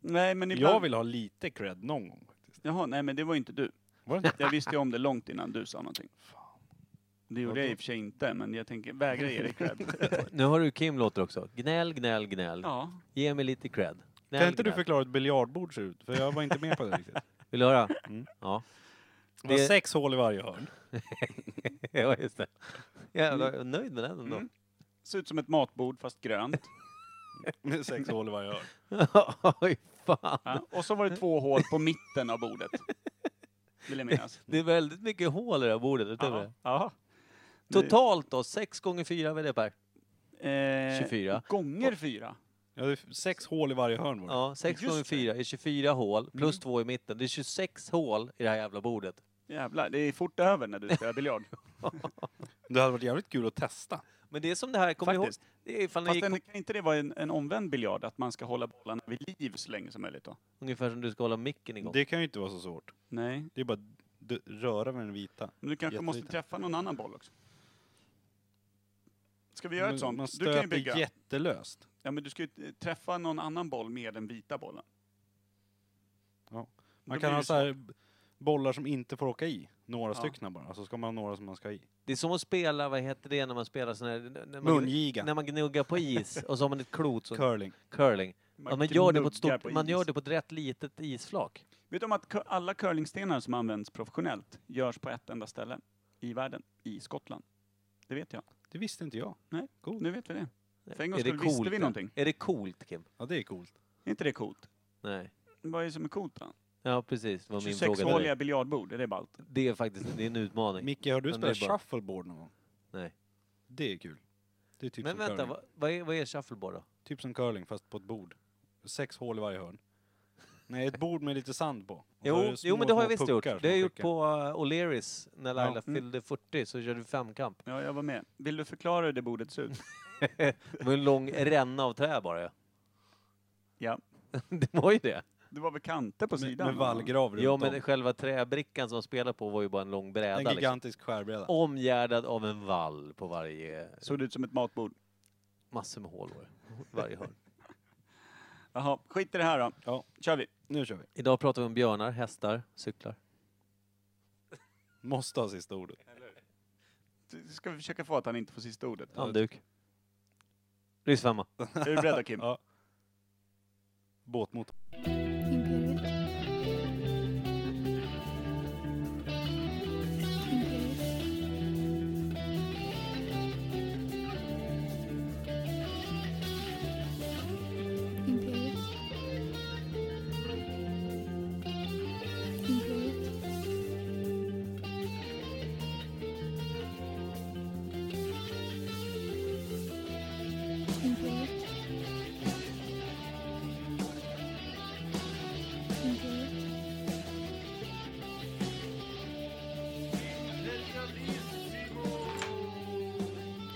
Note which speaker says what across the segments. Speaker 1: Nej men ibland...
Speaker 2: Jag vill ha lite cred någon gång. faktiskt.
Speaker 1: Jaha, nej men det var ju inte du.
Speaker 2: Var det inte?
Speaker 1: Jag visste ju om det långt innan du sa någonting. Det gjorde jag i och för sig inte, men jag tänker vägra ge dig cred.
Speaker 3: Nu har du Kim låter också. Gnäll, gnäll, gnäll.
Speaker 1: Ja.
Speaker 3: Ge mig lite cred. Gnäll,
Speaker 2: Kan inte du
Speaker 3: gnäll.
Speaker 2: förklara hur ett biljardbord ser ut? För jag var inte med på det riktigt.
Speaker 3: Vill du höra?
Speaker 2: Mm.
Speaker 3: Ja.
Speaker 2: Det var
Speaker 3: Det-
Speaker 2: sex hål i varje hörn.
Speaker 3: ja, just det. Jävlar, jag är nöjd med den ändå.
Speaker 1: Mm. Ser ut som ett matbord fast grönt.
Speaker 2: Med sex hål i varje hörn.
Speaker 3: Oj, fan.
Speaker 1: Ja. Och så var det två hål på mitten av bordet. Vill jag minnas.
Speaker 3: Det är väldigt mycket hål i det här bordet. utöver
Speaker 1: Ja.
Speaker 3: det.
Speaker 1: ja.
Speaker 3: Totalt då, 6 gånger 4 vad är det Per?
Speaker 1: Eh,
Speaker 3: 24.
Speaker 1: Gånger fyra.
Speaker 2: Ja, det är sex hål i varje hörn var det.
Speaker 3: Ja, 6
Speaker 1: Just
Speaker 3: gånger 4 är 24 hål, plus 2 i mitten. Det är 26 hål i det här jävla bordet.
Speaker 1: Jävlar, det är fort över när du spelar biljard.
Speaker 2: Det hade varit jävligt kul att testa.
Speaker 3: Men det är som det här, kommer ni ihåg?
Speaker 1: Faktiskt.
Speaker 3: Det är ifall ni
Speaker 1: Fast
Speaker 3: gick
Speaker 1: en, kan inte det vara en, en omvänd biljard? Att man ska hålla bollarna vid liv så länge som möjligt då?
Speaker 3: ungefär som du ska hålla micken igång.
Speaker 2: Det kan ju inte vara så svårt.
Speaker 1: Nej.
Speaker 2: Det är bara att d- röra med den vita.
Speaker 1: Men du kanske måste
Speaker 2: Jätteliten.
Speaker 1: träffa någon annan boll också? Ska vi göra ett
Speaker 2: Man
Speaker 1: sånt? Du kan ju
Speaker 2: stöter
Speaker 1: bygga.
Speaker 2: jättelöst.
Speaker 1: Ja, men du ska ju träffa någon annan boll med den vita bollen.
Speaker 2: Man
Speaker 1: Då
Speaker 2: kan
Speaker 1: blir
Speaker 2: ha
Speaker 1: det
Speaker 2: så här bollar som inte får åka i. Några
Speaker 1: Ja.
Speaker 2: stycken bara. Så ska man ha några som man ska ha i.
Speaker 3: Det är som att spela, vad heter det när man spelar sån här... När man,
Speaker 2: Mungiga.
Speaker 3: När man gnuggar på is och så har man ett klot, så
Speaker 2: Curling.
Speaker 3: curling.
Speaker 1: Man
Speaker 3: Ja, man, gör det på ett
Speaker 1: knuggar
Speaker 3: stort, man
Speaker 1: is.
Speaker 3: gör det på ett rätt litet isflak.
Speaker 1: Vet du om att cu- alla curlingstenar som används professionellt görs på ett enda ställe i världen, i Skottland? Det vet jag.
Speaker 2: Det visste inte jag.
Speaker 1: Nej.
Speaker 2: Cool.
Speaker 1: Nu vet vi det. För en gångs
Speaker 3: Är det
Speaker 1: skull visste
Speaker 3: coolt?
Speaker 1: vi
Speaker 3: det?
Speaker 1: någonting.
Speaker 3: Är det coolt, Kim?
Speaker 2: Ja, det är coolt.
Speaker 1: Är inte det coolt?
Speaker 3: Nej.
Speaker 1: Vad är det som är coolt då?
Speaker 3: Ja, precis. Vad min fråga till dig.
Speaker 1: 26-håliga biljardbord, är det ballt?
Speaker 3: Det är faktiskt det är en utmaning.
Speaker 2: Micke, har du
Speaker 3: Men det är
Speaker 2: spelat
Speaker 3: bara-
Speaker 2: shuffleboard någon gång?
Speaker 3: Nej.
Speaker 2: Det är kul. Det är typ,
Speaker 3: Men
Speaker 2: som,
Speaker 3: vänta,
Speaker 2: curling.
Speaker 3: vad, vad, är, vad är shuffleboard då?
Speaker 2: typ som curling fast på ett bord. Sex hål i varje hörn. Nej, ett bord med lite sand på. Och så är
Speaker 3: Jo,
Speaker 2: det små,
Speaker 3: jo, men det har
Speaker 2: små
Speaker 3: jag visst gjort.
Speaker 2: puckar
Speaker 3: Det
Speaker 2: som
Speaker 3: har jag
Speaker 2: man
Speaker 3: gjort
Speaker 2: skickar.
Speaker 3: på uh, O'Learys när Laila
Speaker 1: Mm.
Speaker 3: fyllde 40 så körde vi femkamp.
Speaker 1: Ja, jag var med. Vill du förklara hur det bordet ser ut?
Speaker 3: Det var en lång ränna av trä bara. ja.
Speaker 1: ja.
Speaker 3: det var ju det.
Speaker 1: Det var väl kanter på
Speaker 2: Med,
Speaker 1: sidan?
Speaker 2: med vallgrav runt
Speaker 3: Ja,
Speaker 2: om.
Speaker 3: men själva träbrickan som man spelade på var ju bara en lång bräda.
Speaker 2: En
Speaker 3: Liksom.
Speaker 2: gigantisk skärbräda.
Speaker 3: Omgärdad av en vall på varje...
Speaker 1: Såg det ut som ett matbord?
Speaker 3: Massor med hål var det. Varje hörn.
Speaker 1: Jaha, skit i det här då.
Speaker 2: Ja.
Speaker 1: Kör vi.
Speaker 2: Nu kör vi.
Speaker 3: Idag pratar vi om björnar, hästar, cyklar.
Speaker 2: Måste ha sista ordet.
Speaker 1: Ska vi försöka få att han inte får sista ordet?
Speaker 3: Handduk. Ryssfemma.
Speaker 1: Är du beredd då, Kim?
Speaker 2: Ja. Båtmotor.
Speaker 4: Imperiet. Imperiet. Imperiet. Imperiet. Imperiet. Imperiet.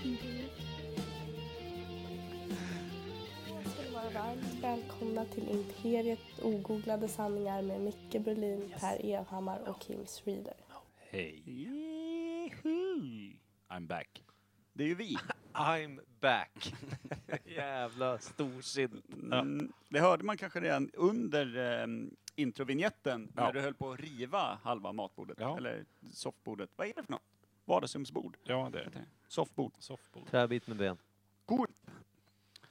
Speaker 4: Imperiet.
Speaker 5: ska ni vara varmt välkomna till Imperiet ogooglade sanningar med Micke Berlin, Per Evhammar och Kim Schreeder.
Speaker 2: Hej. I'm back.
Speaker 1: Det är ju vi.
Speaker 3: I'm back. Jävla storsint.
Speaker 1: Mm, det hörde man kanske redan under um, introvinjetten
Speaker 2: Ja.
Speaker 1: när du höll på att riva halva matbordet,
Speaker 2: Ja.
Speaker 1: eller soffbordet. Vad är det för något? Vardagsrumsbord?
Speaker 2: Ja, det är
Speaker 1: Heter det? Soffbord.
Speaker 2: softball.
Speaker 3: Träbit med ben.
Speaker 1: Cool.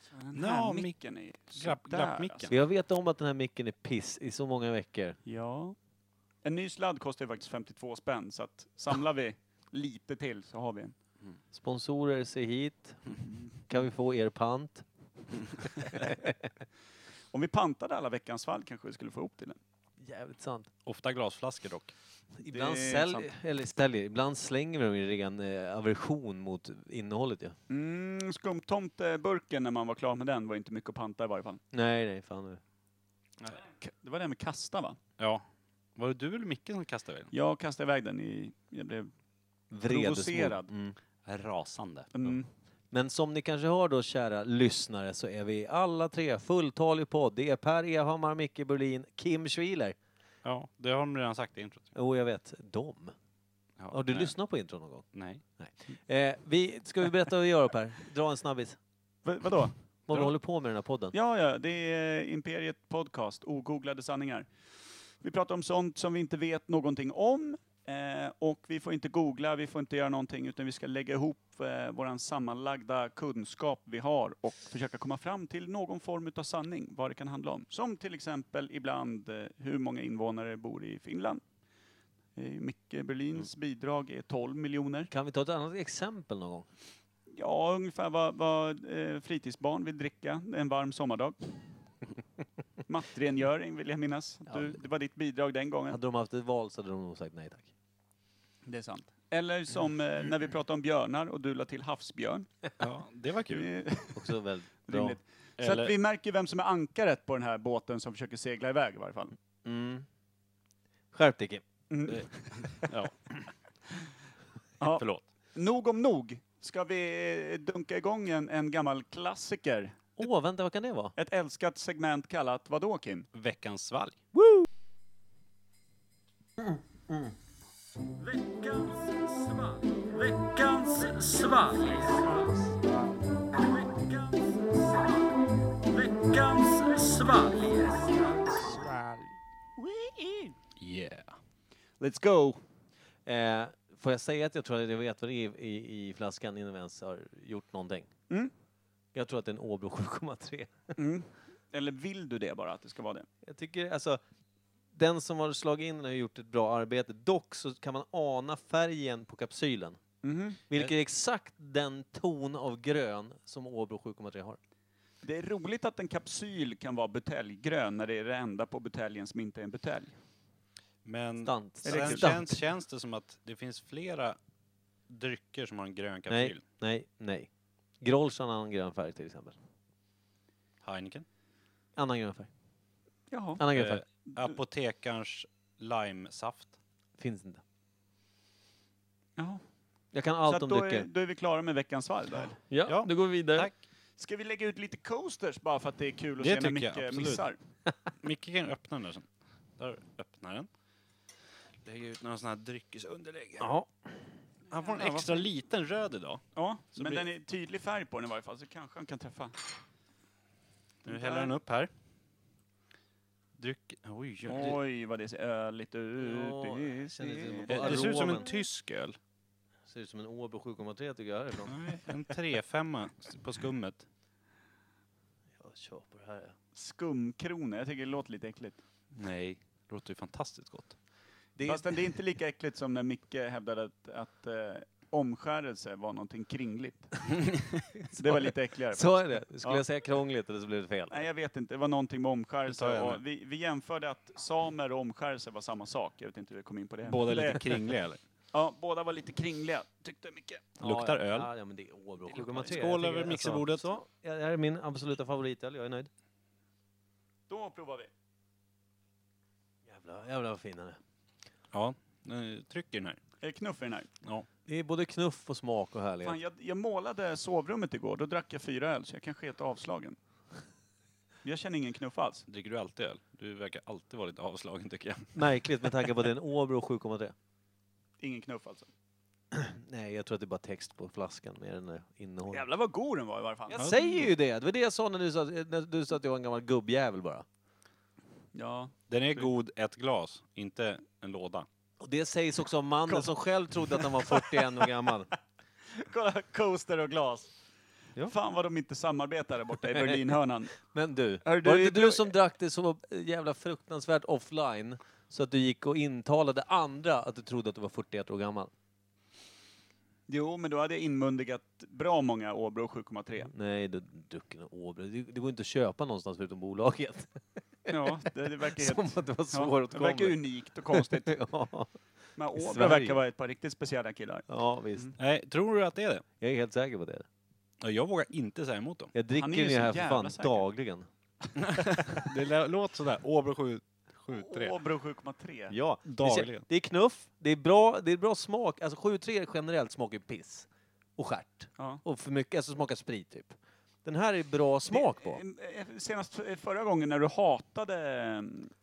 Speaker 1: Så Den här
Speaker 2: Ja, mick-
Speaker 1: micken är ju
Speaker 2: glapp-
Speaker 1: sådär,
Speaker 2: glappmicken.
Speaker 1: alltså.
Speaker 3: Vi har vetat om att den här micken är piss i så många veckor.
Speaker 1: Ja. En ny sladd kostar ju faktiskt 52 spänn, så att samlar vi lite till så har vi en.
Speaker 3: Sponsorer, se hit. Kan vi få er pant?
Speaker 1: Om vi pantade alla veckans fall kanske vi skulle få ihop till den.
Speaker 3: Jävligt sant.
Speaker 2: Ofta glasflaskor dock.
Speaker 3: Ibland
Speaker 1: Det är sant.
Speaker 3: säljer, eller säljer, ibland slänger vi dem i ren eh, aversion mot innehållet ju.
Speaker 1: Mm, Skumtomteburken när man var klar med den var inte mycket att panta i varje fall.
Speaker 3: Nej, nej, fan.
Speaker 1: K- Det var det här med kasta va?
Speaker 2: Ja. Var det du eller Micke som kastade den?
Speaker 1: Jag kastade iväg den i... Jag blev...
Speaker 3: Vredesmod.
Speaker 1: Provocerad.
Speaker 3: Mm.
Speaker 2: Rasande.
Speaker 1: Mm,
Speaker 3: Men som ni kanske hör då, kära lyssnare, så är vi alla tre fulltalig podd. Det är Per Evhammar, Micke Berlin, Kim Schwiler.
Speaker 2: Ja, det har de redan sagt i introt.
Speaker 3: Jo, jag vet. Dom.
Speaker 2: Ja,
Speaker 3: Har du
Speaker 2: nej.
Speaker 3: lyssnat på intro någon gång?
Speaker 2: Nej.
Speaker 3: Eh, vi, ska vi berätta vad vi gör Per? Dra en snabbis.
Speaker 1: Va- vadå?
Speaker 3: Vad vi
Speaker 1: Bra.
Speaker 3: håller på med i den här podden.
Speaker 1: Ja, ja, det är Imperiet Podcast, ogooglade sanningar. Vi pratar om sånt som vi inte vet någonting om. Eh, och vi får inte googla, vi får inte göra någonting, utan vi ska lägga ihop eh, vår sammanlagda kunskap vi har och försöka komma fram till någon form av sanning, vad det kan handla om. Som till exempel ibland eh, hur många invånare bor i Finland. Eh, Micke Berlins bidrag är 12 miljoner.
Speaker 3: Kan vi ta ett annat exempel någon gång?
Speaker 1: Ja, ungefär vad, vad eh, fritidsbarn vill dricka en varm sommardag. Mattrengöring vill jag minnas. att
Speaker 3: Ja,
Speaker 1: Du,
Speaker 3: det-
Speaker 1: det var ditt bidrag den gången.
Speaker 3: Hade de haft ett val så hade de nog sagt nej tack.
Speaker 1: Det är sant. Eller som eh, när vi pratade om björnar och du la till havsbjörn.
Speaker 2: Ja, det var kul.
Speaker 1: Det är
Speaker 3: Också väldigt bra.
Speaker 1: rimligt. Så
Speaker 2: Eller-
Speaker 1: att vi märker vem som är ankaret på den här båten som försöker segla iväg i varje fall.
Speaker 3: Mm. Skärp dig Kim.
Speaker 1: Mm.
Speaker 2: Ja,
Speaker 1: Ja.
Speaker 2: förlåt.
Speaker 1: Nog om nog. Ska vi eh, dunka igång en, en gammal klassiker?
Speaker 3: Åh, vänta, vad kan det vara?
Speaker 1: Ett älskat segment kallat vadå Kim?
Speaker 2: Veckans svalg. Yeah.
Speaker 1: Let's go!
Speaker 3: Eh, får jag säga att jag tror att jag vet vad det är i, i, i flaskan innan vi ens har gjort någonting?
Speaker 1: Mm.
Speaker 3: Jag tror att det är en Åbro 7,3.
Speaker 1: Mm. Eller vill du det bara, att det ska vara det?
Speaker 3: Jag tycker alltså, den som har slagit in den har gjort ett bra arbete. Dock så kan man ana färgen på kapsylen. Vilket är exakt den ton av grön som Åbro 7,3 har.
Speaker 1: Det är roligt att en kapsyl kan vara buteljgrön när det är det enda på buteljen som inte är en butelj.
Speaker 2: Men
Speaker 3: Stant.
Speaker 2: sen
Speaker 3: Stant.
Speaker 2: känns, känns det som att det finns flera drycker som har en grön
Speaker 3: Nej,
Speaker 2: kapsyl.
Speaker 3: nej, nej. Grolsch har en annan grön färg till exempel.
Speaker 2: Heineken.
Speaker 3: Annan grön färg.
Speaker 1: Jaha.
Speaker 3: Annan grön
Speaker 2: Eh,
Speaker 3: färg.
Speaker 2: apotekarns limesaft.
Speaker 3: Finns inte.
Speaker 1: Jaha.
Speaker 3: Jag kan
Speaker 1: Så
Speaker 3: allt
Speaker 1: att
Speaker 3: om
Speaker 1: då, är,
Speaker 3: drycker.
Speaker 1: då är vi klara med veckans varv där.
Speaker 3: Ja,
Speaker 2: Ja,
Speaker 3: då går vi vidare.
Speaker 2: tack.
Speaker 1: Ska vi lägga ut lite coasters bara för att det är kul att
Speaker 2: Det
Speaker 1: se när
Speaker 2: tycker jag,
Speaker 1: Micke
Speaker 2: absolut.
Speaker 1: missar?
Speaker 2: Micke kan öppna den där sen. Där öppnar den. Lägger ut några sådana här dryckesunderlägg.
Speaker 3: Ja.
Speaker 2: Han får en extra liten röd idag.
Speaker 1: Ja,
Speaker 2: Så
Speaker 1: men
Speaker 2: blir-
Speaker 1: den är tydlig färg på den i varje fall, så kanske han kan träffa.
Speaker 2: Nu häller han upp här. Dryck... Oj, oj, oj.
Speaker 1: Oj, vad det ser öligt ut.
Speaker 3: Ja, jag känner lite-
Speaker 1: Det-
Speaker 2: Eh, Det ser ut som en
Speaker 3: Aromen.
Speaker 2: tysk öl.
Speaker 3: Ser ut som en Åbro 7,3 tycker jag härifrån.
Speaker 2: En 3-5 på skummet.
Speaker 3: Jag kör på det här. ja.
Speaker 1: Skumkrona, jag tycker det låter lite äckligt.
Speaker 2: Nej, det låter ju fantastiskt gott.
Speaker 3: Det är,
Speaker 1: Fast det är inte lika äckligt som när Micke hävdade att, att eh, omskärelse var någonting kringligt. det var lite äckligare.
Speaker 3: sa jag det? Skulle
Speaker 1: Ja.
Speaker 3: jag säga krångligt eller så blev det fel?
Speaker 1: Nej, jag vet inte. Det var någonting med
Speaker 2: Det tar
Speaker 1: omskärelse.
Speaker 2: jag
Speaker 1: Och vi, vi jämförde att samer och omskärelse var samma sak. Jag vet inte hur vi kom in på det.
Speaker 2: Båda
Speaker 1: det,
Speaker 2: lite kringliga eller?
Speaker 1: Ja, båda var lite kringliga, tyckte Micke.
Speaker 3: Ja,
Speaker 2: Luktar
Speaker 3: ja.
Speaker 2: öl.
Speaker 3: Ja, ja, men det är Åbro 7,3.
Speaker 2: Skål
Speaker 3: Jag tycker-
Speaker 2: över mixerbordet.
Speaker 3: Alltså, så, ja, det här är min absoluta favoritöl, jag är nöjd.
Speaker 1: Då provar vi.
Speaker 3: Jävlar, jävlar vad fin den är.
Speaker 2: Ja, nu trycker den här.
Speaker 1: Eh, Knuff i den här.
Speaker 2: Ja.
Speaker 3: Det är både knuff och smak och härlighet.
Speaker 1: Fan, jag, jag målade sovrummet igår. Då drack jag fyra öl, så jag kanske är helt avslagen. Jag känner ingen knuff alls.
Speaker 2: Dricker du alltid öl? Du verkar alltid vara lite avslagen tycker jag.
Speaker 3: Märkligt med tanke på att det är en Åbro 7,3.
Speaker 1: Ingen knuff alltså.
Speaker 3: Nej, jag tror att det är bara text på flaskan mer än eh, innehåll.
Speaker 1: Jävlar vad god den var i varje fall.
Speaker 3: Jag säger ju det! Det var det jag sa när du sa, att- när du sa att jag var en gammal gubbjävel bara.
Speaker 1: Ja.
Speaker 2: Den är god ett glas, inte en låda.
Speaker 3: Och det sägs också av mannen som själv trodde att han var 41 år gammal.
Speaker 1: Kolla, coaster och glas.
Speaker 3: Ja.
Speaker 1: Fan vad de inte samarbetar där borta i Berlinhörnan.
Speaker 3: Men du,
Speaker 1: Är
Speaker 3: var
Speaker 1: du-
Speaker 3: det inte du som drack det så jävla fruktansvärt offline så att du gick och intalade andra att du trodde att du var 41 år gammal?
Speaker 1: Jo, men då hade jag inmundigat bra många Åbro 7,3.
Speaker 3: Nej, du drucken en Åbro. Det, det går inte att köpa någonstans förutom bolaget.
Speaker 1: Ja, det, det verkar helt...
Speaker 3: Som att det
Speaker 1: det
Speaker 3: var
Speaker 1: verkar
Speaker 3: svåråtkomligt.
Speaker 1: unikt och konstigt.
Speaker 3: Ja,
Speaker 1: Men Åbro
Speaker 3: Sverige.
Speaker 1: verkar vara ett par riktigt speciella killar.
Speaker 3: ja, visst.
Speaker 1: Mm.
Speaker 2: Nej, tror du att det är det?
Speaker 3: Jag är helt säker på det.
Speaker 2: Ja, Jag vågar inte säga emot dem.
Speaker 3: Jag dricker
Speaker 1: Han är
Speaker 3: ju
Speaker 1: ju
Speaker 3: det
Speaker 1: så
Speaker 3: här för
Speaker 1: jävla
Speaker 3: fan
Speaker 1: säker.
Speaker 3: dagligen.
Speaker 2: Det lä- låter sådär. Åbro 7, 7 3.
Speaker 1: Åbro 7,3.
Speaker 3: Ja, det är-
Speaker 2: Dagligen.
Speaker 3: Det är knuff, det är bra, det är bra smak. Alltså 7-3 generellt smakar ju piss. Och stjärt.
Speaker 1: Ja.
Speaker 3: Och för mycket, alltså smakar sprit typ. Den här är bra smak på.
Speaker 1: Eh, eh, Senast eh, förra gången när du hatade eh,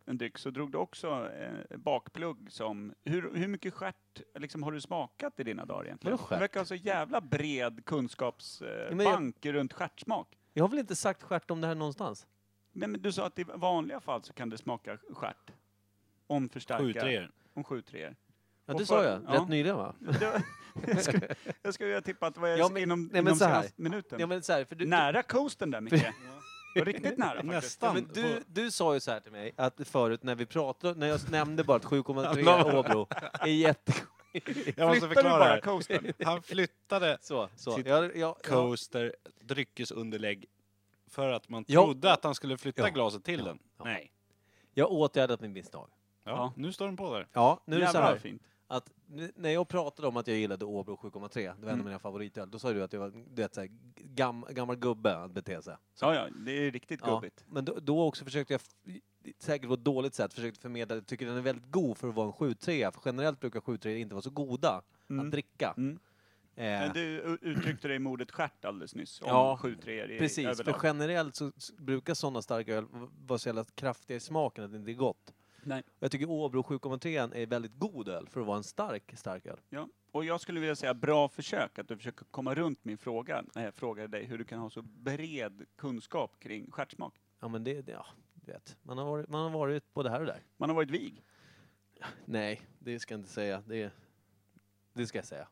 Speaker 1: en dryck så drog du också eh, bakplugg som... Hur, hur mycket stjärt liksom, har du smakat i dina dagar egentligen?
Speaker 3: Vadå stjärt?
Speaker 1: Du verkar ha så jävla bred
Speaker 3: Ja, men jag-
Speaker 1: kunskapsbank runt stjärtsmak.
Speaker 3: Jag har väl inte sagt stjärt om det här någonstans?
Speaker 1: Men, men du sa att i vanliga fall så kan det smaka stjärt. Om förstärkare.
Speaker 2: 7-3.
Speaker 1: Om 7 3
Speaker 3: Ja,
Speaker 1: Och
Speaker 3: det
Speaker 1: för-
Speaker 3: sa jag.
Speaker 1: ja.
Speaker 3: Rätt nyligen va?
Speaker 1: Jag skulle- jag skulle ha tippat vad jag
Speaker 3: Ja, men-
Speaker 1: inom,
Speaker 3: nej, men
Speaker 1: inom
Speaker 3: så här.
Speaker 1: senaste minuten.
Speaker 3: Ja, men så här, för du,
Speaker 1: Nära coasten där, Micke. Det var Riktigt nära faktiskt.
Speaker 2: Nästan.
Speaker 3: Ja, men du, du sa ju så här till mig att förut när vi pratade, när jag nämnde bara att 7,3
Speaker 2: Ja.
Speaker 3: Åbro är jättegott.
Speaker 2: jag måste
Speaker 1: Flyttar du
Speaker 2: förklara.
Speaker 1: bara
Speaker 2: här.
Speaker 1: coasten?
Speaker 2: Han flyttade
Speaker 3: Så, så.
Speaker 2: Sitt
Speaker 3: Jag, jag, jag,
Speaker 2: coaster, dryckesunderlägg, för att man
Speaker 3: Ja.
Speaker 2: trodde att han skulle flytta
Speaker 3: Ja.
Speaker 2: glaset till den.
Speaker 3: Ja.
Speaker 2: Nej.
Speaker 3: jag åtgärdat min misstag.
Speaker 2: Ja.
Speaker 1: Ja.
Speaker 2: Nu står den på där.
Speaker 3: Ja, nu är det så
Speaker 1: Jävlar,
Speaker 3: här.
Speaker 1: fint.
Speaker 3: att n- när jag pratade om att jag gillade Åbro 7,3, det var en
Speaker 1: Mm.
Speaker 3: av mina favoritöl, då sa du att jag var du vet, så här, gam, gammal gubbe att bete sig.
Speaker 1: Ja, ja, det är riktigt
Speaker 3: Ja,
Speaker 1: gubbigt.
Speaker 3: men då, då också försökte jag, f- säkert på ett dåligt sätt, försökte förmedla att jag tycker den är väldigt god för att vara en 7,3, för generellt brukar 7,3 inte vara så goda
Speaker 1: Mm.
Speaker 3: att dricka.
Speaker 1: Mm.
Speaker 3: Eh,
Speaker 1: Men du u- uttryckte dig i ordet stjärt alldeles nyss, om
Speaker 3: Ja,
Speaker 1: 7-3 i
Speaker 3: Precis,
Speaker 1: överlag.
Speaker 3: för generellt så s- brukar sådana starka öl v- vara så jävla kraftiga i smaken att det inte är gott.
Speaker 1: Nej.
Speaker 3: Jag tycker Åbro 7,3 är väldigt god öl för att vara en stark, stark öl.
Speaker 1: Ja. Och jag skulle vilja säga bra försök, att du försöker komma runt min fråga, när jag frågade dig hur du kan ha så bred kunskap kring stjärtsmak.
Speaker 3: Ja men det, det ja, du vet. Man har, varit, man har varit både här och där.
Speaker 1: Man har varit vig.
Speaker 3: Nej, det ska jag inte säga. Det, det ska jag säga.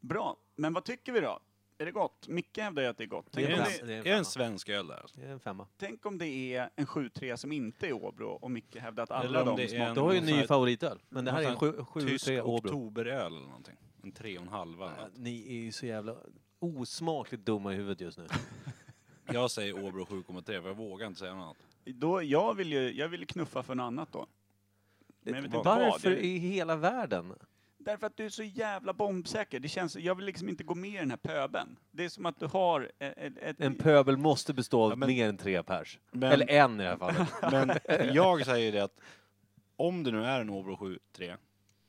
Speaker 1: Bra, men vad tycker vi då? Är det gott? Micke hävdar ju att det är gott.
Speaker 3: Det
Speaker 1: Tänk,
Speaker 3: är
Speaker 1: om
Speaker 3: bra.
Speaker 1: det,
Speaker 2: en,
Speaker 3: det är en
Speaker 2: är det en
Speaker 3: femma.
Speaker 2: svensk öl där?
Speaker 3: Det är en femma.
Speaker 1: tänk om det är en 7-3 som inte är Åbro och Micke hävdar att alla
Speaker 2: Eller om
Speaker 1: de
Speaker 2: det är
Speaker 1: smakar...
Speaker 2: en-
Speaker 3: Du har ju en
Speaker 2: någon sån
Speaker 3: ny
Speaker 2: här-
Speaker 3: favoritöl, men det här är en
Speaker 2: någon sån
Speaker 3: 7-3
Speaker 2: Tysk
Speaker 3: Åbro.
Speaker 2: oktoberöl eller någonting. En tre och en halva. eller
Speaker 3: Ja,
Speaker 2: något.
Speaker 3: Ni är ju så jävla osmakligt dumma i huvudet just nu.
Speaker 2: Jag säger Åbro 7,3 för jag vågar inte säga något annat.
Speaker 1: Då, jag vill ju jag vill knuffa för något annat då. Men jag vet inte vad.
Speaker 3: Varför
Speaker 1: Det-
Speaker 3: i hela världen?
Speaker 1: Därför att du är så jävla bombsäker. Det känns, jag vill liksom inte gå med i den här pöben. Det är som att du har ett... ett,
Speaker 3: En
Speaker 1: ett
Speaker 3: pöbel måste bestå av
Speaker 2: Ja, men-
Speaker 3: mer än tre pers.
Speaker 2: Men-
Speaker 3: Eller en i det här fallet.
Speaker 2: Men jag säger ju det att om det nu är en Åbro 7,3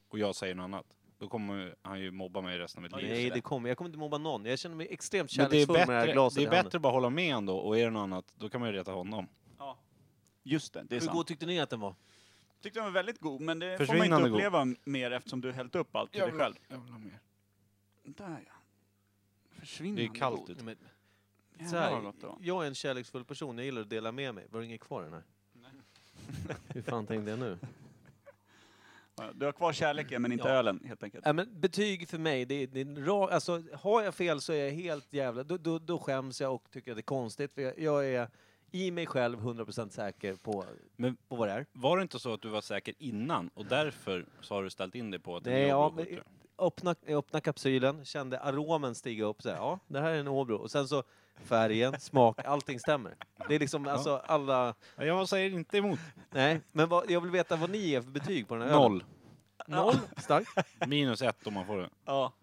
Speaker 2: och jag säger något annat, då kommer han ju mobba mig resten av mitt liv.
Speaker 3: Nej, det kommer. Jag kommer inte mobba någon. Jag känner mig extremt
Speaker 2: Men det är
Speaker 3: kärleksfull med det här
Speaker 2: bättre,
Speaker 3: glaset
Speaker 2: det
Speaker 3: i
Speaker 2: är
Speaker 3: handen.
Speaker 2: bättre att bara hålla med ändå och är det något annat, då kan man ju reta honom.
Speaker 1: ja. Just det, det är
Speaker 3: Hur
Speaker 1: sant.
Speaker 3: god tyckte ni att den var?
Speaker 1: Tyckte den var väldigt god, men det får man inte
Speaker 2: Försvinnande god.
Speaker 1: uppleva mer eftersom du hällt upp allt till dig själv. Där ja.
Speaker 2: Det
Speaker 1: Försvinnande
Speaker 2: är kallt
Speaker 1: god.
Speaker 2: ute.
Speaker 3: Så
Speaker 1: Jävlar vad
Speaker 3: här,
Speaker 1: gott det var.
Speaker 3: jag är en kärleksfull person. Jag gillar att dela med mig. Var det inget kvar i den här? Hur fan tänkte jag nu?
Speaker 1: Ja, Du har kvar kärleken men inte
Speaker 3: Ja.
Speaker 1: ölen helt enkelt.
Speaker 3: Nej, men betyg för mig, det är, det är en ra, alltså, har jag fel så är jag helt jävla... Då, då, då skäms jag och tycker att det är konstigt. För jag, jag är i mig själv 100% säker på,
Speaker 2: Men-
Speaker 3: på vad det är.
Speaker 2: Var det inte så att du var säker innan och därför så har du ställt in dig på att det
Speaker 3: Nej,
Speaker 2: är
Speaker 3: ja,
Speaker 2: Åbro
Speaker 3: men,
Speaker 2: 7,3?
Speaker 3: öppna, jag öppnade kapsylen, kände aromen stiga upp. Så här, ja, det här är en Åbro. Och sen så färgen, smak, allting stämmer. Det är liksom alltså alla...
Speaker 2: Ja, Jag säger inte emot.
Speaker 3: Nej, men vad, jag vill veta vad ni ger för betyg på den här ölen.
Speaker 2: Noll.
Speaker 3: Noll? Starkt.
Speaker 2: Minus ett om man får det.
Speaker 1: Ja.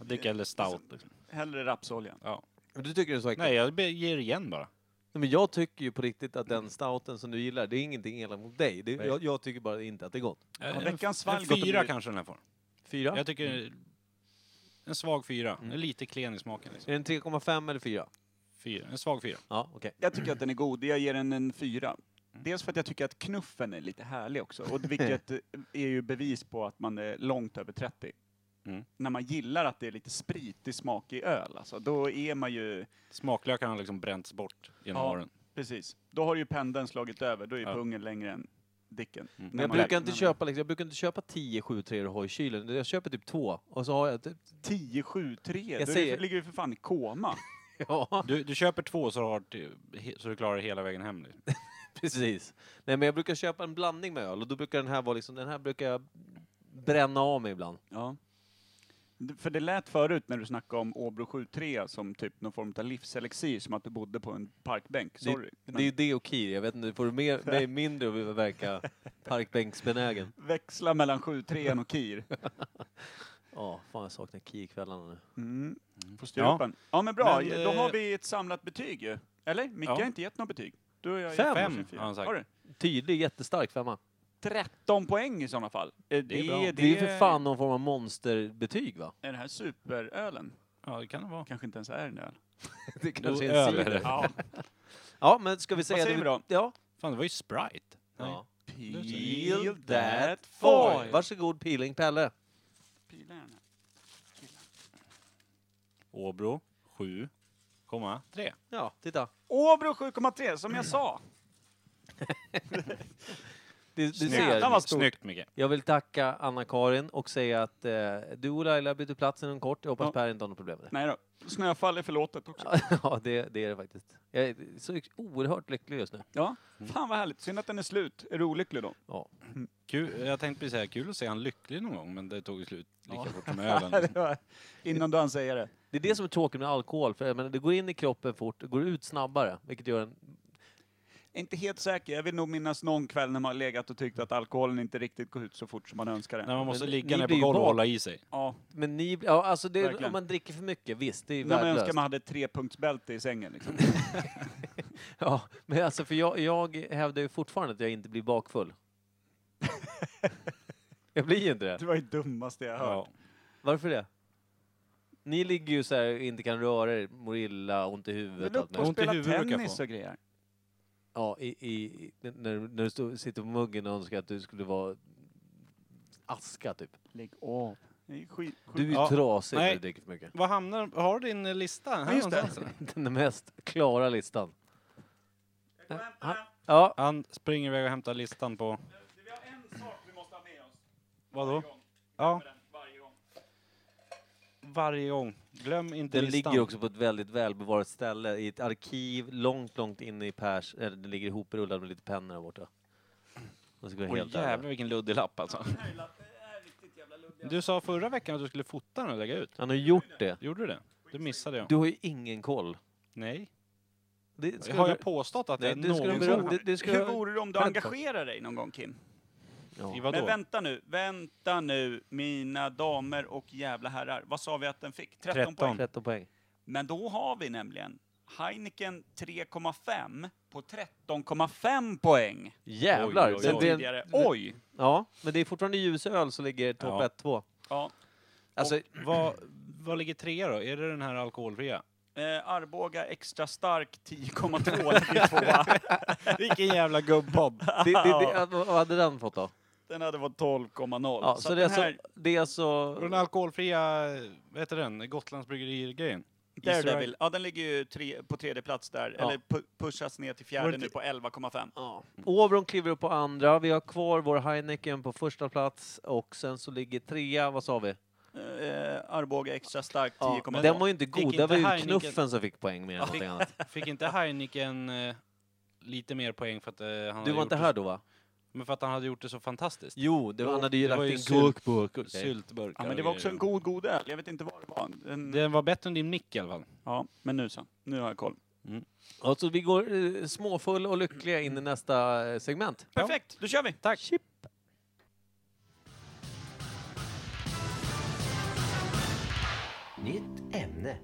Speaker 2: Att Dricka eller stout. Liksom.
Speaker 1: Hellre rapsolja.
Speaker 2: Ja.
Speaker 3: Men Du tycker det är så äckligt?
Speaker 2: Nej, jag be- ger igen bara.
Speaker 3: Nej, Men jag tycker ju på riktigt att den stouten som du gillar, det är ingenting elakt mot dig. Det,
Speaker 2: Nej.
Speaker 3: jag, jag tycker bara inte att det är gott.
Speaker 1: Ja,
Speaker 2: En-
Speaker 1: veckans
Speaker 2: en
Speaker 1: svalg går
Speaker 2: fyra
Speaker 1: till-
Speaker 2: kanske den här får.
Speaker 3: Fyra?
Speaker 2: Jag tycker en svag fyra. En lite klen i smaken. Liksom.
Speaker 3: Är den 3,5 eller fyra?
Speaker 2: Fyra. En svag fyra.
Speaker 3: Ja, okej.
Speaker 1: Jag tycker att den är god. Jag ger den en fyra.
Speaker 2: Mm.
Speaker 1: Dels för att jag tycker att knuffen är lite härlig också, och vilket eh, är ju bevis på att man är långt över 30.
Speaker 2: Mm.
Speaker 1: När man gillar att det är lite spritig smak i öl, alltså, då är man ju...
Speaker 2: Smaklökarna har liksom bränts bort genom
Speaker 1: Ja.
Speaker 2: åren.
Speaker 1: Precis. Då har ju pendeln slagit över, då är
Speaker 2: Ja.
Speaker 1: pungen längre än dicken.
Speaker 2: Mm.
Speaker 1: När
Speaker 3: Men jag
Speaker 1: man-
Speaker 3: brukar, inte
Speaker 1: när man-
Speaker 3: köpa, liksom, jag brukar inte köpa 10 7 3 och ha i kylen. Jag köper typ två och så har jag typ...
Speaker 1: 10, 7, 3.
Speaker 3: Jag
Speaker 1: Då
Speaker 3: säger-
Speaker 1: säger... ligger du för fan i koma.
Speaker 3: Ja,
Speaker 2: Du, du köper två så, har du, he- så du klarar det hela vägen hem. Liksom.
Speaker 3: precis. Nej, men jag brukar köpa en blandning med öl och då brukar den här vara liksom... Den här brukar jag bränna av mig ibland.
Speaker 1: Ja. D- För det lät förut när du snackade om Åbro 7-3 som typ någon form av livselixir, som att du bodde på en parkbänk.
Speaker 3: Det,
Speaker 1: Sorry.
Speaker 3: det är ju det och Kir. Jag vet inte, får du mer, mig mindre att verka parkbänksbenägen?
Speaker 1: Växla mellan 7-3 och KIR.
Speaker 3: Ja, fan jag saknar Kir-kvällarna nu.
Speaker 1: Mm. På
Speaker 2: Ja.
Speaker 1: strupen. Ja. men bra,
Speaker 2: Men,
Speaker 1: då
Speaker 2: eh,
Speaker 1: har vi ett samlat betyg ju. Eller? Micke
Speaker 2: Ja.
Speaker 1: har inte gett något betyg. Du och jag har
Speaker 3: Fem,
Speaker 1: gett varsin fyra.
Speaker 2: har han sagt.
Speaker 1: Har du?
Speaker 3: Tydlig, jättestark femma.
Speaker 1: 13 poäng i sådana fall. Eh, Det,
Speaker 2: är bra.
Speaker 3: Det är ju för fan någon form av monsterbetyg va?
Speaker 1: Är det här superölen?
Speaker 2: Ja, det kan det vara.
Speaker 1: Kanske inte ens är en öl.
Speaker 3: Det
Speaker 2: Jo,
Speaker 3: är
Speaker 2: öl
Speaker 3: cider.
Speaker 2: är det.
Speaker 1: Ja.
Speaker 3: Ja, men ska vi säga...
Speaker 1: säger vi då?
Speaker 3: Ja.
Speaker 2: Fan, det var ju Sprite.
Speaker 3: ja.
Speaker 1: Peel
Speaker 3: that
Speaker 1: that
Speaker 3: Oj,
Speaker 1: foil.
Speaker 3: varsågod Peeling Pelle.
Speaker 1: Pila den här.
Speaker 2: Åbro 7 7,3.
Speaker 3: Ja, titta.
Speaker 1: Åbro 7,3 som jag sa.
Speaker 3: Du, du
Speaker 1: Jävlar
Speaker 3: ser.
Speaker 1: vad stort.
Speaker 2: Snyggt Micke.
Speaker 3: Jag vill tacka Anna-Karin och säga att eh, du och Laila byter plats inom kort. Jag hoppas
Speaker 1: Ja.
Speaker 3: Per inte har något problem med det.
Speaker 1: Nej då. Snöfall är förlåtet också.
Speaker 3: ja, det, det är det faktiskt. Jag är så oerhört lycklig just nu.
Speaker 1: Ja.
Speaker 2: Mm.
Speaker 1: Fan vad härligt. Synd att den är slut. Är du olycklig då?
Speaker 3: Ja.
Speaker 2: Kul, jag tänkte precis säga kul att se han lycklig någon gång, men det tog ju slut lika
Speaker 1: Ja.
Speaker 2: fort som
Speaker 1: Ja,
Speaker 2: ölen. liksom.
Speaker 1: det var- Innan du hann säga det.
Speaker 3: Det är det som är tråkigt med alkohol, för jag menar, det går in i kroppen fort och går ut snabbare, vilket gör en...
Speaker 1: Jag är Inte helt säker. Jag vill nog minnas någon kväll när man har legat och tyckt att alkoholen inte riktigt går ut så fort som man önskar
Speaker 2: När
Speaker 1: det.
Speaker 2: man måste
Speaker 3: Men
Speaker 2: ligga
Speaker 3: ni
Speaker 2: ner på
Speaker 3: blir ju
Speaker 2: golvet och
Speaker 3: van.
Speaker 2: hålla i sig.
Speaker 1: Ja.
Speaker 3: Men ni... Ja, alltså det,
Speaker 1: Verkligen.
Speaker 3: om man dricker för mycket, visst, det är ju
Speaker 1: När man
Speaker 3: värdelöst.
Speaker 1: önskar man hade ett trepunktsbälte i sängen. Liksom.
Speaker 3: Ja, men alltså för jag, jag hävdar ju fortfarande att jag inte blir bakfull. jag blir ju inte det.
Speaker 1: Det var ju det dummaste jag hört.
Speaker 2: Ja.
Speaker 3: Varför det? Ni ligger ju så här och inte kan röra er, mår illa, ont i huvudet
Speaker 1: Men
Speaker 3: och
Speaker 1: upp
Speaker 3: allt
Speaker 1: och
Speaker 2: Ont
Speaker 3: möjligt.
Speaker 2: i
Speaker 1: spela
Speaker 2: huvudet brukar jag
Speaker 1: tennis
Speaker 2: få.
Speaker 1: och grejer.
Speaker 3: Ja, i, i, i, när, när du stå, sitter på muggen och önskar att du skulle vara aska typ.
Speaker 1: Lägg av. Det är skit, skit.
Speaker 3: Du är ju
Speaker 2: Ja.
Speaker 3: trasig när
Speaker 2: Nej.
Speaker 3: du dricker för mycket.
Speaker 2: Vad hamnar, har du din lista här
Speaker 1: just det.
Speaker 2: någonstans? eller?
Speaker 3: Den mest klara listan. Han- Ja,
Speaker 2: Han springer iväg och hämtar listan på...
Speaker 1: Vi har en sak vi måste ha med oss.
Speaker 2: Vadå? Ja,
Speaker 1: Varje gång.
Speaker 2: varje gång. Glöm inte
Speaker 3: den
Speaker 2: listan.
Speaker 3: ligger också på ett väldigt välbevarat ställe i ett arkiv långt, långt inne i Pers. Eller den ligger ihoprullad med lite pennor där borta. Och så går jag
Speaker 2: Åh
Speaker 3: helt jävlar.
Speaker 2: jävlar vilken luddig lapp alltså. Du sa förra veckan att du skulle fota den och lägga ut.
Speaker 3: Han har gjort det.
Speaker 2: Gjorde du det? Det missade jag.
Speaker 3: Du har ju ingen koll.
Speaker 2: Nej.
Speaker 3: Det skulle
Speaker 2: Har jag
Speaker 3: du-
Speaker 2: påstått att
Speaker 3: Nej,
Speaker 2: jag
Speaker 3: du skulle
Speaker 2: någonsin...
Speaker 3: beröra- det- det ska-
Speaker 1: Hur vore det om du
Speaker 3: Vänta.
Speaker 1: engagerar dig någon gång, Kim?
Speaker 2: I
Speaker 3: ja.
Speaker 1: Men
Speaker 2: vadå?
Speaker 1: vänta nu, vänta nu, mina damer och jävla herrar. Vad sa vi att den fick? 13,
Speaker 2: 13.
Speaker 1: poäng.
Speaker 3: 13 poäng.
Speaker 1: Men då har vi nämligen Heineken 3,5 på 13,5 poäng.
Speaker 3: Jävlar!
Speaker 2: Oj, oj,
Speaker 3: Men
Speaker 1: Sen
Speaker 2: oj.
Speaker 3: det är en-
Speaker 1: tidigare. Oj!
Speaker 3: ja, men det är fortfarande ljus öl som ligger topp
Speaker 2: Ja.
Speaker 3: 1, 2.
Speaker 1: Ja.
Speaker 3: Alltså,
Speaker 2: Vad, vad ligger trea då? Är det den här alkoholfria?
Speaker 1: Eh, Arboga extra stark 10,2 ligger tvåa.
Speaker 2: Vilken jävla gubbpodd!
Speaker 3: det, det, det, vad hade den fått då?
Speaker 1: Den hade varit 12,0.
Speaker 3: Ja, så,
Speaker 1: att
Speaker 3: det, är
Speaker 1: den här,
Speaker 3: alltså, det är alltså...
Speaker 2: Och den alkoholfria, vad heter den? Gotlands bryggeri-grejen?
Speaker 1: Daredevil, ja den ligger ju tre, på tredje plats där,
Speaker 3: Ja.
Speaker 1: eller pu- pushas ner till
Speaker 2: Var
Speaker 1: fjärde
Speaker 2: det
Speaker 1: nu
Speaker 2: inte-
Speaker 1: på 11,5.
Speaker 3: Ja. Åbron kliver upp på andra. Vi har kvar vår Heineken på första plats och sen så ligger trea, vad sa vi?
Speaker 1: Eh, Arboga extra stark
Speaker 3: Ja,
Speaker 1: 10,0.
Speaker 3: den var ju inte
Speaker 2: Gick
Speaker 3: god. Det
Speaker 2: inte
Speaker 3: var ju
Speaker 2: Heineken-
Speaker 3: knuffen som fick poäng mer än någonting annat.
Speaker 2: Fick inte Heineken eh, lite mer poäng för att eh, han hade
Speaker 3: Du var
Speaker 2: gjort
Speaker 3: inte
Speaker 2: det
Speaker 3: här då va?
Speaker 2: så- Men för att han hade gjort det så fantastiskt.
Speaker 3: Jo, det var, han hade ju
Speaker 2: det var
Speaker 3: lagt
Speaker 2: ju
Speaker 3: in
Speaker 2: sylt-
Speaker 3: gurkburk.
Speaker 2: Syltburkar
Speaker 1: Ja, men det
Speaker 2: och
Speaker 1: var också en
Speaker 2: grejer.
Speaker 1: god, god öl. Jag vet inte vad det var. Den,
Speaker 2: Den var bättre än din mick i alla fall.
Speaker 1: Ja, men nu så. Nu har jag koll.
Speaker 3: Alltså vi går eh, småfull och lyckliga in i nästa eh, segment.
Speaker 1: Perfekt, då kör vi! Tack!
Speaker 6: Nytt ämne.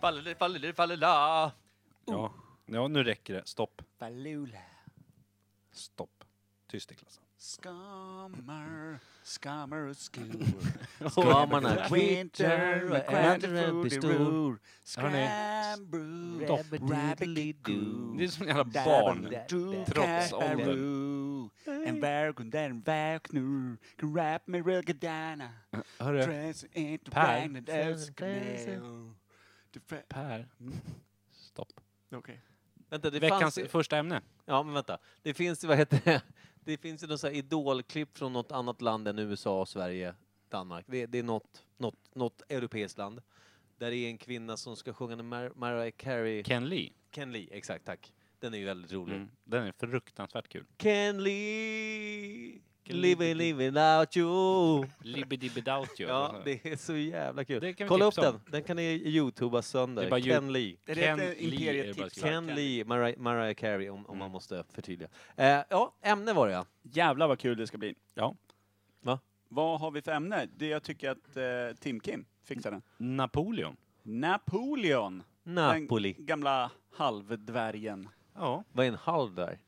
Speaker 3: Falleli, falleli, fallela.
Speaker 2: Ja. ja, nu räcker det. Stopp. Stopp. Tyst i klassen.
Speaker 1: Skammer, skammer och skur.
Speaker 3: Skammarna
Speaker 1: Winter,
Speaker 3: kvittrar, äter en pistol.
Speaker 1: Scramble,
Speaker 2: Stopp. Det är som en jävla barn. Trots åldern.
Speaker 1: En värld där en värk nu Kan rap med rögadana
Speaker 2: Hörru,
Speaker 1: Dress inte
Speaker 2: Per.
Speaker 1: regnet öskar
Speaker 2: Per.
Speaker 3: Mm.
Speaker 2: Stopp.
Speaker 1: Okej.
Speaker 3: Vänta, det
Speaker 2: Veckans
Speaker 3: fanns ju...
Speaker 2: första ämne.
Speaker 3: Ja, men vänta. Det finns ju, vad heter det? Det finns ju något så här idolklipp från något annat land än USA, Sverige, Danmark. Det, det är något, något, något europeiskt land. Där det är en kvinna som ska sjunga en Mar- Mariah Carey. Ken,
Speaker 2: Ken Lee.
Speaker 3: Lee, exakt, tack. Den är ju väldigt rolig.
Speaker 2: Mm. Den är fruktansvärt kul.
Speaker 3: Ken Lee, living, living out you.
Speaker 2: Libidibidoubt
Speaker 3: Ja, det är så jävla kul.
Speaker 2: Det kan vi
Speaker 3: Kolla upp
Speaker 2: tipsa
Speaker 3: den.
Speaker 2: om.
Speaker 3: Den kan ni youtuba sönder.
Speaker 2: Det är bara
Speaker 3: Ken
Speaker 2: you-
Speaker 3: Lee.
Speaker 1: Är
Speaker 2: Ken
Speaker 1: det ett
Speaker 2: Lee är det bara
Speaker 1: imperiet
Speaker 2: att
Speaker 1: tips?
Speaker 2: skriva.
Speaker 3: Ken Lee, Mariah, Mariah Carey, om, om
Speaker 2: Mm.
Speaker 3: man måste förtydliga. Eh, ja, ämne var det ja.
Speaker 1: Jävlar vad kul det ska bli.
Speaker 2: Ja.
Speaker 3: Va?
Speaker 1: Vad har vi för ämne? Det jag tycker att eh, Tim-Kim fixar den.
Speaker 2: Napoleon.
Speaker 1: Napoleon.
Speaker 3: Napoli.
Speaker 1: Den gamla halvdvärgen.
Speaker 2: Ja.
Speaker 3: Vad är en halv där?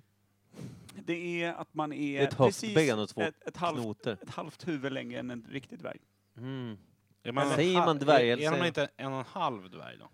Speaker 1: Det är att man är
Speaker 3: Ett höftben och två
Speaker 1: ett, ett, halvt,
Speaker 3: knoter.
Speaker 1: ett halvt huvud längre än en riktig dvärg.
Speaker 3: Mm.
Speaker 2: Är man en
Speaker 3: Säger
Speaker 2: ha-
Speaker 3: man dvärg
Speaker 2: Är,
Speaker 3: eller
Speaker 2: är man
Speaker 3: säger-
Speaker 2: inte en och en halv dvärg då?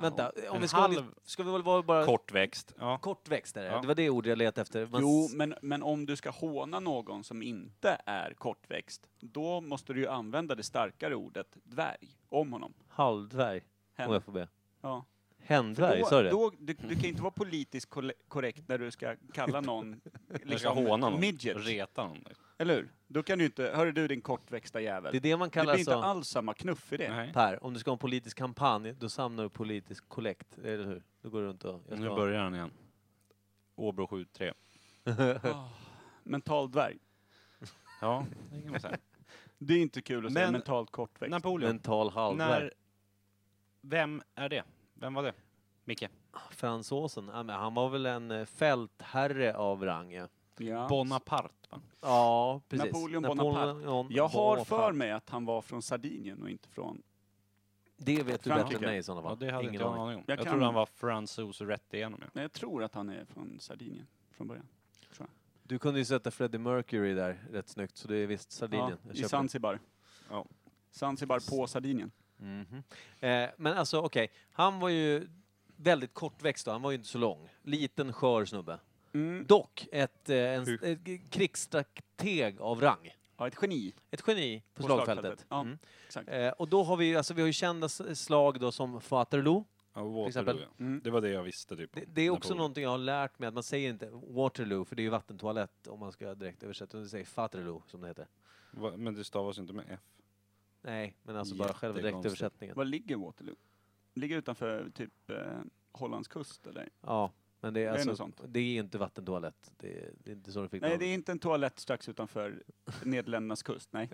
Speaker 3: Vänta, om
Speaker 2: En
Speaker 3: vi ska, vara
Speaker 2: halv-
Speaker 3: lite- ska vi väl vara bara...
Speaker 2: Kortväxt. Ja.
Speaker 3: Kortväxt är det.
Speaker 2: Ja.
Speaker 3: Det var det ordet jag letade efter. Man
Speaker 1: Jo,
Speaker 3: s-
Speaker 1: men, men om du ska håna någon som inte är kortväxt, då måste du ju använda det starkare ordet dvärg om honom.
Speaker 3: Halvdvärg, om jag får be.
Speaker 1: Ja.
Speaker 3: Händvärg, sa
Speaker 1: då,
Speaker 3: du det?
Speaker 1: då, du, du kan inte vara politiskt kolle- korrekt när du ska kalla någon
Speaker 2: Liksom, ska håna någon.
Speaker 1: midget.
Speaker 2: Reta någon.
Speaker 1: Eller hur? Då kan du inte, hörru du din kortväxta jävel.
Speaker 3: Det är det man
Speaker 1: det
Speaker 3: kallar
Speaker 1: blir inte
Speaker 3: alltså...
Speaker 1: alls samma knuff i det.
Speaker 2: Nej.
Speaker 3: Per, om du ska ha en politisk kampanj, då samlar du politisk kollekt, eller hur? Då går du runt och... jag
Speaker 2: Nu
Speaker 3: ska-
Speaker 2: börjar han igen. Åbro 7-3.
Speaker 1: Mental dvärg.
Speaker 2: Ja, det kan man säga.
Speaker 1: Det är inte kul att säga
Speaker 2: Men-
Speaker 1: mentalt kortväxt.
Speaker 2: Napoleon.
Speaker 3: Mental halvdvärg.
Speaker 2: När, vem är det? Vem var det? Micke?
Speaker 3: Ah, Fransosen, ja, Ah, men han var väl en eh, fältherre av rang, ja.
Speaker 1: Ja.
Speaker 2: Bonaparte, va?
Speaker 3: Ja, precis.
Speaker 1: Napoleon Bonaparte. Jag har för mig att han var från Sardinien och inte från...
Speaker 3: Det vet du bättre än
Speaker 1: Frankrike.
Speaker 3: mig i sådana
Speaker 2: Ja,
Speaker 3: fall.
Speaker 2: det hade
Speaker 3: Ingen
Speaker 2: inte jag
Speaker 3: aning.
Speaker 2: någon aning om.
Speaker 1: Jag
Speaker 2: Jag,
Speaker 1: kan-
Speaker 2: trodde han var fransos rätt igenom. Ja.
Speaker 1: Nej, jag tror att han är från Sardinien från början. Tror jag.
Speaker 3: Du kunde ju sätta Freddie Mercury där rätt snyggt, så det är visst Sardinien.
Speaker 1: Ja,
Speaker 3: Jag
Speaker 1: I
Speaker 3: köper
Speaker 1: Zanzibar.
Speaker 2: Ja.
Speaker 1: Zanzibar på Sardinien.
Speaker 3: det. Mhm. Eh, men alltså okej, han var ju väldigt kortväxt då, han var ju inte så lång. Liten skör snubbe.
Speaker 1: Mm.
Speaker 3: Dock ett, eh, en,
Speaker 2: Hur?
Speaker 3: ett g- krigsstrateg av rang.
Speaker 1: Ja, ett geni.
Speaker 3: Ett geni på,
Speaker 1: På
Speaker 3: slagfältet.
Speaker 1: slagfältet, ja.
Speaker 3: Mm.
Speaker 1: Exakt.
Speaker 3: Eh, och då har vi ju, alltså vi har ju kända s- slag då som Waterloo.
Speaker 2: Ja, Waterloo,
Speaker 3: exempel.
Speaker 2: ja.
Speaker 1: Mm.
Speaker 2: Det var det jag visste typ.
Speaker 3: Det,
Speaker 2: om
Speaker 3: det är också
Speaker 2: Napoleon.
Speaker 3: någonting jag har lärt mig, att man säger inte Waterloo, för det är ju vattentoalett om man ska direkt översätta, utan du säger Faterloo som det heter.
Speaker 2: Va- Men det stavas ju inte med F.
Speaker 3: Nej, men alltså bara själva
Speaker 2: Jättekonstigt.
Speaker 3: direktöversättningen.
Speaker 1: Var ligger Waterloo? Ligger utanför typ eh, Hollands kust eller?
Speaker 3: Ja, men det är,
Speaker 1: är
Speaker 3: alltså,
Speaker 1: något sånt.
Speaker 3: det är inte vattentoalett. Det är, det är inte så det fick
Speaker 1: Nej,
Speaker 3: namn.
Speaker 1: det är inte en toalett strax utanför Nederländernas kust. Nej.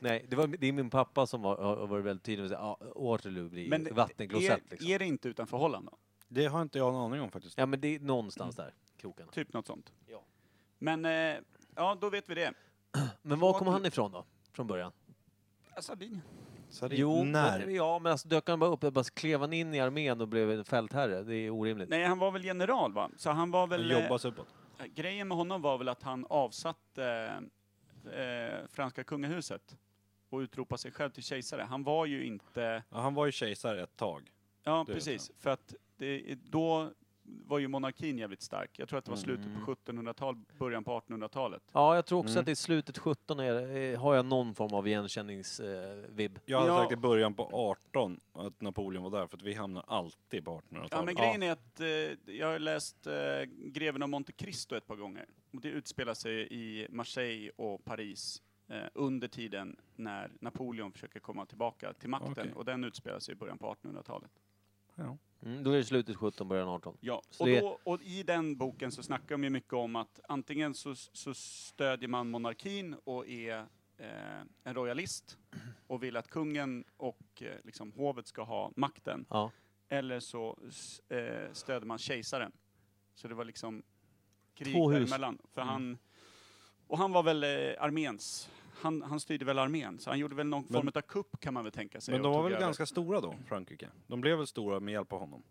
Speaker 3: Nej, det, var, det är min pappa som var, har har varit väldigt tydlig med att säga ah, Waterloo blir
Speaker 1: Men
Speaker 3: ju vattenklosett.
Speaker 1: är,
Speaker 3: liksom.
Speaker 1: är det inte utanför Holland då?
Speaker 2: Det har inte jag någon aning om faktiskt.
Speaker 3: Ja, men det är någonstans där, krokarna.
Speaker 1: Typ något sånt.
Speaker 3: Ja.
Speaker 1: Men eh, ja, då vet vi det.
Speaker 3: Men var kom
Speaker 1: Waterloo.
Speaker 3: han ifrån då? Från början?
Speaker 1: Ja, Sardinien.
Speaker 3: Jo,
Speaker 2: när?
Speaker 3: men- ja, men alltså dök han bara upp, bara klev han in i armén och blev en fältherre? Det är orimligt.
Speaker 1: Nej, han var väl general va? Så han var väl... eh,
Speaker 2: Jobbas uppåt.
Speaker 1: Grejen med honom var väl att han avsatte eh, eh, franska kungahuset och utropade sig själv till kejsare. Han var ju inte...
Speaker 2: Ja, han var ju kejsare ett tag.
Speaker 1: Ja,
Speaker 2: Det vet
Speaker 1: precis. För att det, då var ju monarkin jävligt stark. Jag tror att det var slutet
Speaker 3: Mm.
Speaker 1: på 1700-talet, början på 1800-talet.
Speaker 3: Ja, jag tror också
Speaker 2: Mm.
Speaker 3: att det är slutet 17 är, eh, har jag någon form av igenkänningsvibb.
Speaker 2: Jag hade
Speaker 1: Ja.
Speaker 2: sagt i början på 18 att Napoleon var där för att vi hamnar alltid på 1800-talet.
Speaker 1: Ja, men grejen är att eh, jag har läst eh, Greven av Monte Cristo ett par gånger. Och det utspelar sig i Marseille och Paris eh, under tiden när Napoleon försöker komma tillbaka till makten.
Speaker 2: Okej.
Speaker 1: Och den utspelar sig i början på 1800-talet.
Speaker 2: Ja.
Speaker 3: Mm, då är det slutet 17, början 18.
Speaker 1: Ja,
Speaker 3: Så
Speaker 1: och,
Speaker 3: det-
Speaker 1: då, och i den boken så snackar de ju mycket om att antingen så, så stödjer man monarkin och är eh, en royalist och vill att kungen och eh, liksom, hovet ska ha makten.
Speaker 3: Ja.
Speaker 1: Eller så s- eh, stödjer man kejsaren. Så det var liksom krig
Speaker 3: Två hus.
Speaker 1: däremellan. För
Speaker 2: Mm.
Speaker 1: han, och han var väl eh, arméns, han, han styrde väl armén, så han gjorde väl någon
Speaker 2: Men-
Speaker 1: form av kupp kan man väl tänka sig.
Speaker 2: Men
Speaker 1: och
Speaker 2: de var
Speaker 1: tog
Speaker 2: väl
Speaker 1: över.
Speaker 2: ganska stora då, Frankrike? De blev väl stora med hjälp av honom?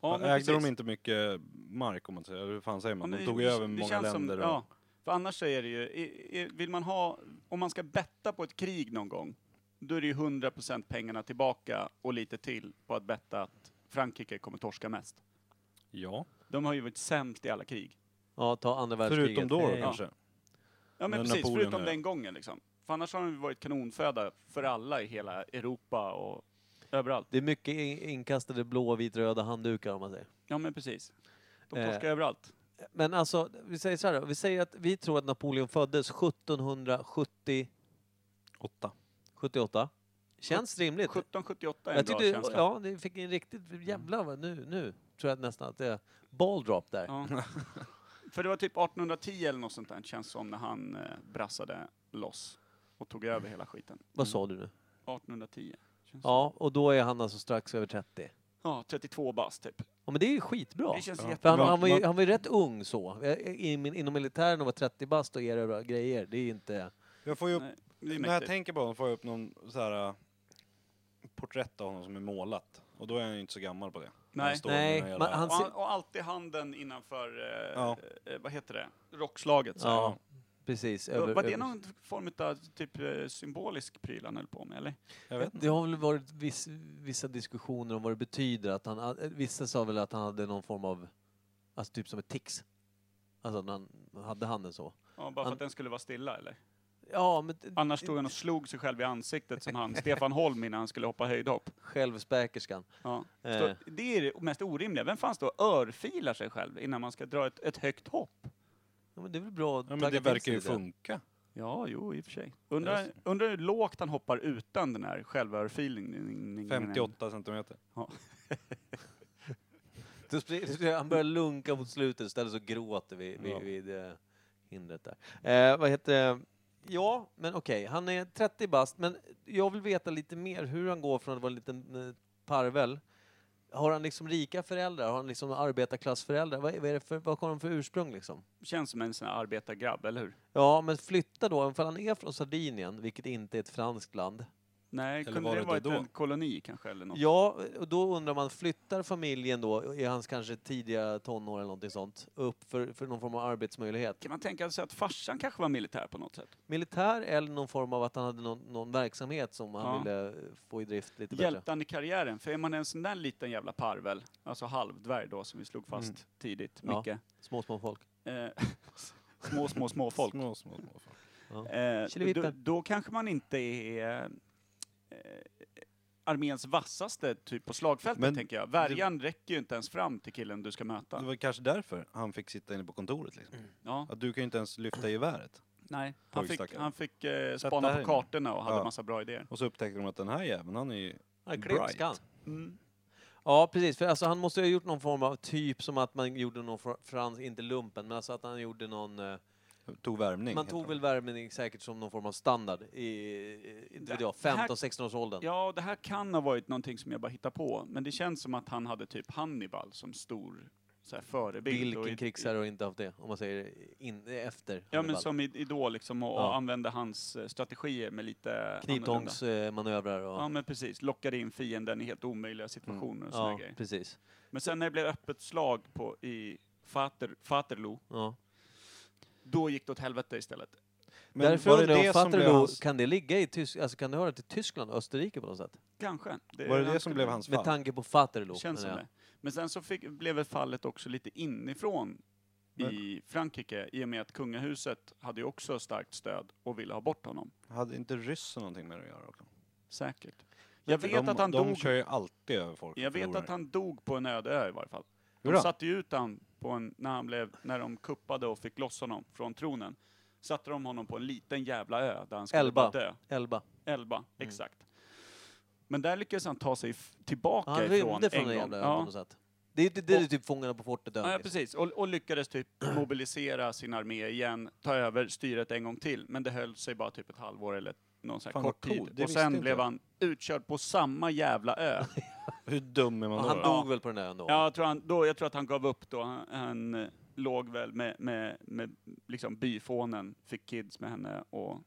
Speaker 1: ja, men
Speaker 2: Ägde
Speaker 1: precis.
Speaker 2: de inte mycket mark om man säger, eller hur fan säger
Speaker 1: Ja,
Speaker 2: man?
Speaker 1: men
Speaker 2: De tog
Speaker 1: det-
Speaker 2: ju över
Speaker 1: det
Speaker 2: många
Speaker 1: känns som-
Speaker 2: länder. och-
Speaker 1: ja, för annars så är det ju, i- i- vill man ha, om man ska betta på ett krig någon gång, då är det ju 100% pengarna tillbaka och lite till på att betta att Frankrike kommer torska mest.
Speaker 2: ja.
Speaker 1: De har ju varit sämst i alla krig.
Speaker 3: Ja, ta andra världskriget.
Speaker 2: Förutom då
Speaker 3: Eh,
Speaker 2: kanske?
Speaker 1: Ja men,
Speaker 2: Men
Speaker 1: precis,
Speaker 2: Napoleon
Speaker 1: förutom
Speaker 2: är-
Speaker 1: den gången liksom. För annars har de ju varit kanonföda för alla i hela Europa och överallt.
Speaker 3: Det är mycket in- inkastade blå, vit, röda handdukar om man säger.
Speaker 1: Ja men precis. De
Speaker 3: Eh.
Speaker 1: torskar överallt.
Speaker 3: Men alltså, vi säger så här då. Vi säger att vi tror att Napoleon föddes 1770,
Speaker 2: Åtta.
Speaker 3: 78. Känns rimligt.
Speaker 1: 1778 är en
Speaker 3: Jag
Speaker 1: bra
Speaker 3: tyckte,
Speaker 1: känsla.
Speaker 3: ja, det fick en riktigt jävla, vad- nu, nu tror jag nästan att det är ball drop där.
Speaker 1: Ja. För det var typ 1810 eller något sånt där, känns som, när han eh, brassade loss och tog över hela skiten.
Speaker 3: Vad sa du nu?
Speaker 1: Mm. 1810. Känns ja.
Speaker 3: Ja, och då är han alltså strax över 30.
Speaker 1: ja, 32 bast typ.
Speaker 3: Ja, men det är ju skitbra.
Speaker 1: Det känns
Speaker 2: Ja.
Speaker 3: För han,
Speaker 1: jättebra.
Speaker 2: Man-
Speaker 3: han, var ju,
Speaker 2: man-
Speaker 3: han var ju rätt ung så. Jag- i min- Inom militären och var 30 bast och erövra grejer. Det är inte...
Speaker 2: Jag får ju upp,
Speaker 1: Nej, det är
Speaker 2: när jag
Speaker 1: mäktigt.
Speaker 2: tänker på honom får jag upp någon så här äh, porträtt av honom som är målat. Och då är han ju inte så gammal på det. När
Speaker 1: Nej.
Speaker 2: Han står
Speaker 3: Nej,
Speaker 2: med den här
Speaker 3: man-
Speaker 2: jävla-
Speaker 3: han-
Speaker 1: Och, han, och alltid handen innanför, eh,
Speaker 2: Ja.
Speaker 1: eh, vad heter det, rockslaget. Så. här.
Speaker 3: Ja, precis.
Speaker 1: Över, var det
Speaker 3: över-
Speaker 1: någon form av typ eh, symbolisk pryl han höll på med eller?
Speaker 2: Jag vet inte.
Speaker 3: Det har väl varit viss, vissa diskussioner om vad det betyder. Att han, eh, vissa sa väl att han hade någon form av, alltså typ som ett tics. Alltså att han hade handen så.
Speaker 1: Ja, bara för
Speaker 3: Han-
Speaker 1: att den skulle vara stilla eller?
Speaker 3: Ja, men t-
Speaker 1: Annars stod han och slog sig själv i ansiktet som han, Stefan Holm innan han skulle hoppa höjdhopp.
Speaker 3: självspäkerskan.
Speaker 1: Ja.
Speaker 3: Eh.
Speaker 1: Så Det är det mest orimliga. Vem fan står och örfilar sig själv innan man ska dra ett, ett högt hopp?
Speaker 3: Ja, men det är väl bra att
Speaker 2: Ja, men
Speaker 3: tagga
Speaker 2: det
Speaker 3: till
Speaker 2: verkar
Speaker 3: sig
Speaker 2: ju
Speaker 3: lite.
Speaker 2: funka.
Speaker 1: Ja, jo, i och för sig. Undrar, undrar hur lågt han hoppar utan den här självörfilningen.
Speaker 2: 58 centimeter.
Speaker 3: Då spring- så Han börjar lunka mot slutet istället så gråter vi vid,
Speaker 2: Ja.
Speaker 3: vid eh, hindret där. Eh, vad heter det? Ja, men okej, han är 30 bast, men jag vill veta lite mer hur han går från att vara en liten eh, parvel. Har han liksom rika föräldrar? Har han liksom arbetarklassföräldrar? Vad, är- vad, är det för, vad har de för ursprung liksom?
Speaker 1: Känns som en sån här arbetargrabb, eller hur?
Speaker 3: Ja, men flytta då, ifall han är från Sardinien, vilket inte är ett franskt land.
Speaker 1: Nej,
Speaker 2: Eller
Speaker 1: kunde
Speaker 2: var
Speaker 1: det
Speaker 2: det
Speaker 1: varit
Speaker 2: då?
Speaker 1: en koloni kanske? Eller något?
Speaker 3: Ja, och då undrar man, flyttar familjen då, i hans kanske tidiga tonår eller någonting sånt, upp för, för någon form av arbetsmöjlighet?
Speaker 1: Kan man tänka sig att farsan kanske var militär på något sätt?
Speaker 3: militär eller någon form av att han hade någon, någon verksamhet som han
Speaker 1: Ja.
Speaker 3: ville eh, få i drift lite bättre.
Speaker 1: Hjälpte han i karriären? För är man en sån där liten jävla parvel, alltså halvdvärg då som vi slog fast
Speaker 2: Mm.
Speaker 1: tidigt,
Speaker 3: Ja.
Speaker 1: mycket.
Speaker 3: Små, små folk.
Speaker 1: Eh, små, små, små folk.
Speaker 2: Små, små, små folk.
Speaker 1: Eh,
Speaker 3: Killevitta.
Speaker 1: då, då kanske man inte är eh, arméns vassaste typ på slagfältet,
Speaker 2: Men
Speaker 1: tänker jag. Värjan räcker ju inte ens fram till killen du ska möta.
Speaker 2: Det var kanske därför han fick sitta inne på kontoret liksom.
Speaker 3: Mm.
Speaker 1: Ja,
Speaker 2: Att du kan ju inte ens lyfta geväret.
Speaker 1: nej. Han fick,
Speaker 2: Pojkstackare.
Speaker 1: han fick eh,
Speaker 2: Sätt
Speaker 1: spana
Speaker 2: där
Speaker 1: på
Speaker 2: inne.
Speaker 1: kartorna och hade
Speaker 2: Ja.
Speaker 1: massa bra idéer.
Speaker 2: Och så upptäckte de att den här jäveln, han är ju...
Speaker 3: Ja,
Speaker 2: Bright.
Speaker 3: klipskan.
Speaker 1: Mm.
Speaker 3: Ja, precis. För alltså, han måste ju ha gjort någon form av typ som att man gjorde någon fr- frans, inte lumpen, men alltså att han gjorde någon... eh,
Speaker 2: Tog värmning.
Speaker 3: Man
Speaker 2: helt
Speaker 3: tog
Speaker 2: enkelt.
Speaker 3: väl värmen säkert som någon form av standard i, eh, inte vet jag, 15-16 års åldern.
Speaker 1: Ja, det här kan ha varit någonting som jag bara hittar på, men det känns som att han hade typ Hannibal som stor så här, förebild. och i-
Speaker 3: Vilken
Speaker 1: i-
Speaker 3: krigsherre har inte haft det? Om man säger in, efter
Speaker 1: Ja, men
Speaker 3: Hannibal.
Speaker 1: som i- idol liksom, och, och
Speaker 3: Ja.
Speaker 1: använde hans eh, strategier med lite annorlunda.
Speaker 3: Kniptångsmanövrar och...
Speaker 1: Ja men precis, lockade in fienden i helt omöjliga
Speaker 2: Mm.
Speaker 1: situationer och såna
Speaker 3: ja,
Speaker 1: grejer.
Speaker 3: precis.
Speaker 1: Men sen när det blev öppet slag på, i Fater, Faterlo,
Speaker 3: Ja.
Speaker 1: då gick det åt helvete istället.
Speaker 2: Men
Speaker 3: Därför
Speaker 2: var det
Speaker 3: undrar jag,
Speaker 2: det som
Speaker 3: fattar du
Speaker 2: blev
Speaker 3: då,
Speaker 2: hans-
Speaker 3: kan det ligga i Tysk, alltså kan det höra till Tyskland och Österrike på något sätt?
Speaker 1: Kanske.
Speaker 2: Var det det
Speaker 1: han
Speaker 2: som
Speaker 1: skulle-
Speaker 2: blev hans
Speaker 3: Med
Speaker 2: fall?
Speaker 3: tanke på Faterlo.
Speaker 1: Känns som
Speaker 3: menar
Speaker 1: det. Men sen så fick, blev väl fallet också lite inifrån i Frankrike i och med att kungahuset hade ju också starkt stöd och ville ha bort honom.
Speaker 2: Hade inte ryssen någonting med det att göra också?
Speaker 1: Säkert. Jag
Speaker 2: För
Speaker 1: vet
Speaker 2: de,
Speaker 1: att han
Speaker 2: de
Speaker 1: dog.
Speaker 2: kör ju alltid över folk. och
Speaker 1: Jag vet
Speaker 2: förlorar.
Speaker 1: att han dog på en öde ö i varje fall. De
Speaker 2: Hurra.
Speaker 1: satte ju ut han på en, när, han blev, när de kuppade och fick loss honom från tronen. Satte de honom på en liten jävla ö där han skulle
Speaker 3: Elba. Mm.
Speaker 1: bara dö.
Speaker 3: jag. Elba.
Speaker 1: Elba, exakt. Men där lyckades han ta sig f- tillbaka
Speaker 3: Han
Speaker 1: ifrån
Speaker 3: rymde från
Speaker 1: en
Speaker 3: den
Speaker 1: gång.
Speaker 3: jävla ön på
Speaker 1: ja.
Speaker 3: något sätt. Det är, det, det är
Speaker 1: Och-
Speaker 3: typ Fångarna på fortet
Speaker 1: Ja,
Speaker 3: Dönges.
Speaker 1: precis. Och, och lyckades typ mobilisera sin armé igen, ta över styret en gång till. Men det höll sig bara typ ett halvår eller någon sån här
Speaker 2: Fan,
Speaker 1: kort
Speaker 2: vad coolt.
Speaker 1: tid.
Speaker 2: Det
Speaker 1: Och
Speaker 2: visste
Speaker 1: sen
Speaker 2: inte
Speaker 1: blev
Speaker 2: jag.
Speaker 1: han utkörd på samma jävla ö.
Speaker 2: Hur dum är man
Speaker 3: Och
Speaker 2: då?
Speaker 3: han
Speaker 2: då?
Speaker 3: dog väl på den ön då?
Speaker 1: Ja, jag, tror han, då, jag tror att han gav upp då. Han, han eh, låg väl med, med, med liksom byfånen, fick kids med henne och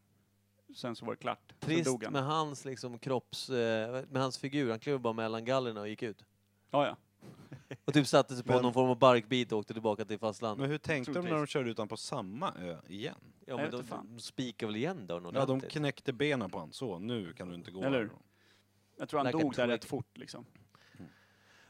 Speaker 1: sen så var det klart. sen
Speaker 3: Trist
Speaker 1: dog han.
Speaker 3: med hans liksom kropps... eh, Med hans figur. Han klev bara mellan gallerna och gick ut.
Speaker 1: Ja, ja.
Speaker 3: Och typ satte sig på
Speaker 2: Men-
Speaker 3: någon form av barkbit och åkte tillbaka till fastlandet.
Speaker 2: Men hur tänkte de när de
Speaker 1: Troligtvis.
Speaker 2: körde ut honom på samma ö igen?
Speaker 3: Ja,
Speaker 1: jag
Speaker 3: men
Speaker 1: vet
Speaker 3: de,
Speaker 1: inte fan.
Speaker 3: de spikar väl igen dörren
Speaker 2: Ja, de
Speaker 3: ordentligt?
Speaker 2: knäckte benen på honom. Så, nu kan du inte gå.
Speaker 1: Eller hur?
Speaker 2: härifrån.
Speaker 1: Jag tror han
Speaker 3: Like a
Speaker 1: dog där
Speaker 3: twig.
Speaker 1: rätt fort liksom.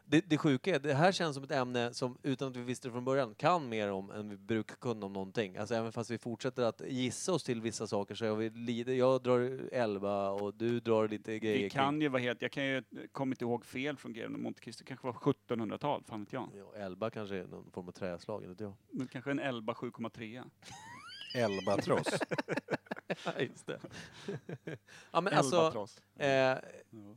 Speaker 3: Det, det sjuka är, det här känns som ett ämne som utan att vi visste det från början kan mer om än vi brukar kunna om någonting. Alltså även fast vi fortsätter att gissa oss till vissa saker så är vi lite, jag drar elva och du drar lite grejer.
Speaker 1: Det kan ju vara helt, jag kan ju, kommer inte ihåg fel från Greven och Monte Cristo, kanske var 1700-tal, fan vet jag.
Speaker 3: kring, ja, elva kanske är någon form av träslag, eller inte jag.
Speaker 1: Men kanske en 11 7,3.
Speaker 2: Elbatross.
Speaker 3: Ja, just det. ja, men alltså, eh,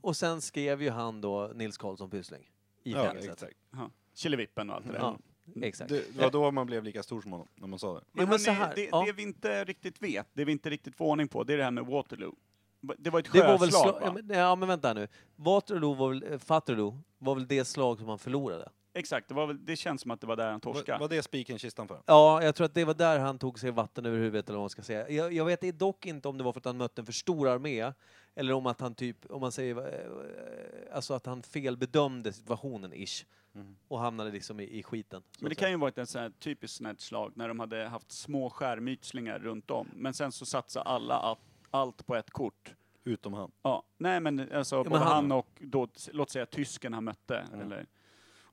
Speaker 3: och sen skrev ju han då Nils Karlsson Pyssling i
Speaker 2: ja,
Speaker 3: fängelset.
Speaker 2: exakt.
Speaker 1: Ja. Killevippen och allt det där.
Speaker 3: Ja, exakt.
Speaker 2: Det, det var då man blev lika stor som honom, när man sa det.
Speaker 3: Jo, men
Speaker 1: hörni,
Speaker 3: så här,
Speaker 1: det,
Speaker 3: ja.
Speaker 1: det vi inte riktigt vet, det vi inte riktigt får ordning på, det är det här med Waterloo. Va- Det var ett
Speaker 3: Det
Speaker 1: sjöslag
Speaker 3: var väl slag, ja,
Speaker 1: va?
Speaker 3: men, ja men vänta nu. Waterloo var väl, eh, Fatterloo var väl det slag som han förlorade?
Speaker 1: Exakt, det, var väl, det känns som att det var där han
Speaker 2: Var,
Speaker 1: torskade.
Speaker 2: var det spiken i kistan för?
Speaker 3: Ja, jag tror att det var där han tog sig vatten över huvudet eller vad man ska säga. Jag, jag vet dock inte om det var för att han mötte en för stor armé Eller om att han typ, om man säger, eh, alltså att han felbedömde situationen ish.
Speaker 2: Mm.
Speaker 3: Och hamnade liksom i, i skiten. så
Speaker 1: Men det
Speaker 3: att
Speaker 1: kan
Speaker 3: säga.
Speaker 1: ju vara ett sånt här typiskt sånt här slag när de hade haft små skärmytslingar runt om. Men sen så satsar alla att, allt på ett kort.
Speaker 2: Utom han.
Speaker 1: Ja, nej men alltså både
Speaker 3: men han-
Speaker 1: han... och då, låt säga tysken han mötte.
Speaker 2: Ja.
Speaker 1: Eller,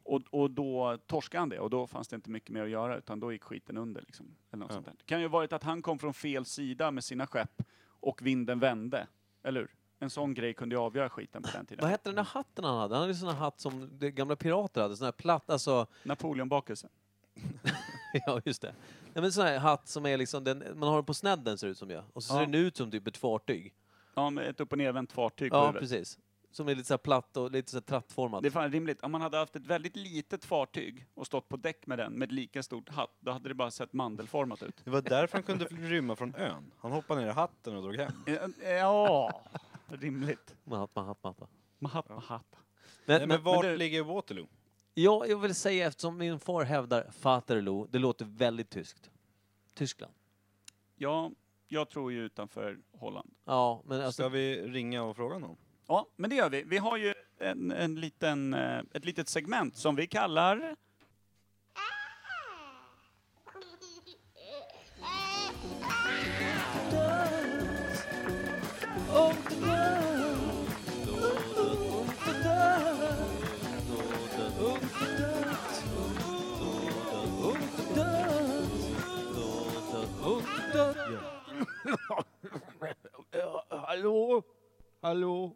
Speaker 1: och, och då torskade han det och då fanns det inte mycket mer att göra utan då gick skiten under. Liksom, eller något
Speaker 2: Ja.
Speaker 1: sånt där. Det kan ju ha varit att han kom från fel sida med sina skepp och vinden vände, eller hur? En sån grej kunde ju avgöra skiten på den
Speaker 3: Vad
Speaker 1: tiden.
Speaker 3: hette den där hatten han hade? Han hade sån här hatt som de gamla pirater hade, sån här platt, alltså,
Speaker 1: Napoleonbakelsen.
Speaker 3: ja just det. Nej men sån här hatt som är liksom, den, man har den på snedden ser det ut som jag. Och så
Speaker 1: Ja.
Speaker 3: ser den ut som typ ett fartyg.
Speaker 1: Ja, med ett upp och nervänt fartyg på
Speaker 3: Ja
Speaker 1: huvudet.
Speaker 3: precis. Som är lite så här platt och lite så här trattformat.
Speaker 1: Det är fan rimligt. Om man hade haft ett väldigt litet fartyg och stått på däck med den med ett lika stort hatt, då hade det bara sett mandelformat ut.
Speaker 2: Det var därför han kunde rymma från ön. Han hoppade ner i hatten och drog hem.
Speaker 1: Ja, rimligt.
Speaker 3: Mahatma, Mahatma, Mahatma.
Speaker 1: Mahatma Hatta.
Speaker 3: Men,
Speaker 2: Nej,
Speaker 3: men,
Speaker 2: men vart
Speaker 1: du-
Speaker 2: ligger Waterloo?
Speaker 3: ja, jag vill säga eftersom min far hävdar Vaterloo, det låter väldigt tyskt. Tyskland.
Speaker 1: Ja, jag tror ju utanför Holland.
Speaker 3: Ja, men alltså,
Speaker 2: Ska vi ringa och fråga honom?
Speaker 1: Ja, men det gör vi. Vi har ju en, en liten, eh, ett litet segment som vi kallar...
Speaker 2: Hallå? Hallå?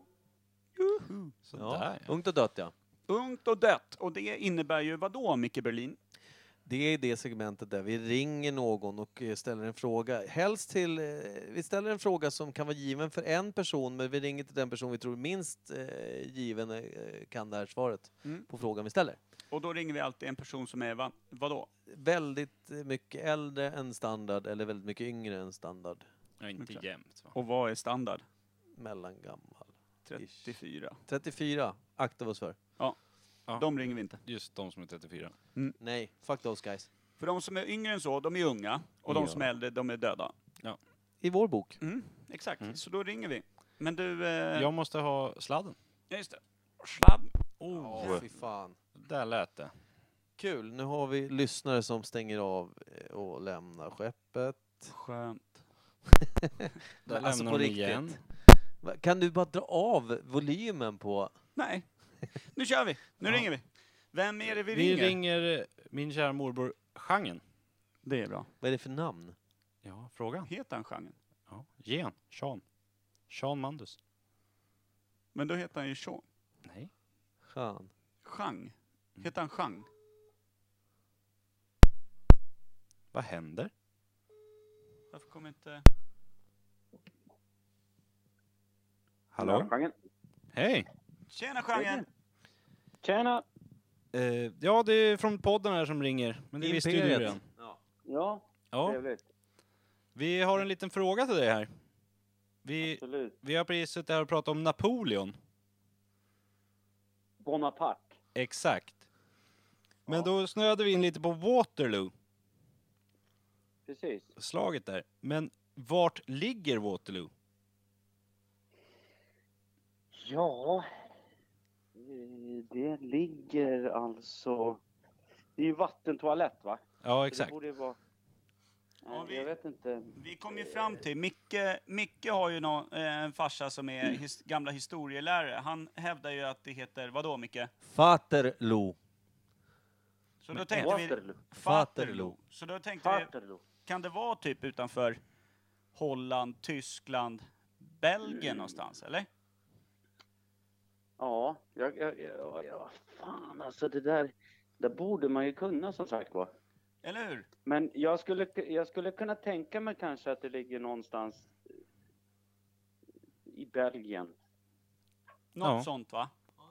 Speaker 3: ja,
Speaker 2: Sådär.
Speaker 3: ungt och dött ja.
Speaker 1: Ungt och dött. Och det innebär ju vad då, Micke Berlin?
Speaker 3: Det är det segmentet där vi ringer någon och eh, ställer en fråga. Helst till... eh, Vi ställer en fråga som kan vara given för en person men vi ringer till den person vi tror minst eh, given eh, kan det här svaret
Speaker 1: Mm.
Speaker 3: på frågan vi ställer.
Speaker 1: Och då ringer vi alltid en person som är va, vadå?
Speaker 3: Väldigt eh, mycket äldre än standard eller väldigt mycket yngre än standard.
Speaker 2: Ja, inte
Speaker 1: Okej.
Speaker 2: jämt va?
Speaker 1: Och vad är standard?
Speaker 3: Mellangammal.
Speaker 1: 34.
Speaker 3: 34. Akta oss för.
Speaker 1: De ringer vi inte.
Speaker 2: Just de som är 34.
Speaker 3: Nej, fuck those guys.
Speaker 1: För de som är yngre än så, de är unga. Och de
Speaker 2: Ja.
Speaker 1: som är äldre, de är döda.
Speaker 3: I vår bok.
Speaker 1: Mm, exakt,
Speaker 2: Mm.
Speaker 1: så då ringer vi. Men du... Eh, ja,
Speaker 2: Jag måste ha sladden.
Speaker 1: just det. Sladd. Oh,
Speaker 3: Åh, fy fan.
Speaker 2: Där lät det.
Speaker 3: Kul, nu har vi lyssnare som stänger av eh, och lämnar skeppet.
Speaker 1: Skönt.
Speaker 2: Där
Speaker 3: Men alltså
Speaker 2: lämnar
Speaker 3: på
Speaker 2: de
Speaker 3: riktigt.
Speaker 2: igen.
Speaker 3: Va- Kan du bara dra av volymen på...
Speaker 1: Nej. Nu kör vi. Nu
Speaker 2: Ja.
Speaker 1: ringer vi. Vem är det vi,
Speaker 2: Vi
Speaker 1: ringer?
Speaker 2: ringer eh, min kära morbror Genren.
Speaker 1: Det är bra.
Speaker 3: Vad är det för namn?
Speaker 2: Ja, frågan.
Speaker 1: Heter han genren?
Speaker 2: Ja. Gen. Sean. Sean Mandus.
Speaker 1: Men då heter han ju Sean.
Speaker 2: Nej.
Speaker 3: Fan.
Speaker 1: Chang. Heter han Chang?
Speaker 2: Vad händer?
Speaker 1: Varför kommer inte...
Speaker 2: Hallå?
Speaker 6: Genren.
Speaker 2: Hej!
Speaker 1: Tjena genren!
Speaker 6: Tjena!
Speaker 2: Eh, ja, det är från podden här som ringer. Men det visste ju du
Speaker 3: Imperiet.
Speaker 2: redan.
Speaker 6: Ja,
Speaker 2: Ja.
Speaker 6: trevligt.
Speaker 2: Vi har en liten fråga till dig här. Vi,
Speaker 6: Absolut.
Speaker 2: vi har precis suttit här och pratat om Napoleon.
Speaker 6: Bonaparte.
Speaker 2: Exakt. Men då snöade vi in lite på Waterloo,
Speaker 6: Precis.
Speaker 2: slaget där. Men vart ligger Waterloo?
Speaker 6: Ja, eh, det ligger alltså... Det är ju vattentoalett va? Så
Speaker 2: Ja, exakt.
Speaker 6: Det borde ju vara... Nej,
Speaker 1: Ja, vi-
Speaker 6: Jag vet inte.
Speaker 1: Vi kom ju fram till, Micke, Micke har ju nå- eh, en farsa som är his, gamla historielärare. Han hävdar ju att det heter, vadå Micke?
Speaker 3: Vaterloo.
Speaker 1: Så då tänkte vi...
Speaker 6: Waterloo.
Speaker 3: Waterloo.
Speaker 1: Så då tänkte vi,
Speaker 6: Waterloo.
Speaker 1: kan det vara typ utanför Holland, Tyskland, Belgien någonstans, eller?
Speaker 6: Ja, jag, jag, jag, jag, fan alltså det där... Det borde man ju kunna som sagt var.
Speaker 1: Eller hur?
Speaker 6: Men jag skulle, jag skulle kunna tänka mig kanske att det ligger någonstans i Belgien.
Speaker 1: Något
Speaker 2: Ja.
Speaker 1: sånt va?
Speaker 6: Ja.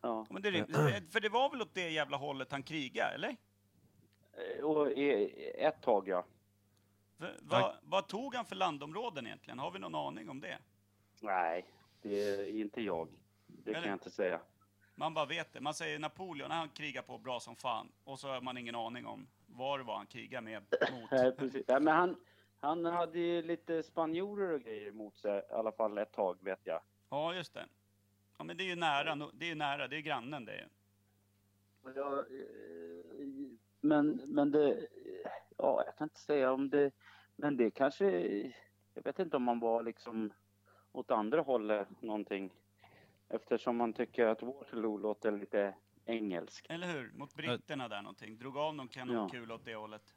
Speaker 1: Ja, Men det är rimligt. För det var väl åt det jävla hållet han krigade, eller?
Speaker 6: Eh, Och i- ett tag ja.
Speaker 1: V- Vad, vad tog han för landområden egentligen? Har vi någon aning om det?
Speaker 6: Nej, det är inte jag. Det kan
Speaker 1: Eller-
Speaker 6: jag inte säga.
Speaker 1: Man bara vet det. Man säger Napoleon, han krigar på bra som fan. Och så har man ingen aning om var det var han krigade med mot.
Speaker 6: Nej, precis. Nej, men han, han hade ju lite spanjorer och grejer emot sig i alla fall ett tag vet jag.
Speaker 1: Ja, just det. Ja, men det är ju nära. no- Det är ju nära. Det är grannen det är ju.
Speaker 6: Och jag, eh, men, men det... eh, Ja, jag kan inte säga om det... Men det kanske... Jag vet inte om man var liksom åt andra hållet någonting. Eftersom man tycker att Waterloo låter lite engelsk.
Speaker 1: Eller hur? Mot britterna där någonting. Drog av någon kanonkula åt det hållet.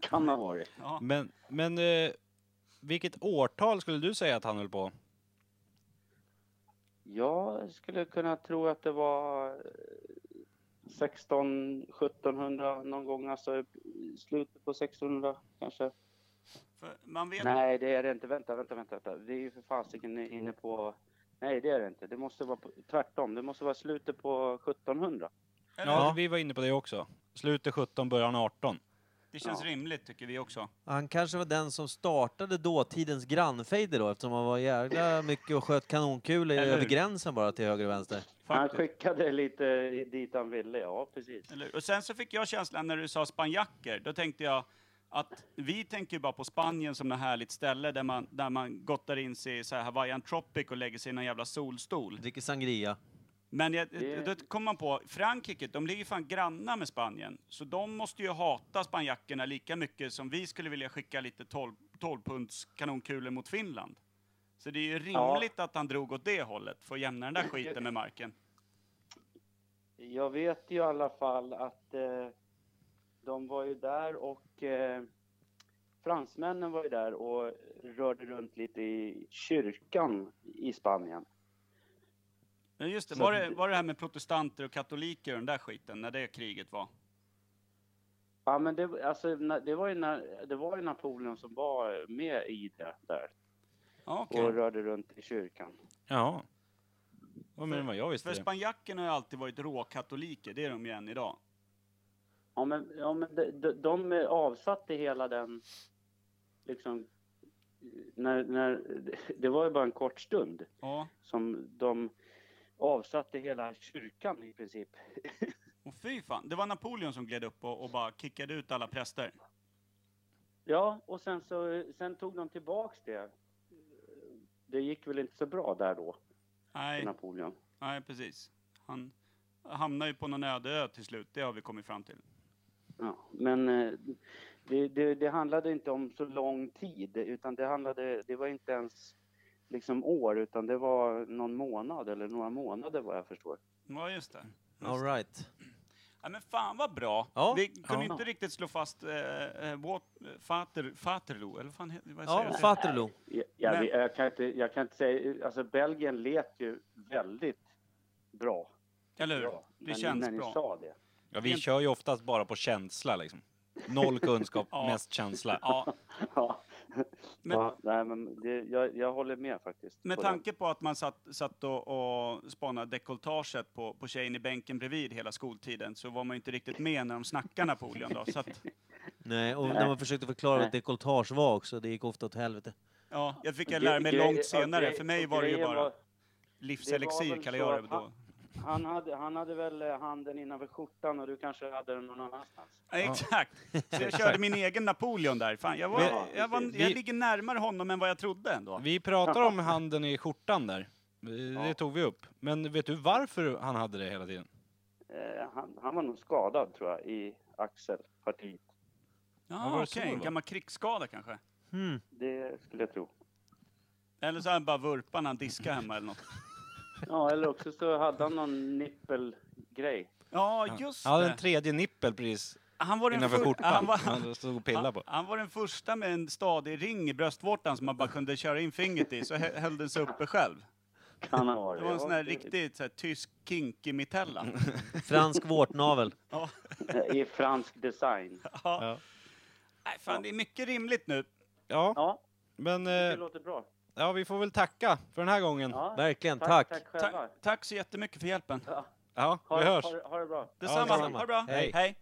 Speaker 6: Kan ha varit.
Speaker 1: Ja.
Speaker 2: Men, men eh, vilket årtal skulle du säga att han höll på?
Speaker 6: Jag skulle kunna tro att det var eh, 16, 1700 någon gång, alltså i slutet på 1600 kanske.
Speaker 1: För man vet...
Speaker 6: Nej, det är det inte. Vänta, vänta, vänta. vänta. Vi är ju för fasiken inne på... Nej, det är det inte. Det måste vara på... tvärtom. Det måste vara slutet på 1700.
Speaker 1: Eller,
Speaker 2: Ja, vi var inne på det också. Slutet 17, början 18.
Speaker 1: Det känns
Speaker 6: Ja.
Speaker 1: rimligt tycker vi också.
Speaker 3: Han kanske var den som startade dåtidens grannfejder då eftersom han var jävla mycket och sköt kanonkulor
Speaker 1: Eller
Speaker 3: över
Speaker 1: hur?
Speaker 3: gränsen bara till höger och vänster.
Speaker 6: Han
Speaker 1: Faktiskt.
Speaker 6: skickade lite dit han ville. Ja, precis.
Speaker 1: Eller, och sen så fick jag känslan när du sa spanjacker, då tänkte jag att vi tänker ju bara på Spanien som något härligt ställe där man, där man gottar in sig i så här Hawaiian Tropic och lägger sig i någon jävla solstol.
Speaker 3: Dricker sangria.
Speaker 1: Men jag,
Speaker 6: Det-
Speaker 1: då kom man på, Frankrike, de ligger ju fan grannar med Spanien, så de måste ju hata spanjackerna lika mycket som vi skulle vilja skicka lite 12 12-punts kanonkulor mot Finland. Så det är ju
Speaker 6: Ja.
Speaker 1: rimligt att han drog åt det hållet, för att jämna den där skiten med marken.
Speaker 6: Jag vet ju i alla fall att eh, de var ju där och eh, fransmännen var ju där och rörde runt lite i kyrkan i Spanien.
Speaker 1: Men just det,
Speaker 6: Så
Speaker 1: var
Speaker 6: att-
Speaker 1: det, var det här med protestanter och katoliker och den där skiten, när det kriget var?
Speaker 6: Ja, men det, alltså, na- det, var ju när, det var ju Napoleon som var med i det där
Speaker 1: Ja,
Speaker 6: och
Speaker 1: Okej.
Speaker 6: rörde runt i kyrkan.
Speaker 2: Ja. Vad menar du vad jag
Speaker 1: För
Speaker 2: visste det?
Speaker 1: spanjackerna har ju alltid varit råkatoliker, det är de ju än idag.
Speaker 6: Ja, men, ja, men de, de, de avsatte hela den... Liksom, när, när, det var ju bara en kort stund
Speaker 1: Ja.
Speaker 6: som de avsatte hela kyrkan i princip.
Speaker 1: Och fy fan, det var Napoleon som gled upp och, och bara kickade ut alla präster.
Speaker 6: Ja, och sen, så, sen tog de tillbaks det. Det gick väl inte så bra där då, för
Speaker 1: Nej,
Speaker 6: Napoleon.
Speaker 1: nej precis. Han hamnar ju på någon öde ö till slut, det har vi kommit fram till.
Speaker 6: Ja, men eh, det, det, det handlade inte om så lång tid, utan det handlade, det var inte ens liksom år, utan det var någon månad eller några månader vad jag förstår.
Speaker 1: Ja, just det.
Speaker 3: All right.
Speaker 1: Ja, men fan vad bra!
Speaker 3: Ja.
Speaker 1: Vi kunde
Speaker 6: Ja.
Speaker 1: inte riktigt slå fast eh, eh, what, Fater, Faterlo, eller vad fan heter vad säger
Speaker 3: Ja,
Speaker 1: jag?
Speaker 3: Faterlo.
Speaker 6: Jag, jag,
Speaker 1: Men-
Speaker 6: jag, kan, inte, jag kan inte säga, alltså Belgien lät ju väldigt bra.
Speaker 1: Eller hur?
Speaker 6: Ja,
Speaker 1: Det känns
Speaker 6: när ni
Speaker 1: bra.
Speaker 6: sa det.
Speaker 2: Ja, vi kör ju oftast bara på känsla liksom. Noll kunskap,
Speaker 1: Ja.
Speaker 2: mest känsla.
Speaker 1: Ja,
Speaker 6: Ja.
Speaker 1: Men-
Speaker 6: ja, nej, men det, jag, jag håller med faktiskt.
Speaker 1: Med
Speaker 6: på det.
Speaker 1: tanke på att man satt, satt och, och spanade dekolletaget på, på tjejen i bänken bredvid hela skoltiden så var man ju inte riktigt med när de snackade Napoleon då. Så att,
Speaker 3: Nej, och när man försökte förklara vad
Speaker 6: Nej.
Speaker 3: dekolletage var också, det gick ofta åt helvete.
Speaker 1: ja, jag fick jag
Speaker 6: Gre-
Speaker 1: lära mig
Speaker 6: gre-
Speaker 1: långt
Speaker 6: ja,
Speaker 1: senare.
Speaker 6: gre-
Speaker 1: För mig
Speaker 6: och
Speaker 1: var det ju
Speaker 6: grejen
Speaker 1: bara
Speaker 6: var- det var
Speaker 1: livselixir
Speaker 6: väl
Speaker 1: kallade
Speaker 6: så
Speaker 1: jag det
Speaker 6: att
Speaker 1: då.
Speaker 6: han, hade, han hade väl eh, handen innanför skjortan och du kanske hade den någon annanstans.
Speaker 1: Ja, exakt. Så jag körde min egen Napoleon där. Fan, jag, var,
Speaker 6: Men-
Speaker 1: jag, var, jag
Speaker 2: Vi-
Speaker 1: ligger närmare honom än vad jag trodde ändå.
Speaker 2: Vi pratar om handen i skjortan där. Det
Speaker 6: Ja.
Speaker 2: tog vi upp. Men vet du varför han hade det hela tiden?
Speaker 6: Eh, han, han var nog skadad tror jag i axelpartiet.
Speaker 1: Ja,
Speaker 2: var det så
Speaker 1: okej.
Speaker 2: det
Speaker 1: En
Speaker 2: var?
Speaker 1: gammal krigsskada kanske.
Speaker 3: Hmm.
Speaker 6: Det skulle jag tro.
Speaker 1: Eller så har han bara vurpan när han diskar hemma eller något.
Speaker 6: Ja, eller också så hade han någon nippelgrej.
Speaker 1: Ja, just
Speaker 2: Han hade
Speaker 1: det.
Speaker 2: en tredje nippel precis
Speaker 1: Han var den
Speaker 2: innanför
Speaker 1: fur-
Speaker 2: skjortan.
Speaker 1: han
Speaker 2: Han,
Speaker 1: var-
Speaker 2: stod och pillade på.
Speaker 1: Han, han var den första med en stadig ring i bröstvårtan som man bara kunde köra in fingret i, så hö- höll den sig uppe själv.
Speaker 6: Kan ha varit.
Speaker 1: Det var en sån här
Speaker 6: Ja, det-
Speaker 1: riktigt så här, tysk kinky mitella.
Speaker 3: Fransk vårtnavel.
Speaker 1: Ja.
Speaker 6: I fransk design.
Speaker 1: Ja. Nej, fan, det är mycket rimligt nu.
Speaker 2: Ja,
Speaker 6: Ja,
Speaker 2: men
Speaker 6: det
Speaker 2: eh,
Speaker 6: låter bra.
Speaker 2: ja, vi får väl tacka för den här gången. Ja,
Speaker 6: Ja,
Speaker 3: Verkligen, tack.
Speaker 6: tack. Tack själva.
Speaker 1: Ta tack så jättemycket för hjälpen.
Speaker 6: Ja,
Speaker 2: vi
Speaker 6: ha,
Speaker 2: hörs.
Speaker 6: ha, ha det bra.
Speaker 1: Detsamma.
Speaker 3: detsamma.
Speaker 1: ha det bra.
Speaker 3: Hej.
Speaker 1: Hej.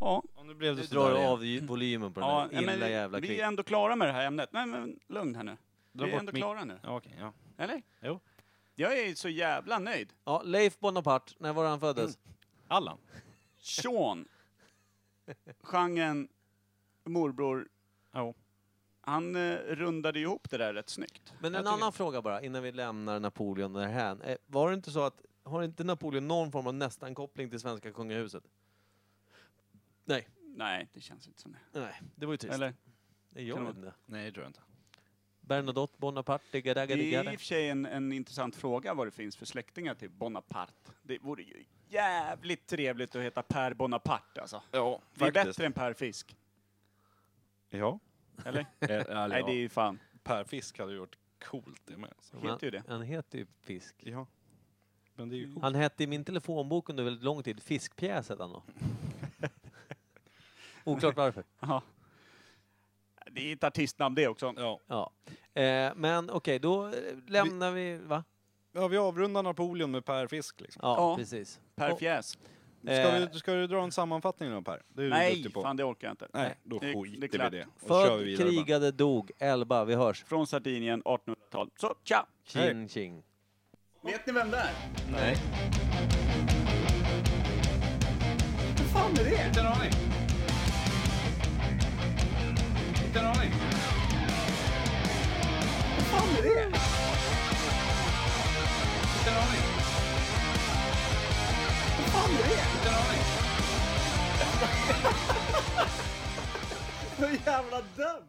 Speaker 1: Ja,
Speaker 2: Om det blev
Speaker 3: Du
Speaker 2: det
Speaker 3: drar
Speaker 2: sådär igen.
Speaker 3: av ju- volymen på den
Speaker 1: ja,
Speaker 3: här
Speaker 1: nej, men
Speaker 3: illa jävla
Speaker 1: vi, vi är
Speaker 3: kriget.
Speaker 1: ändå klara med det här ämnet. Nej, men lugn här nu.
Speaker 2: Dra
Speaker 1: Vi är
Speaker 2: bort
Speaker 1: ändå
Speaker 2: mic-
Speaker 1: klara nu.
Speaker 2: Ja, okej, ja.
Speaker 1: Eller?
Speaker 2: Jo.
Speaker 1: Jag är så jävla nöjd.
Speaker 3: Ja, Leif Bonaparte, när var han föddes?
Speaker 2: Allan.
Speaker 1: Sean. Genren morbror
Speaker 2: Ja.
Speaker 1: Han eh, rundade ihop det där rätt snyggt.
Speaker 3: Men
Speaker 1: Jag
Speaker 3: en
Speaker 1: tycker-
Speaker 3: annan fråga bara, innan vi lämnar Napoleon därhän. Eh, Var det inte så att, har inte Napoleon någon form av nästan-koppling till svenska kungahuset?
Speaker 1: Nej, det känns inte som det.
Speaker 3: Nej, det var ju trist.
Speaker 1: Eller?
Speaker 3: Nej, jag
Speaker 1: kan det
Speaker 3: vet inte.
Speaker 2: Nej, det tror jag inte.
Speaker 3: Bernadotte Bonaparte, gadda,
Speaker 1: Det
Speaker 3: gadda,
Speaker 1: är
Speaker 3: gadda.
Speaker 1: i och för sig en, en intressant fråga vad det finns för släktingar till Bonaparte. Det vore ju jävligt trevligt att heta Per Bonaparte alltså.
Speaker 2: Ja,
Speaker 1: Det är bättre än Per Fisk.
Speaker 2: Ja.
Speaker 1: Eller?
Speaker 2: Eh, Eller, ja.
Speaker 1: Nej, det är ju fan.
Speaker 2: Per Fisk hade ju varit coolt det med. alltså.
Speaker 3: Men
Speaker 1: heter ju det.
Speaker 3: Han heter ju Fisk.
Speaker 2: Ja. Men det är ju coolt.
Speaker 3: Han hette i min telefonbok under väldigt lång tid Fiskpjäs hette han då. Oklart varför.
Speaker 1: Ja. Det är ett artistnamn det också.
Speaker 2: Ja.
Speaker 3: Ja. Eh, men okej, då eh, lämnar vi... Va?
Speaker 2: ja, vi avrundar Napoleon med Per Fisk liksom.
Speaker 3: Ja,
Speaker 1: Ja.
Speaker 3: precis.
Speaker 1: Per
Speaker 3: Och-
Speaker 1: Fjäs.
Speaker 2: Ska,
Speaker 3: Eh.
Speaker 2: du, ska du dra en sammanfattning då Per? Det är du
Speaker 1: Nej,
Speaker 2: duktig på.
Speaker 1: fan det orkar jag inte.
Speaker 2: Nej, då
Speaker 1: Det- det är
Speaker 2: skiter vi i
Speaker 1: klart.
Speaker 2: det. Och kör vi vidare.
Speaker 3: Född,
Speaker 2: bara.
Speaker 3: krigade, dog, elba. Vi hörs.
Speaker 1: Från Sardinien, 1800-tal. Så, tja!
Speaker 2: Hej.
Speaker 3: Tjing, tjing.
Speaker 1: Vet ni vem det är?
Speaker 2: Nej.
Speaker 1: Vad fan är det?
Speaker 2: Inte en aning. Inte en aning.
Speaker 1: Vad fan är det?
Speaker 2: Inte en aning.
Speaker 1: Vad fan är det?
Speaker 2: Inte en aning.
Speaker 1: Så jävla dum!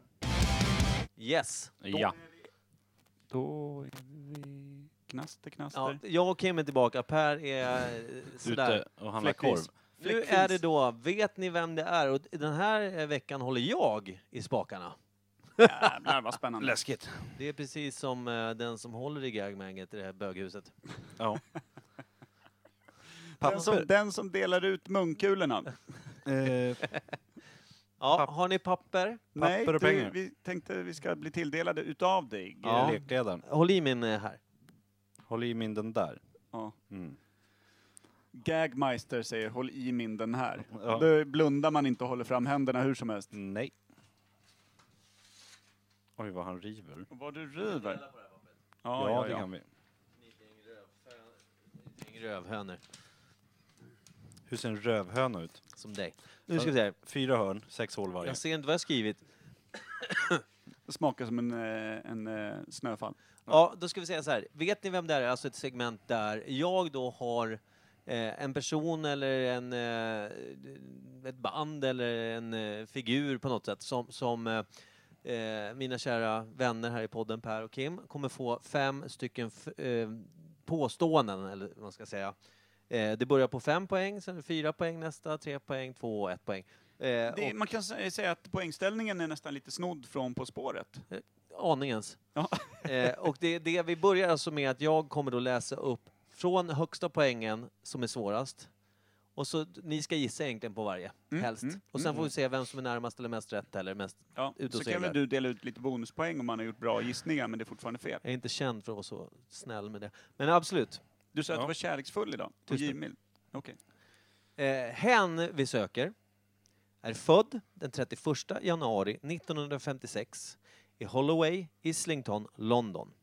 Speaker 3: Yes.
Speaker 2: Ja.
Speaker 1: Då är vi... Knaster,
Speaker 3: Ja,
Speaker 1: knaster.
Speaker 3: jag och Kim är tillbaka. Per är eh, sådär.
Speaker 2: Ute och handlar korv.
Speaker 1: Fläckvis.
Speaker 3: Nu
Speaker 1: Fläckvis.
Speaker 3: är det då, vet ni vem det är? Och den här eh, veckan håller jag i spakarna.
Speaker 1: Jävlar vad spännande.
Speaker 2: Läskigt.
Speaker 3: Det är precis som eh, den som håller i gagmanget i det här böghuset.
Speaker 2: Ja.
Speaker 1: Den som,
Speaker 2: Papper.
Speaker 1: den som delar ut munkulorna.
Speaker 2: Eh,
Speaker 3: Ja,
Speaker 2: Papp-
Speaker 3: har ni papper?
Speaker 1: Nej,
Speaker 2: Papper och
Speaker 1: du,
Speaker 2: pengar.
Speaker 1: vi tänkte vi ska bli tilldelade utav dig.
Speaker 3: Ja.
Speaker 2: Lekledaren.
Speaker 3: Håll i min eh, här.
Speaker 2: Håll i min den där.
Speaker 1: Ja.
Speaker 2: Mm.
Speaker 1: Gagmeister säger håll i min den här.
Speaker 2: Ja.
Speaker 1: Då blundar man inte och håller fram händerna hur som helst.
Speaker 2: Nej. Oj, vad han river.
Speaker 1: Vad du river. Ja, ja,
Speaker 2: Ja,
Speaker 1: ja,
Speaker 2: det kan vi.
Speaker 3: Min rövhönor,
Speaker 2: Hur ser en rövhöna ut?
Speaker 3: som dig. Nu ska vi se.
Speaker 2: Fyra hörn, sex hål varje.
Speaker 3: Jag ser inte vad jag skrivit.
Speaker 1: Det smakar som en, eh, en eh, snöfall.
Speaker 3: Ja, då ska vi säga så här. Vet ni vem det är? Alltså ett segment där jag då har eh, en person eller en, eh, ett band eller en eh, figur på något sätt som, som eh, eh, mina kära vänner här i podden Per och Kim kommer få fem stycken f- eh, påståenden, eller vad man ska säga. Eh, det börjar på fem poäng, sen är det fyra poäng nästa, tre poäng, två och ett poäng. Eh,
Speaker 1: Det, man kan sä- säga att poängställningen är nästan lite snodd från På spåret.
Speaker 3: och, aningens.
Speaker 1: Ja.
Speaker 3: Eh, och det, det vi börjar alltså med att jag kommer då läsa upp från högsta poängen som är svårast. Och så ni ska gissa egentligen på varje, helst.
Speaker 1: mm,
Speaker 3: och sen får vi se vem som är närmast eller mest rätt eller mest...
Speaker 1: Ja,
Speaker 3: Ut och
Speaker 1: så kan
Speaker 3: seglar.
Speaker 1: väl du dela ut lite bonuspoäng om man har gjort bra gissningar men det är fortfarande fel.
Speaker 3: Jag är inte känd för att vara så snäll med det. Men absolut.
Speaker 1: Du sa att
Speaker 2: Ja.
Speaker 1: du var kärleksfull idag. Och
Speaker 3: Just det.
Speaker 1: givmild. Okej.
Speaker 3: Eh, hen vi söker är född den 31 januari 1956 i Holloway, Islington, London.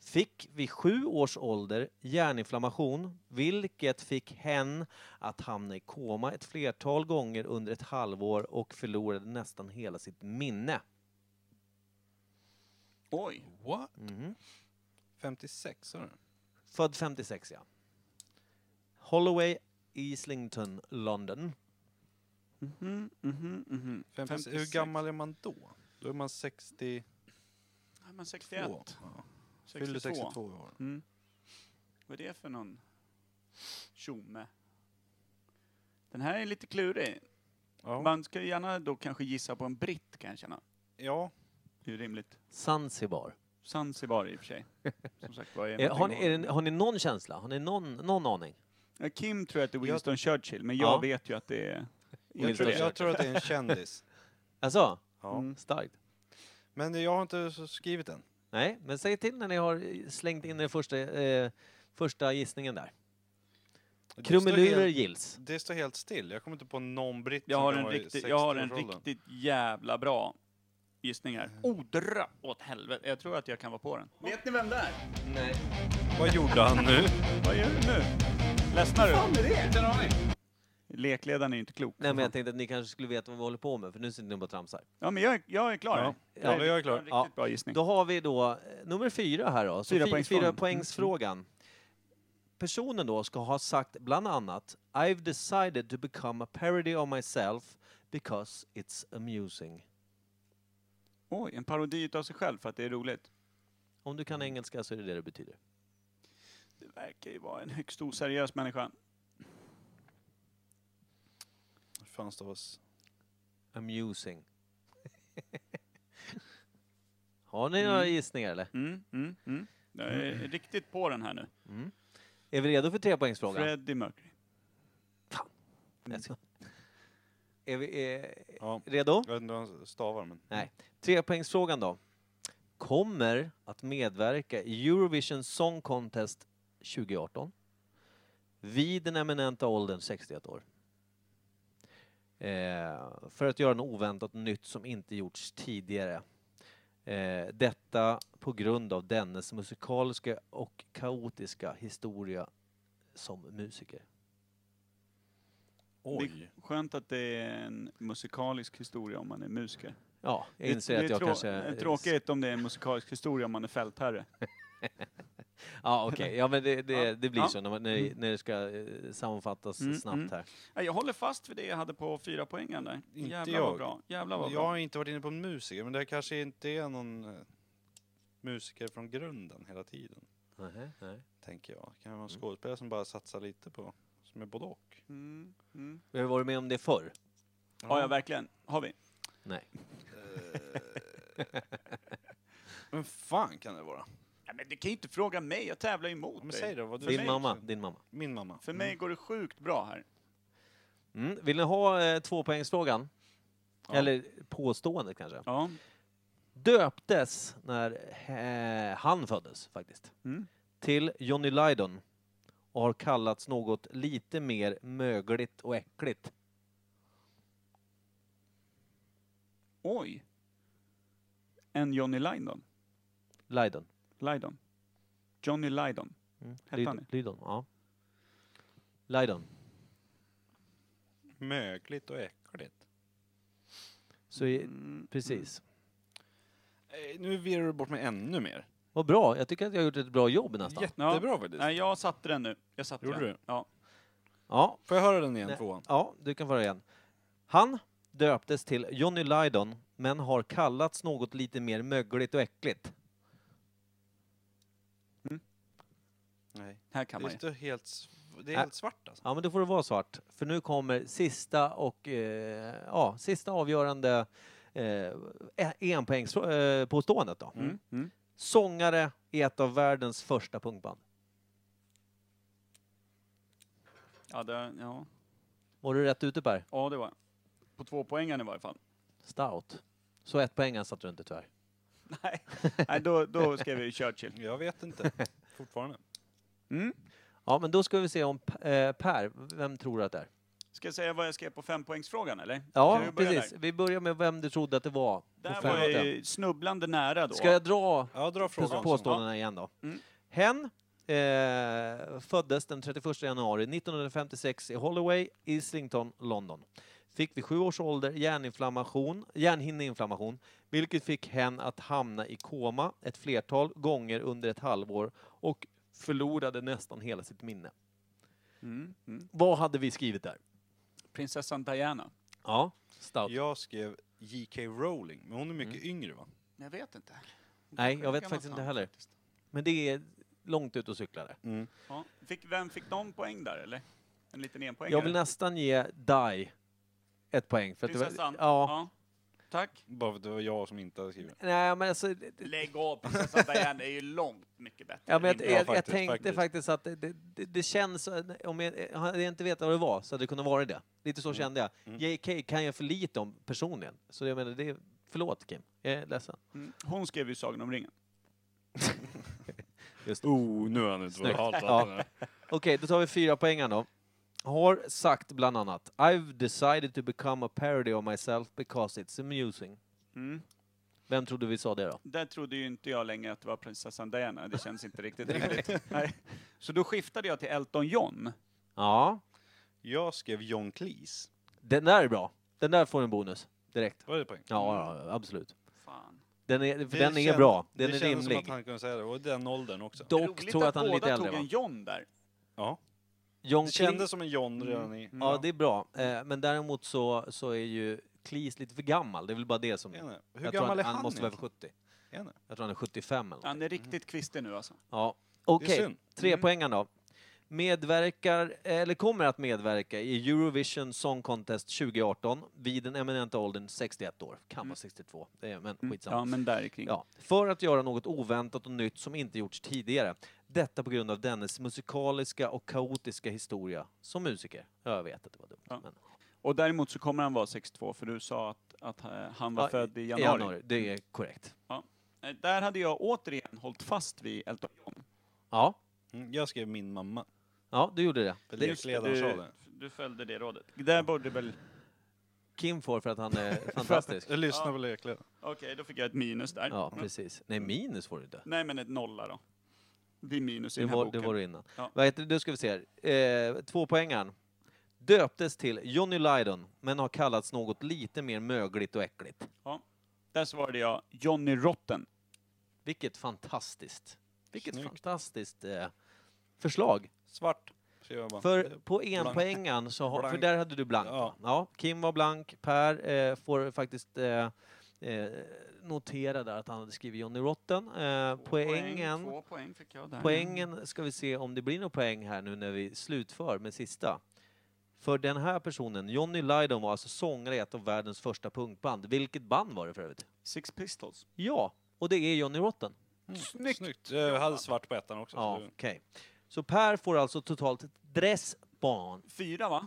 Speaker 3: Fick vid sju års ålder hjärninflammation, vilket fick hen att hamna i koma ett flertal gånger under ett halvår och förlorade nästan hela sitt minne.
Speaker 1: Oj.
Speaker 2: What?
Speaker 3: Mhm.
Speaker 2: 56 sa du?
Speaker 3: Född 56, ja. Holloway, Islington, London.
Speaker 1: Mhm, mhm, mhm.
Speaker 2: 56. Hur
Speaker 1: 56.
Speaker 2: gammal är man då? Då är man 62.
Speaker 1: Ja, men 61.
Speaker 2: Ja. Fyller
Speaker 1: 62.
Speaker 2: 62 i år.
Speaker 1: Mm. Vad är det för någon tjomme? Den här är lite klurig.
Speaker 2: Ja.
Speaker 1: Man ska ju gärna då kanske gissa på en britt kan jag känna.
Speaker 2: ja.
Speaker 1: Det är ju rimligt.
Speaker 3: Zanzibar.
Speaker 1: Zanzibar i och för sig. Som sagt, vad är
Speaker 3: Eh, har, ni,
Speaker 1: någonting
Speaker 3: är det, har ni någon känsla? Har ni någon, någon aning?
Speaker 1: att- Ja, Kim tror att det är Winston Churchill, men jag
Speaker 3: Ja.
Speaker 1: vet ju att det är...
Speaker 2: Jag tror,
Speaker 1: det.
Speaker 2: jag tror att det är en kändis.
Speaker 3: Alltså,
Speaker 2: Ja.
Speaker 1: Mm.
Speaker 3: starkt.
Speaker 2: Men jag har inte så skrivit den.
Speaker 3: Nej, men säg till när ni har slängt in den första, eh, första gissningen där.
Speaker 2: Det står
Speaker 3: Krumelurer
Speaker 2: helt-
Speaker 3: gills.
Speaker 2: Det står helt still. Jag kommer inte på någon britt
Speaker 1: Jag
Speaker 2: som
Speaker 1: har
Speaker 2: kan
Speaker 1: en,
Speaker 2: vara i
Speaker 1: riktigt, jag har en
Speaker 2: 60-årsåldern.
Speaker 1: riktigt jävla bra gissning
Speaker 2: Mm.
Speaker 1: här. Oh, dra åt helvete. Jag tror att jag kan vara på den. Vet ni vem det är?
Speaker 2: Vad gjorde han nu?
Speaker 1: Vad gör du nu? Ledsnar du?
Speaker 2: Inte en aning.
Speaker 1: lekledaren är ju inte klok.
Speaker 3: Nej, men jag tänkte att ni kanske skulle veta vad vi håller på med, för nu sitter ni bara och tramsar.
Speaker 1: Ja, men jag, är- jag är klar.
Speaker 2: Ja.
Speaker 1: Det
Speaker 2: Ja, jag är klar.
Speaker 1: en Riktigt
Speaker 3: Ja.
Speaker 1: bra gissning.
Speaker 3: Då har vi då eh, nummer fyra här då. Så
Speaker 1: Fyra
Speaker 3: fy-
Speaker 1: poängsfrågan.
Speaker 3: Fyra poängsfrågan. Personen då ska ha sagt bland annat I've decided to become a parody of myself because it's amusing.
Speaker 1: Oj, en parodi av sig själv för att det är roligt.
Speaker 3: Om du kan engelska så är det det det betyder.
Speaker 1: Det verkar ju vara en högst oseriös människa.
Speaker 2: Hur fan stavas?
Speaker 3: Amusing. har ni några gissningar eller?
Speaker 1: Mm, mm, mm. Jag är riktigt på den här nu.
Speaker 3: Är vi redo för trepoängsfrågan?
Speaker 1: Freddie Mercury.
Speaker 3: Jag ska- Är vi eh,
Speaker 2: Ja.
Speaker 3: redo?
Speaker 2: Jag vet inte hur han stavar men...
Speaker 3: Nej. Trepoängsfrågan då. Kommer att medverka i Eurovision Song Contest 2018 vid den eminenta åldern 61 år. Eh, för att göra något oväntat nytt som inte gjorts tidigare. Eh, detta på grund av dennes musikaliska och kaotiska historia som musiker.
Speaker 1: Oj. Skönt att det är en musikalisk historia om man är musiker.
Speaker 3: Ja, jag inser
Speaker 1: det, det
Speaker 3: att
Speaker 1: är
Speaker 3: jag
Speaker 1: trå-
Speaker 3: kanske...
Speaker 1: Tråkigt om det är en musikalisk historia om man är fältherre.
Speaker 3: Ja, okej. Ja, men det, det,
Speaker 1: Ja.
Speaker 3: det blir
Speaker 1: Ja.
Speaker 3: så när, man, när, när det ska eh, sammanfattas
Speaker 1: Mm, mm.
Speaker 3: snabbt här.
Speaker 1: Nej, Jag håller fast vid det jag hade på fyra poängen där.
Speaker 2: Inte
Speaker 1: Jävlar vad
Speaker 2: jag.
Speaker 1: bra. Jävlar vad
Speaker 2: Jag
Speaker 1: bra.
Speaker 2: har inte varit inne på en musiker, men det kanske inte är någon eh, musiker från grunden hela tiden,
Speaker 3: Nej, nej.
Speaker 2: tänker jag. Kan det
Speaker 3: Mm.
Speaker 2: vara en skådespelare som bara satsar lite på, som är både och?
Speaker 1: Mm, mm.
Speaker 3: Vi har varit med om det förr.
Speaker 1: Ja, ja, verkligen. Har vi.
Speaker 3: Nej.
Speaker 2: Eh. Men fan kan det vara?
Speaker 1: Nej, men du kan ju inte fråga mig, jag tävlar ju
Speaker 2: Ja,
Speaker 1: emot
Speaker 2: men
Speaker 1: dig.
Speaker 2: säg Mm. då, vad du
Speaker 1: För
Speaker 3: Din
Speaker 1: mig-
Speaker 3: mamma. Din mamma.
Speaker 2: Min mamma.
Speaker 1: För mig går det sjukt bra här.
Speaker 3: Mm. Vill ni ha eh, tvåpoängsfrågan?
Speaker 2: Ja.
Speaker 3: Eller påståendet kanske.
Speaker 1: Ja.
Speaker 3: Döptes när eh, han föddes faktiskt.
Speaker 1: Mm.
Speaker 3: Till Johnny Lydon. Och har kallats något lite mer mögligt och äckligt.
Speaker 1: Oj! En Johnny Lydon.
Speaker 3: Lydon.
Speaker 1: Lydon. Johnny Lydon.
Speaker 3: Mm.
Speaker 1: Hette han
Speaker 3: Lyd- Lydon, ja. Lydon.
Speaker 2: Mögligt och äckligt.
Speaker 3: Så, i-
Speaker 1: Mm,
Speaker 3: precis.
Speaker 2: Eh, Nu virrar du bort mig ännu mer.
Speaker 3: Vad bra, jag tycker att jag har gjort ett bra jobb nästan.
Speaker 2: Jättebra faktiskt.
Speaker 1: Nej, jag satte den nu. Jag satte
Speaker 2: Gjorde
Speaker 1: den.
Speaker 2: du?
Speaker 1: Ja.
Speaker 3: Ja,
Speaker 2: Får jag höra den igen,
Speaker 3: Nej.
Speaker 2: tvåan?
Speaker 3: ja, du kan föra igen. Han döptes till Johnny Lydon, men har kallats något lite mer mögligt och äckligt.
Speaker 2: Nej.
Speaker 1: Här kan
Speaker 2: Det
Speaker 1: man
Speaker 2: är,
Speaker 1: ju.
Speaker 2: inte helt, sv- det är
Speaker 3: Äh.
Speaker 2: helt svart alltså.
Speaker 3: Ja, men då får det vara svart, för nu kommer sista och eh, ja, sista avgörande eh, enpoängspåståendet eh, påståendet då.
Speaker 1: Mm. Mm.
Speaker 3: Sångare i ett av världens första punkband.
Speaker 1: Ja, det, ja.
Speaker 3: Var du rätt ute Per?
Speaker 1: ja, det var jag. På två poängen i varje fall.
Speaker 3: Stout. Så ett poäng satte du inte tyvärr.
Speaker 1: Nej, Nej då, då skrev jag ju Churchill.
Speaker 2: Jag vet inte. Fortfarande.
Speaker 1: Mm.
Speaker 3: Ja, men då ska vi se om P- eh, Per, vem tror du att det är?
Speaker 1: Ska jag säga vad jag skrev på fempoängsfrågan eller? Kan
Speaker 3: Ja,
Speaker 1: vi börja
Speaker 3: precis.
Speaker 1: Där,
Speaker 3: Vi börjar med vem du trodde att det var. på
Speaker 1: där var
Speaker 3: femte.
Speaker 1: jag ju snubblande nära då.
Speaker 3: Ska jag dra
Speaker 2: Ja, dra frågan.
Speaker 3: påståendena igen då?
Speaker 1: Mm.
Speaker 3: Hen eh, föddes den 31 januari 1956 i Holloway, Islington, London. Fick vid sju års ålder hjärninflammation, hjärnhinneinflammation, vilket fick hen att hamna i koma ett flertal gånger under ett halvår och förlorade nästan hela sitt minne.
Speaker 1: Mm. Mm.
Speaker 3: Vad hade vi skrivit där?
Speaker 1: Prinsessan Diana.
Speaker 3: Ja, stout.
Speaker 2: Jag skrev J.K. Rowling, men hon är mycket
Speaker 3: Mm.
Speaker 2: yngre va?
Speaker 1: Jag vet inte.
Speaker 3: Nej,
Speaker 1: Hur
Speaker 3: jag vet
Speaker 1: kan
Speaker 3: faktiskt
Speaker 1: man
Speaker 3: inte
Speaker 1: fan
Speaker 3: heller.
Speaker 1: faktiskt?
Speaker 3: Men det är långt ut och cyklar där.
Speaker 1: Ja. Fick, vem fick någon poäng där eller? En liten enpoängare?
Speaker 3: Jag vill nästan ge Dai ett poäng. För att det var,
Speaker 1: Prinsessan?
Speaker 3: ja.
Speaker 1: Tack.
Speaker 2: Bara för att det var jag som inte hade skrivit.
Speaker 3: Nej, men alltså, det- det-
Speaker 1: Lägg av prinsessan Diana, det är ju långt mycket bättre.
Speaker 3: ja, men jag,
Speaker 1: Rimligt.
Speaker 3: jag, jag
Speaker 2: faktiskt,
Speaker 3: tänkte
Speaker 2: faktiskt.
Speaker 3: faktiskt att det, det, det, det känns... Om jag, hade jag inte vetat vad det var så hade det kunnat vara det. Lite så kände jag. JK kan jag för lite om personligen. Så jag menar, det är, förlåt Kim, jag är ledsen.
Speaker 1: Mm. Hon skrev ju Sagan om ringen.
Speaker 2: Oh, nu har han inte
Speaker 3: Snyggt.
Speaker 2: halt
Speaker 3: Ja. Okej, då tar vi fyra poängen då. Har sagt bland annat I've decided to become a parody of myself because it's amusing.
Speaker 1: Mm.
Speaker 3: Vem trodde vi sa det då?
Speaker 1: Där trodde ju inte jag länge att det var prinsessan Diana, det känns inte riktigt rimligt. Nej. Så då skiftade jag till Elton John.
Speaker 3: Ja,
Speaker 2: Jag skrev John Cleese.
Speaker 3: Den där är bra. Den där får en bonus direkt.
Speaker 2: Var det poäng?
Speaker 3: Ja, ja absolut.
Speaker 1: Fan.
Speaker 3: Den är, för
Speaker 2: Det
Speaker 3: den är
Speaker 2: kän-
Speaker 3: bra. Den
Speaker 2: det
Speaker 3: är
Speaker 2: kändes som
Speaker 3: rimlig.
Speaker 2: att han kunde säga det. Och den åldern också.
Speaker 3: Dock
Speaker 1: Roligt
Speaker 3: tror jag att han är
Speaker 1: båda
Speaker 3: lite äldre
Speaker 1: tog en
Speaker 3: va?
Speaker 1: John där.
Speaker 2: Ja.
Speaker 3: John
Speaker 2: Det
Speaker 3: Cleese-
Speaker 2: kändes som en John redan i...
Speaker 3: Mm. Ja, det är bra. Eh, Men däremot så, så är ju Cleese lite för gammal. Det är väl bara det som...
Speaker 2: Jag vet inte. Hur
Speaker 3: jag tror
Speaker 2: gammal
Speaker 3: han,
Speaker 2: är
Speaker 3: han?
Speaker 2: han?
Speaker 3: måste vara över
Speaker 2: egentligen?
Speaker 3: 70.
Speaker 2: Jag vet inte.
Speaker 3: Jag tror han är 75 eller något.
Speaker 1: Han är riktigt kvistig nu alltså.
Speaker 3: Ja. Okej,
Speaker 2: synd. Mm.
Speaker 3: tre poängen då. Medverkar, eller kommer att medverka i Eurovision Song Contest 2018 vid den eminenta åldern 61 år. Kan
Speaker 2: Mm.
Speaker 3: vara 62, det är, men skitsamma.
Speaker 1: Ja, men där kring.
Speaker 3: Ja, för att göra något oväntat och nytt som inte gjorts tidigare. Detta på grund av dennes musikaliska och kaotiska historia som musiker. Ja, jag vet att det var dumt.
Speaker 1: Ja.
Speaker 3: Men,
Speaker 1: Och däremot så kommer han vara 62, för du sa att, att eh, han var
Speaker 3: Ja,
Speaker 1: född i januari.
Speaker 3: Det är korrekt.
Speaker 1: Eh, Där hade jag återigen hållit fast vid Elton John.
Speaker 3: Ja,
Speaker 2: Mm, Jag skrev min mamma.
Speaker 3: ja du gjorde det.
Speaker 2: För
Speaker 1: Det-
Speaker 2: lekledaren sa det.
Speaker 1: Du följde det rådet. Där borde väl...
Speaker 3: Kim får för att han är fantastisk.
Speaker 2: Jag lyssnar på lekledaren.
Speaker 1: Okej, då fick jag ett minus där. Mm.
Speaker 3: Ja, precis. Nej, minus får du inte.
Speaker 1: Nej, men ett nolla då. Det blir minus i
Speaker 3: Det
Speaker 1: den här
Speaker 3: var, det
Speaker 1: boken.
Speaker 3: var det innan.
Speaker 1: Ja.
Speaker 3: Vad heter det? Nu ska vi se här. Eh, två poängar. Döptes till Johnny Lydon, men har kallats något lite mer mögligt och äckligt.
Speaker 1: Där svarade jag Johnny Rotten.
Speaker 3: Vilket fantastiskt. Vilket
Speaker 2: Snyggt.
Speaker 3: fantastiskt eh, förslag.
Speaker 2: Svart. skrev jag bara.
Speaker 3: För på en
Speaker 2: blank.
Speaker 3: poängen så har, för
Speaker 2: Blank.
Speaker 3: där hade du blank.
Speaker 2: Ja.
Speaker 3: Ja. ja, Kim var blank, Per eh, får faktiskt eh, eh, notera där att han hade skrivit Johnny Rotten. Eh,
Speaker 1: Två
Speaker 3: poängen,
Speaker 1: Två poäng fick jag där.
Speaker 3: poängen ska vi se om det blir någon poäng här nu när vi slutför med sista. För den här personen, Johnny Lydon, var alltså sångare i ett av världens första punkband. Vilket band var det för övrigt?
Speaker 1: Six Pistols.
Speaker 3: Ja, och det är Johnny Rotten.
Speaker 2: Mm,
Speaker 1: Snyggt.
Speaker 2: Jag hade svart på ettan också.
Speaker 3: Ja,
Speaker 2: så-
Speaker 3: okej. Så Per får alltså totalt ett dressbarn.
Speaker 1: Fyra, va?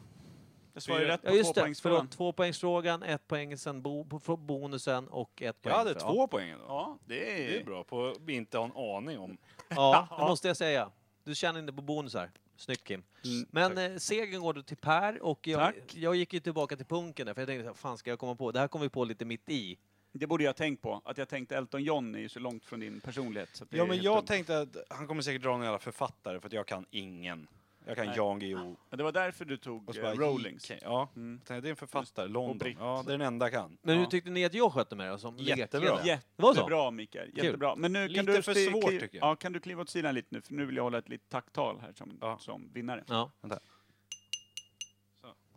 Speaker 1: Jag svarade
Speaker 2: Fyra.
Speaker 1: rätt på
Speaker 3: Ja just det,
Speaker 1: tvåpoängsfrågan.
Speaker 3: förlåt. Tvåpoängsfrågan, ett poäng sen bo, på- på bonusen och ett
Speaker 2: Jag
Speaker 3: poäng
Speaker 2: hade
Speaker 3: för-
Speaker 2: två poäng idag.
Speaker 1: Ja, det är...
Speaker 2: Det är bra på att inte ha en aning om.
Speaker 3: Ja, det måste jag säga. Du tjänar inte på bonusar. Snyggt Kim.
Speaker 1: Mm,
Speaker 3: Men eh, segern går då till Per och jag,
Speaker 1: Tack.
Speaker 3: jag gick ju tillbaka till punken där för jag tänkte, "Vad fan ska jag komma på? Det här kom vi på lite mitt i.
Speaker 1: Det borde jag ha tänkt på. Att jag tänkte Elton John är ju så långt från din personlighet. Så att det
Speaker 2: Ja,
Speaker 1: är
Speaker 2: men
Speaker 1: helt
Speaker 2: jag
Speaker 1: dumt.
Speaker 2: tänkte att han kommer säkert dra någon jävla författare för att jag kan ingen. Jag kan
Speaker 1: Nej.
Speaker 2: Jan Guillou
Speaker 1: Ja, Det var därför du tog
Speaker 2: och så
Speaker 1: eh,
Speaker 2: bara
Speaker 1: Rowlings.
Speaker 2: J.K. Ja,
Speaker 1: Mm.
Speaker 2: jag tänkte, det är en författare, London.
Speaker 1: Britt.
Speaker 2: Ja, det är den enda jag kan.
Speaker 3: Men hur
Speaker 2: ja.
Speaker 3: tyckte ni att jag skötte mig då som
Speaker 2: Jättebra.
Speaker 3: lekledare? Det var så?
Speaker 1: Jättebra Mikael, jättebra. Men nu kan
Speaker 2: Lite
Speaker 1: du
Speaker 2: för
Speaker 1: sti-
Speaker 2: svårt,
Speaker 1: kli-
Speaker 2: tycker jag.
Speaker 1: Ja, kan du kliva åt sidan lite nu, för nu vill jag hålla ett litet tacktal här som,
Speaker 2: Ja.
Speaker 1: som vinnare.
Speaker 3: Ja.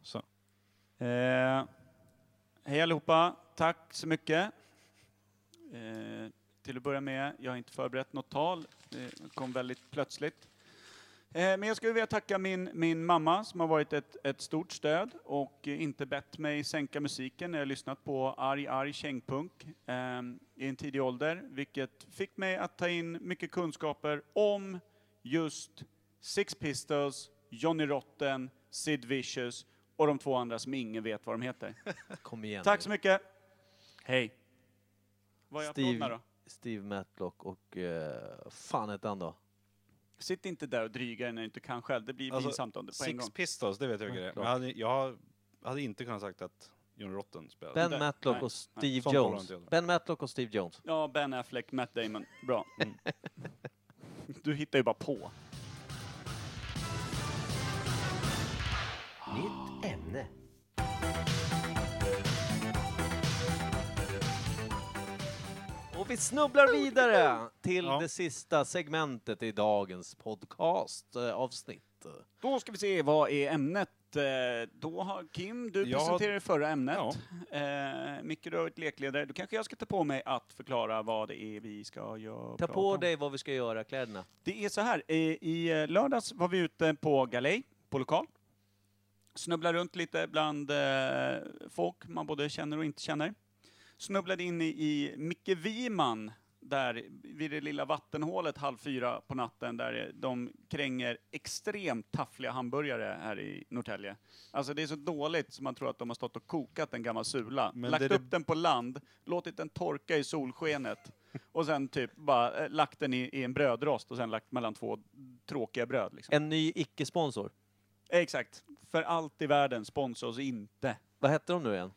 Speaker 2: Så.
Speaker 1: Eh, hej allihopa, tack så mycket. Eh, till att börja med, jag har inte förberett något tal, det kom väldigt plötsligt. Eh, men jag skulle vilja tacka min, min mamma som har varit ett, ett stort stöd och eh, inte bett mig sänka musiken när jag lyssnat på arg, arg kängpunk eh, i en tidig ålder, vilket fick mig att ta in mycket kunskaper om just Six Pistols, Johnny Rotten, Sid Vicious och de två andra som ingen vet vad de heter.
Speaker 3: Kom igen
Speaker 1: Tack så
Speaker 3: nu.
Speaker 1: mycket! Hej! Vad är applåderna
Speaker 3: Steve,
Speaker 1: då?
Speaker 3: Steve Matlock och... Uh, fan hette han då?
Speaker 1: Sitt inte där och dryga dig när du inte kan själv, det blir
Speaker 2: Alltså,
Speaker 1: pinsamt om det på en
Speaker 2: Six
Speaker 1: gång.
Speaker 2: Pistols, det vet jag vilka det är. Men
Speaker 3: klart.
Speaker 2: jag hade, jag hade inte kunnat sagt att John Rotten spelade.
Speaker 3: Ben
Speaker 1: där-
Speaker 3: Matlock
Speaker 1: nej,
Speaker 3: och Steve
Speaker 2: Sånt håller
Speaker 3: Jones.
Speaker 2: inte jag med.
Speaker 3: Ben Matlock och Steve Jones.
Speaker 1: Ja, Ben Affleck, Matt Damon. Bra. Du hittar ju bara på.
Speaker 7: Nytt ämne.
Speaker 3: Och vi snubblar vidare till
Speaker 2: Ja.
Speaker 3: det sista segmentet i dagens eh, podcastavsnitt.
Speaker 1: Då ska vi se, vad är ämnet? Eh, Då har Kim, du
Speaker 2: Jag har-
Speaker 1: presenterade det förra ämnet. Eh, Micke, du har varit lekledare. Då kanske jag ska ta på mig att förklara vad det är vi ska göra.
Speaker 3: Ta
Speaker 1: prata
Speaker 3: på
Speaker 1: om.
Speaker 3: dig vad vi ska göra, kläderna.
Speaker 1: Det är så här, i, i eh, lördags var vi ute på galej, på lokal. Snubblade runt lite bland eh, folk man både känner och inte känner. Snubblade in i, i Micke Wiman, där vid det lilla vattenhålet halv fyra på natten, där eh, de kränger extremt taffliga hamburgare här i Norrtälje. Alltså det är så dåligt som man tror att de har stått och kokat en gammal sula,
Speaker 2: Men
Speaker 1: lagt
Speaker 2: det är det-
Speaker 1: upp den på land, låtit den torka i solskenet och sen typ bara eh, lagt den i, i en brödrost och sen lagt mellan två tråkiga bröd. Liksom.
Speaker 3: En ny icke-sponsor.
Speaker 1: Eh, Exakt. För allt i världen, sponsra oss inte.
Speaker 3: Vad hette de nu igen?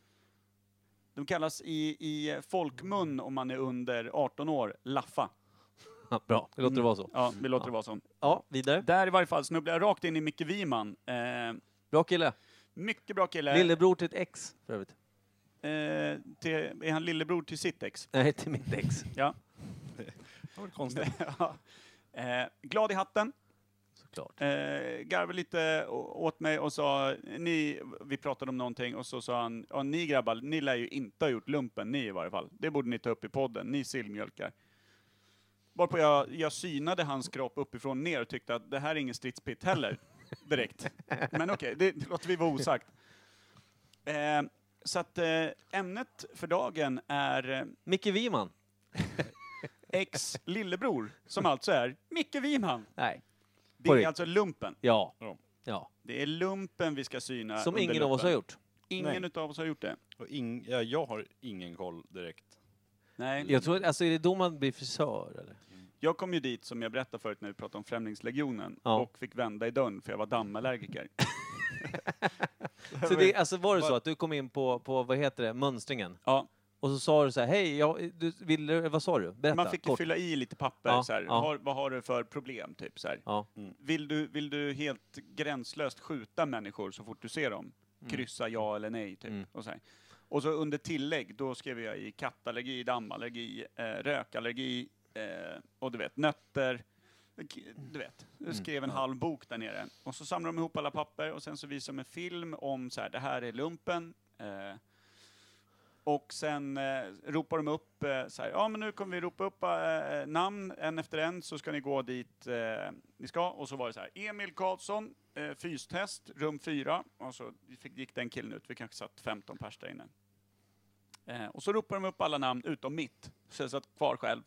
Speaker 1: De kallas i, i folkmun, om man är under 18 år, Laffa.
Speaker 3: Ja, Bra, vi låter det vara så.
Speaker 1: Ja, vi låter det vara så.
Speaker 3: Ja, vidare.
Speaker 1: Där i varje fall snubblade jag rakt in i Micke Wiman. Eh,
Speaker 3: Bra kille.
Speaker 1: Mycket bra kille.
Speaker 3: Lillebror till ett ex, för övrigt.
Speaker 1: Eh, till, är han lillebror till sitt ex?
Speaker 3: Nej, till mitt ex.
Speaker 1: Ja.
Speaker 2: Det var konstigt.
Speaker 1: Ja. eh, glad i hatten.
Speaker 3: Såklart.
Speaker 1: Eh, garvade lite å- åt mig och sa, ni, vi pratade om någonting och så sa han, ja ni grabbar, ni lär ju inte ha gjort lumpen, ni i varje fall. Det borde ni ta upp i podden, ni sillmjölkar. Varpå jag, jag synade hans kropp uppifrån ner och tyckte att det här är ingen stridspitt heller, direkt. Men okej, det, det låter vi vara osagt. Eh, så att eh, ämnet för dagen är eh,
Speaker 3: Micke Wiman.
Speaker 1: ex lillebror, som alltså är Micke Wiman.
Speaker 3: Nej.
Speaker 1: Det
Speaker 3: Korrekt.
Speaker 1: är alltså lumpen.
Speaker 3: Ja.
Speaker 2: Ja.
Speaker 3: Ja.
Speaker 1: Det är lumpen vi ska syna.
Speaker 3: Som
Speaker 1: under
Speaker 3: ingen av oss
Speaker 1: luppen.
Speaker 3: har gjort.
Speaker 1: Ingen utav oss har gjort det.
Speaker 2: Och ing, ja, jag har ingen koll direkt.
Speaker 1: Nej.
Speaker 3: Jag tror, alltså är det då man blir frisör eller?
Speaker 1: Jag kom ju dit, som jag berättade förut när vi pratade om Främlingslegionen,
Speaker 3: Ja.
Speaker 1: och fick vända i dörren för jag var dammallergiker.
Speaker 3: Så det, alltså var det så att du kom in på, på vad heter det, mönstringen?
Speaker 1: Ja,
Speaker 3: Och så sa du så här, hej, jag, du ville, vad sa du? Berätta,
Speaker 1: man fick ju
Speaker 3: kort.
Speaker 1: fylla i lite papper
Speaker 3: Ja,
Speaker 1: så här.
Speaker 3: ja.
Speaker 1: Har, vad har du för problem, typ så här.
Speaker 3: Ja.
Speaker 1: Vill du, vill du helt gränslöst skjuta människor så fort du ser dem? Kryssa ja eller nej, typ.
Speaker 3: Mm.
Speaker 1: Och, så här. och så under tillägg, då skrev jag i kattallergi, dammallergi, eh, rökallergi eh, och du vet, nötter. K- Du vet, jag skrev en halv bok där nere. Och så samlade de ihop alla papper och sen så visade de en film om så här, det här är lumpen. Eh, och sen eh, ropar de upp eh, så här, ja men nu kommer vi ropa upp eh, namn en efter en så ska ni gå dit eh, ni ska. Och så var det så här, Emil Karlsson, eh, fystest, rum 4. Och så fick, gick den killen ut, vi kanske satt 15 pers där inne. Eh, och så ropade de upp alla namn utom mitt, så jag satt kvar själv.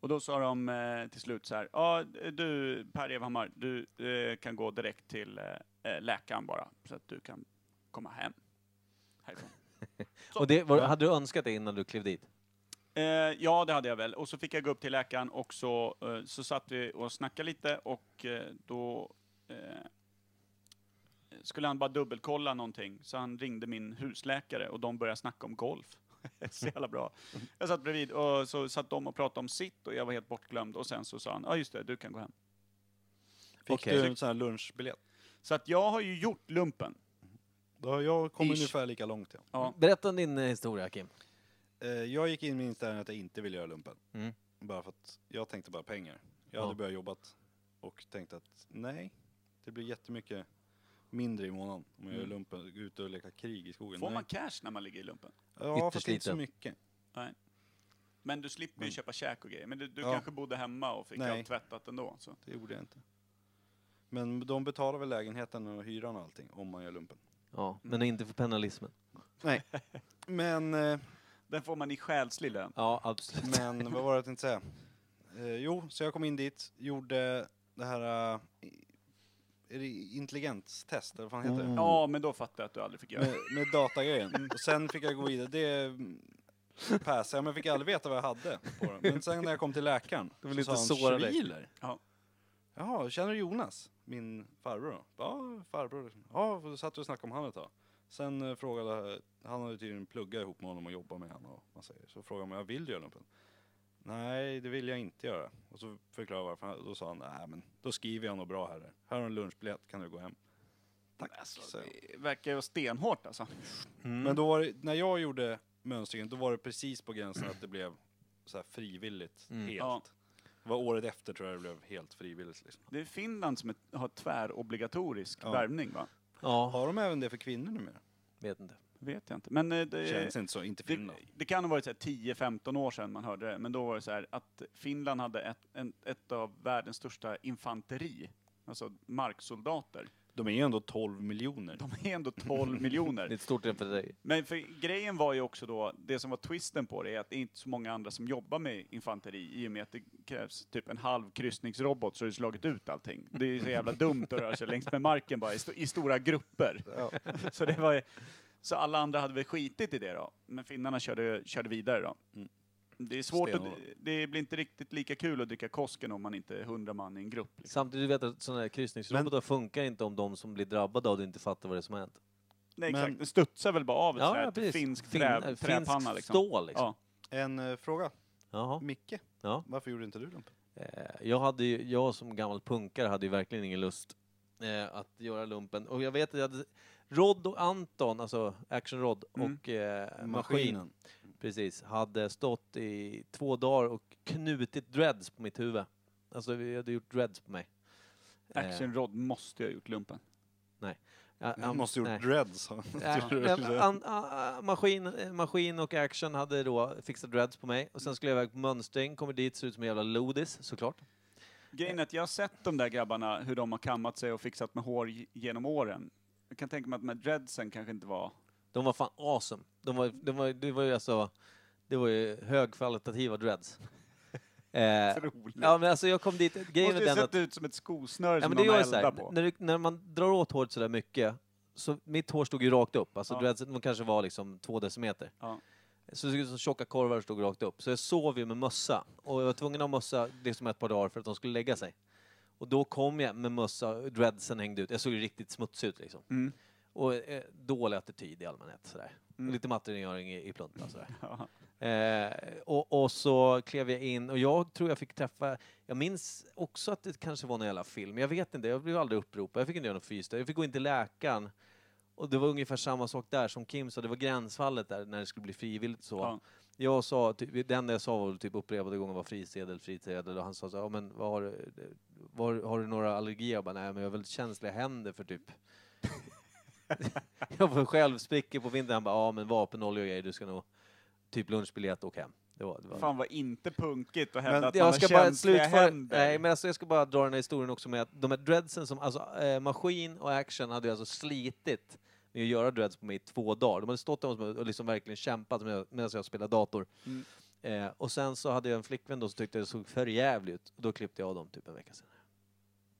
Speaker 1: Och då sa de eh, till slut så här, ja du Per Evhammar, du eh, kan gå direkt till eh, eh, läkaren bara, så att du kan komma hem härifrån.
Speaker 3: Och det, var, hade du önskat det innan du klev dit?
Speaker 1: Eh, ja, det hade jag väl. Och så fick jag gå upp till läkaren och så, eh, så satt vi och snackade lite och eh, då eh, skulle han bara dubbelkolla någonting. Så han ringde min husläkare och de började snacka om golf. så jävla bra. Jag satt bredvid och så satt de och pratade om sitt och jag var helt bortglömd och sen så sa han, ja just det, du kan gå hem.
Speaker 2: Fick
Speaker 3: Okej.
Speaker 2: du en sån här lunchbiljett?
Speaker 1: Så att jag har ju gjort lumpen.
Speaker 2: Då har jag kommit
Speaker 1: Ish.
Speaker 2: ungefär lika långt. Ja.
Speaker 1: Ja.
Speaker 3: Berätta om din eh, historia, Kim.
Speaker 2: Eh, Jag gick in med inställningen att jag inte ville göra lumpen.
Speaker 3: Mm.
Speaker 2: Bara för att jag tänkte bara pengar. Jag
Speaker 3: Ja.
Speaker 2: hade börjat jobbat och tänkte att nej, det blir jättemycket mindre i månaden om jag gör lumpen. Gå ut och leka krig i skogen.
Speaker 1: Får
Speaker 2: nej.
Speaker 1: man cash när man ligger i lumpen?
Speaker 2: Ja,
Speaker 3: Ytterst
Speaker 2: fast inte så
Speaker 3: lite.
Speaker 2: mycket.
Speaker 1: Men du slipper ju köpa käk och grejer. Men du, du
Speaker 2: Mm. Ja.
Speaker 1: kanske bodde hemma och fick
Speaker 2: Nej.
Speaker 1: allt tvättat ändå. Så.
Speaker 2: Det gjorde jag inte. Men de betalar väl lägenheten och hyran och allting om man gör lumpen.
Speaker 3: Ja,
Speaker 1: Mm.
Speaker 3: men inte för pennalismen.
Speaker 2: Men, eh,
Speaker 1: Den får man i själslig lön.
Speaker 3: Ja, absolut.
Speaker 2: men vad var det jag tänkte säga? Eh, jo, så jag kom in dit, gjorde det här eh, är det intelligenstest, eller vad fan heter det?
Speaker 1: Ja, men då fattar jag att du aldrig fick göra
Speaker 2: med,
Speaker 1: det.
Speaker 2: med datagrejen. Och sen fick jag gå vidare. Det mm, passade jag, men jag fick aldrig veta vad jag hade på den. Men sen när jag kom till läkaren
Speaker 3: De vill
Speaker 2: så
Speaker 3: inte
Speaker 2: sa
Speaker 3: såra
Speaker 2: han
Speaker 3: dig.
Speaker 2: schwiler.
Speaker 1: Ja.
Speaker 2: Jaha, känner du Jonas? Min farbror då? Ja, farbror. Ja, och då satt vi och snackade om han ett tag. Sen eh, frågade, han hade tydligen pluggat ihop med honom och jobbat med honom och man säger. Så frågade han om jag vill göra lumpen. Nej, det vill jag inte göra. Och så förklarade jag varför. Han- Då sa han, nej men då skriver jag något bra här. Här har du en lunchbiljett, kan du gå hem. Tack, sa jag.
Speaker 1: Det verkar ju vara stenhårt alltså.
Speaker 2: Men då var det, när jag gjorde mönstringen, då var det precis på gränsen att det blev så här frivilligt helt.
Speaker 1: Mm. Ja.
Speaker 2: Det var året efter tror jag det blev helt frivilligt. Liksom.
Speaker 1: Det är Finland som ett, har tvärobligatorisk
Speaker 2: Ja.
Speaker 1: värvning va?
Speaker 3: Ja,
Speaker 2: Har de även det för kvinnor numera?
Speaker 3: vet inte.
Speaker 1: Vet jag inte. Men eh,
Speaker 2: Det
Speaker 1: det,
Speaker 2: känns inte så, inte
Speaker 1: det,
Speaker 2: Finland.
Speaker 1: det kan ha varit så här 10-15 år sedan man hörde det, men då var det så här att Finland hade ett, en, ett av världens största infanteri, alltså marksoldater.
Speaker 2: De är ju ändå 12 miljoner.
Speaker 1: De är ändå 12
Speaker 3: Det är
Speaker 1: miljoner.
Speaker 3: ett stort ämne för dig.
Speaker 1: Men för grejen var ju också då, det som var twisten på det är att det är inte så många andra som jobbar med infanteri i och med att det krävs typ en halv kryssningsrobot så har du slagit ut allting. Det är ju så jävla dumt att röra sig längs med marken bara i, sto- i stora grupper. Så, det var, ju- så alla andra hade väl skitit i det då, men finnarna körde, körde vidare då.
Speaker 2: Mm.
Speaker 1: Det är svårt att,
Speaker 2: Stenhårt.
Speaker 1: det blir inte riktigt lika kul att dricka Kosken om man inte är hundra man i en grupp. Liksom.
Speaker 3: Samtidigt vet jag att sådana här kryssningsrobotar funkar inte om de som blir drabbade av det inte fattar vad det är som har hänt.
Speaker 1: Nej
Speaker 2: Men-
Speaker 1: exakt, det studsar väl bara av ett
Speaker 3: Ja,
Speaker 1: sådär
Speaker 3: ja, precis.
Speaker 1: finskt
Speaker 3: Fin-
Speaker 1: trä,
Speaker 3: äh, finskt
Speaker 1: träpanna liksom.
Speaker 3: stål liksom.
Speaker 1: Ja.
Speaker 2: En eh, fråga.
Speaker 3: Jaha.
Speaker 2: Micke,
Speaker 3: Ja.
Speaker 2: varför gjorde inte du lumpen?
Speaker 3: Eh, Jag, hade ju, jag som gammal punkare hade ju verkligen ingen lust eh, att göra lumpen. Och jag vet att Rod och Anton, alltså Action Rod
Speaker 1: Mm.
Speaker 3: och eh, Maskin, Precis. Hade stått i två dagar och knutit dreads på mitt huvud. Alltså vi hade gjort dreads på mig.
Speaker 1: Action Rod måste jag ha gjort lumpen.
Speaker 3: Eh,
Speaker 2: Han
Speaker 3: an-
Speaker 2: måste ha
Speaker 3: nej.
Speaker 2: gjort dreads. sa han.
Speaker 3: Eh,
Speaker 2: Tror du det?
Speaker 3: eh, an- a- a- maskin, eh, maskin och Action hade då fixat dreads på mig. Och sen skulle jag iväg på mönstring, kommer dit, ser ut som en jävla lodis såklart.
Speaker 1: Grejen är att jag har sett de där grabbarna, hur de har kammat sig och fixat med hår ge- genom åren. Jag kan tänka mig att de här dreadsen kanske inte var...
Speaker 3: De var fan awesome. De var, de var, det var ju alltså, det var ju högkvalitativa dreads. Eh,
Speaker 1: roligt.
Speaker 3: ja men alltså jag kom dit, grejen
Speaker 1: Måste ju
Speaker 3: är den
Speaker 1: sett
Speaker 3: att
Speaker 1: ut som ett skosnöre
Speaker 3: Ja,
Speaker 1: som
Speaker 3: men det
Speaker 1: någon
Speaker 3: gör
Speaker 1: har
Speaker 3: ju så
Speaker 1: eldat
Speaker 3: här,
Speaker 1: på.
Speaker 3: när, du, när man drar åt håret sådär mycket, så mitt hår stod ju rakt upp, alltså
Speaker 1: Ja.
Speaker 3: dreadsen de kanske var liksom två decimeter.
Speaker 1: Ja.
Speaker 3: Så det såg ut som tjocka korvar stod rakt upp. Så jag sov ju med mössa. Och jag var tvungen att ha mössa liksom ett par dagar för att de skulle lägga sig. Och då kom jag med mössa, dreadsen hängde ut. Jag såg ju riktigt smutsig ut liksom.
Speaker 1: Mm.
Speaker 3: Och eh, dålig attityd i allmänhet sådär.
Speaker 1: Mm.
Speaker 3: Lite mattenrengöring i, i plunta sådär.
Speaker 1: Ja.
Speaker 3: Eh, och, och så klev jag in och jag tror jag fick träffa, jag minns också att det kanske var någon jävla film, jag vet inte, jag blev aldrig uppropad, jag fick inte göra någon fys där, jag fick gå in till läkaren. Och det var ungefär samma sak där som Kim sa, det var gränsfallet där när det skulle bli frivilligt så.
Speaker 1: Ja.
Speaker 3: Jag sa, typ, det enda jag sa var typ upprepade gånger var frisedel, frisedel och han sa så här, ja men vad har, du- vad, har du några allergier? Jag bara, nej men jag har väldigt känsliga händer för typ jag var själv spricker på vintern, han bara, ja men vapenolja och grejer, du ska nog typ lunchbiljett och åk hem. Det var, det var.
Speaker 1: Fan var inte punkigt att hävda
Speaker 2: Men
Speaker 1: att man
Speaker 3: jag
Speaker 1: har
Speaker 3: ska bara
Speaker 1: känsliga
Speaker 3: slutföra,
Speaker 1: händer.
Speaker 3: nej men alltså jag ska bara dra den här historien också med att de här dreadsen som, alltså eh, maskin och action hade ju alltså slitit med att göra dreads på mig i två dagar. De hade stått där hos mig och liksom verkligen kämpat med- medan jag spelade dator.
Speaker 1: Mm.
Speaker 3: Eh, och sen så hade jag en flickvän då som tyckte det såg för jävligt ut. Och då klippte jag av dem typ en vecka senare.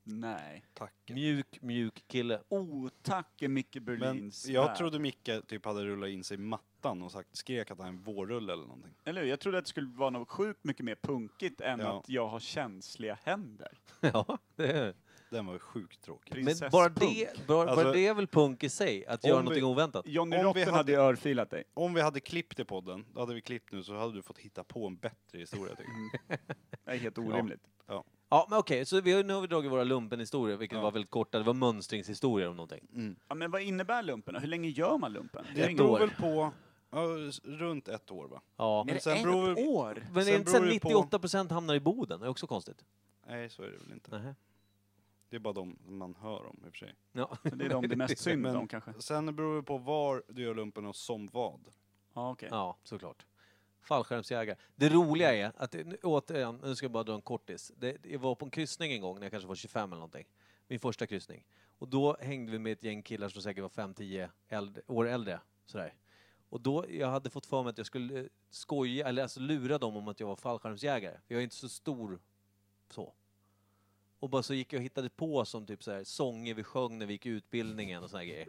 Speaker 1: Nej.
Speaker 2: Tacken.
Speaker 3: Mjuk, mjuk kille.
Speaker 1: Otack är Micke
Speaker 2: Men
Speaker 1: Berlins
Speaker 2: jag
Speaker 1: värld.
Speaker 2: trodde Micke typ hade rullat in sig i mattan och sagt, skrek att han är en vårrulle eller någonting.
Speaker 1: Eller hur? Jag trodde att det skulle vara något sjukt mycket mer punkigt än
Speaker 2: Ja.
Speaker 1: att jag har känsliga händer.
Speaker 3: ja, det är.
Speaker 2: Den var sjukt tråkig.
Speaker 1: Precis.
Speaker 3: Men
Speaker 1: Prinsesspunk.
Speaker 3: bara det, bara, bara
Speaker 2: Alltså-
Speaker 3: det är väl punk i sig? Att göra
Speaker 2: Om vi-
Speaker 3: någonting oväntat?
Speaker 1: Johnny
Speaker 2: Om vi
Speaker 1: Rotten hade
Speaker 2: hade-
Speaker 1: ju örfilat dig.
Speaker 2: Om vi hade klippt i podden, då hade vi klippt nu så hade du fått hitta på en bättre historia tycker
Speaker 1: Mm.
Speaker 2: jag.
Speaker 1: Det är helt orimligt.
Speaker 3: Ja, men okej, så vi har, nu har vi dragit våra lumpenhistorier, vilket
Speaker 2: Ja.
Speaker 3: var väldigt korta. Det var mönstringshistorier om någonting.
Speaker 1: Ja, men vad innebär lumpen? då? Hur länge gör man lumpen?
Speaker 2: Det
Speaker 3: Ett
Speaker 1: ingen-
Speaker 2: beror
Speaker 3: år.
Speaker 2: väl på, ja, s- runt ett år va?
Speaker 3: Ja.
Speaker 2: Men
Speaker 1: Är det
Speaker 2: sen
Speaker 1: ett
Speaker 2: beror-
Speaker 1: år?
Speaker 3: Men
Speaker 2: sen
Speaker 3: är inte så att
Speaker 2: beror det på-
Speaker 3: 98 procent hamnar i Boden? Det är också konstigt.
Speaker 2: Nej så är det väl inte.
Speaker 3: Nähä.
Speaker 2: Det är bara de man hör om i och för sig.
Speaker 3: Ja.
Speaker 1: Så det är de det är mest synd
Speaker 2: Men-
Speaker 1: om kanske?
Speaker 2: Sen beror det på var du gör lumpen och som vad.
Speaker 1: Ja, okej.
Speaker 3: ja, såklart. Fallskärmsjägare. Det roliga är att, eh, nu- återigen, nu ska jag bara dra en kortis. Det, jag var på en kryssning en gång när jag kanske var 25 eller någonting. Min första kryssning. Och då hängde vi med ett gäng killar som säkert var 5-10 äldre- år äldre. Sådär. Och då, jag hade fått för mig att jag skulle eh, skoja, eller alltså lura dem om att jag var fallskärmsjägare. För jag är inte så stor så. Och bara så gick jag och hittade på som typ så här, sånger vi sjöng när vi gick utbildningen och såna här grejer.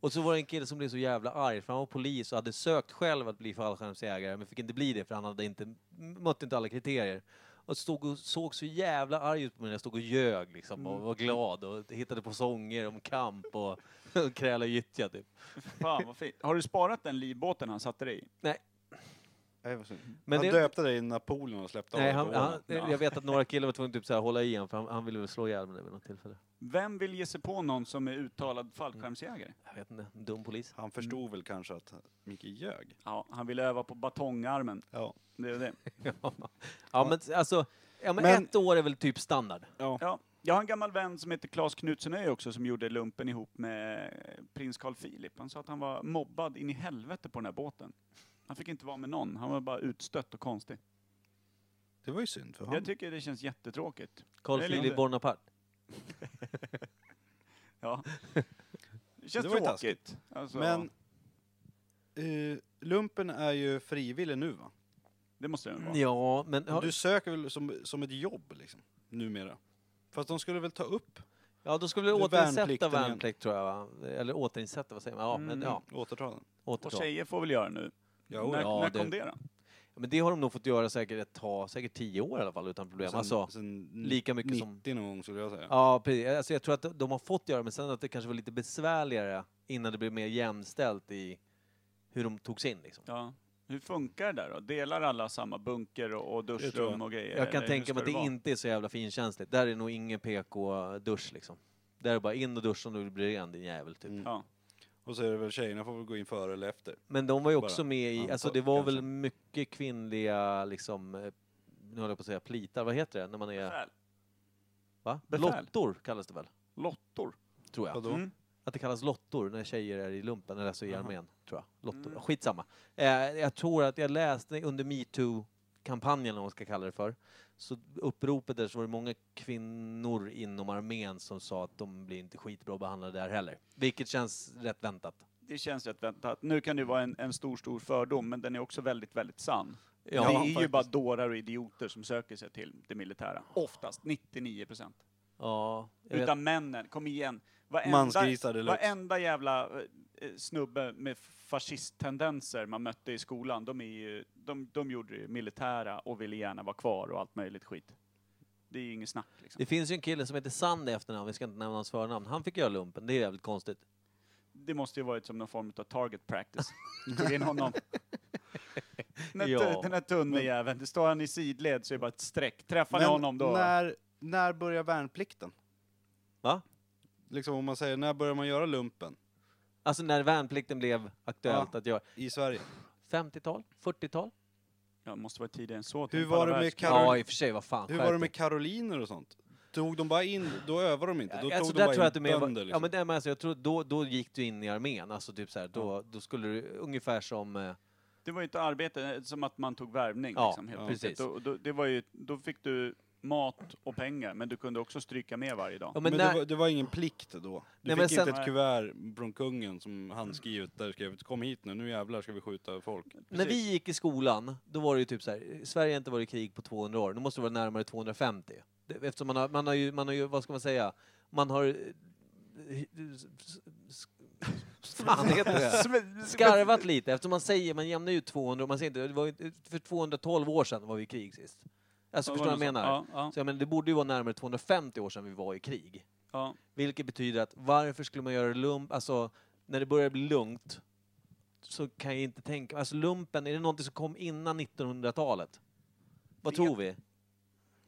Speaker 3: Och så var det en kille som blev så jävla arg för han var polis och hade sökt själv att bli fallskärmsjägare men fick inte bli det för han hade inte, mötte inte alla kriterier. Och stod och såg så jävla arg ut på mig när jag stod och ljög liksom och var glad och hittade på sånger om kamp och, och kräla gyttja typ.
Speaker 1: Fan vad fint. Har du sparat den livbåten han satte dig i?
Speaker 2: Nej, vad synd.
Speaker 3: Men
Speaker 2: han
Speaker 3: det-
Speaker 2: döpte dig i Napoleon och släppte
Speaker 3: Nej,
Speaker 2: av
Speaker 3: han,
Speaker 2: dig på
Speaker 3: han,
Speaker 2: ålen.
Speaker 1: Ja.
Speaker 3: jag vet att några killar var tvungna att typ så här, hålla i honom för han, han ville väl slå ihjäl mig vid något tillfälle.
Speaker 1: Vem vill ge sig på någon som är uttalad fallskärmsjägare?
Speaker 3: Jag vet inte, en dum polis.
Speaker 2: Han förstod väl kanske att Micke ljög.
Speaker 1: Ja, han vill öva på batongarmen.
Speaker 2: Ja.
Speaker 1: Det är det.
Speaker 3: Ja men alltså, ja, men,
Speaker 2: Men-
Speaker 3: ett år är väl typ standard.
Speaker 1: Ja. Jag har en gammal vän som heter Claes Knutsenöj också som gjorde lumpen ihop med eh, prins Carl Philip. Han sa att han var mobbad in i helvete på den här båten. Han fick inte vara med någon, han var bara utstött och konstig.
Speaker 2: Det var ju synd för
Speaker 1: Jag
Speaker 2: honom.
Speaker 1: tycker det känns jättetråkigt.
Speaker 3: Carl
Speaker 1: Eller
Speaker 3: Philip
Speaker 1: inte.
Speaker 3: Bonaparte.
Speaker 1: Ja. Det känns
Speaker 2: Det var ju
Speaker 1: tråkigt. Alltså,
Speaker 2: Men eh, lumpen är ju frivillig nu va?
Speaker 1: Det måste det vara.
Speaker 3: Ja, men... har-
Speaker 2: Du söker väl som, som ett jobb liksom, numera? Fast de skulle väl ta upp,
Speaker 3: Ja, då skulle vi
Speaker 2: Det är
Speaker 3: återinsätta
Speaker 2: värnplikten igen.
Speaker 3: värnplikt tror jag. va? Eller återinsätta, vad säger man? Ja, men
Speaker 1: Mm.
Speaker 3: ja,
Speaker 2: återta den?
Speaker 1: Och
Speaker 3: återta.
Speaker 1: tjejer får väl göra nu. när
Speaker 3: ja,
Speaker 1: när
Speaker 3: det-
Speaker 1: kom det då?
Speaker 3: Men det har de nog fått göra säkert ett tag, säkert tio år i alla fall utan problem. alltså,
Speaker 2: sen
Speaker 3: lika mycket
Speaker 2: 90
Speaker 3: som-
Speaker 2: 90 någon gång skulle jag säga.
Speaker 3: ja, precis. Alltså, jag tror att de har fått göra men sen att det kanske var lite besvärligare innan det blev mer jämställt i hur de togs in. Liksom.
Speaker 1: Ja. Hur funkar det där då? Delar alla samma bunker och, och
Speaker 2: tror
Speaker 1: duschrum
Speaker 2: jag.
Speaker 1: och grejer?
Speaker 3: jag kan
Speaker 1: eller hur
Speaker 3: tänka
Speaker 1: ska
Speaker 3: mig att det
Speaker 1: vara?
Speaker 3: inte är så jävla finkänsligt. Där är nog ingen PK-dusch liksom. Där är det bara in och duscha om du vill bli ren din jävel typ.
Speaker 2: Mm.
Speaker 1: Ja.
Speaker 2: Och så är det väl tjejerna får väl gå in före eller efter.
Speaker 3: Men de var ju också
Speaker 2: Bara
Speaker 3: med i,
Speaker 2: antal,
Speaker 3: alltså det var väl
Speaker 2: kanske.
Speaker 3: mycket kvinnliga liksom, eh, nu höll jag på att säga plitar, vad heter det när man är,
Speaker 1: Befäl.
Speaker 3: va?
Speaker 1: Befäl.
Speaker 3: Lottor kallas det väl?
Speaker 1: Lottor.
Speaker 3: Tror jag.
Speaker 2: Vadå?
Speaker 1: Mm.
Speaker 3: Att det kallas lottor när tjejer är i lumpen, eller alltså i
Speaker 2: Jaha.
Speaker 3: armén, tror jag. Lottor.
Speaker 1: Mm.
Speaker 3: Skitsamma. Eh, jag tror att jag läste under metoo-kampanjen, eller vad man ska kalla det för, så uppropet där så var det många kvinnor inom armén som sa att de blir inte skitbra behandlade där heller. Vilket känns rätt väntat.
Speaker 1: Det känns rätt väntat. Nu kan det ju vara en, en stor, stor fördom, men den är också väldigt, väldigt sann.
Speaker 3: Ja,
Speaker 1: det är ju
Speaker 2: faktiskt.
Speaker 1: bara dårar och idioter som söker sig till det militära. Oftast, 99 procent.
Speaker 3: Ja, jag vet.
Speaker 1: Utan männen, kom igen. Varenda,
Speaker 2: Mansgrisar deluxe.
Speaker 1: varenda jävla eh, eh, snubbe med fascisttendenser man mötte i skolan, de, är ju, de, de gjorde det militära och ville gärna vara kvar och allt möjligt skit. Det är ju inget snack liksom.
Speaker 3: Det finns ju en kille som heter Sand i efternamn, vi ska inte nämna hans förnamn. Han fick göra lumpen, det är jävligt konstigt.
Speaker 1: Det måste ju varit som någon form av target practice. Tog in honom. Den här,
Speaker 3: Ja.
Speaker 1: tu- den här tunna jäveln, det står han i sidled så är det bara ett streck. Träffar ni honom då?
Speaker 2: När, när börjar värnplikten?
Speaker 3: Va?
Speaker 2: Liksom om man säger, när börjar man göra lumpen?
Speaker 3: Alltså när värnplikten blev aktuellt
Speaker 2: Ja.
Speaker 3: att göra.
Speaker 2: I Sverige?
Speaker 3: 50-tal? 40-tal?
Speaker 1: Ja, måste vara tidigare än så.
Speaker 2: Hur
Speaker 1: tänk på
Speaker 2: var
Speaker 1: alla
Speaker 2: det med
Speaker 1: världskrig.
Speaker 2: Karol-
Speaker 3: Ja, i och för sig, vad fan.
Speaker 2: Hur
Speaker 3: skärp
Speaker 2: var det
Speaker 3: dig.
Speaker 2: med karoliner och sånt? Tog de bara in, då övar de inte. Då
Speaker 3: alltså,
Speaker 2: tog
Speaker 3: där
Speaker 2: de bara
Speaker 3: tror jag
Speaker 2: in
Speaker 3: att du med,
Speaker 2: bönder
Speaker 3: Ja,
Speaker 2: liksom.
Speaker 3: men det, men alltså, jag tror, då, då gick du in i armén, alltså typ så här, då, då skulle du ungefär som... eh,
Speaker 1: Det var ju ett arbete, eh, som att man tog värvning.
Speaker 3: Ja,
Speaker 1: liksom, helt
Speaker 3: ja.
Speaker 1: plötsligt.
Speaker 3: precis.
Speaker 1: Då, då, det var ju, då fick du mat och pengar, men du kunde också stryka med varje dag.
Speaker 3: Ja, men
Speaker 2: Men,
Speaker 3: när,
Speaker 2: det, var, det var ingen plikt då? Du
Speaker 3: Nej, men
Speaker 2: fick
Speaker 3: sen-
Speaker 2: inte ett kuvert från kungen som handskrivet där det skrev kom hit nu, nu jävlar ska vi skjuta folk.
Speaker 3: när vi gick i skolan, då var det ju typ så här, Sverige har inte varit i krig på 200 år, nu måste det vara närmare 250. Det- Eftersom man har, man har ju, man har ju, vad ska man säga, man har... eh, s- s- s- Fan heter det? skarvat lite eftersom man säger, man jämnar ju ut 200 och man säger inte, det var ju, för 212 år sedan var vi i krig sist. Alltså
Speaker 1: Ja,
Speaker 3: förstår du
Speaker 1: var
Speaker 3: vad
Speaker 1: det så?
Speaker 3: jag menar?
Speaker 1: Ja,
Speaker 3: Så jag menar, det borde ju vara närmare 250 år sedan vi var i krig.
Speaker 1: ja,
Speaker 3: Vilket betyder att varför skulle man göra lump, alltså när det börjar bli lugnt så kan jag inte tänka, alltså lumpen, är det någonting som kom innan 1900-talet? Vad
Speaker 1: Vet-
Speaker 3: tror vi?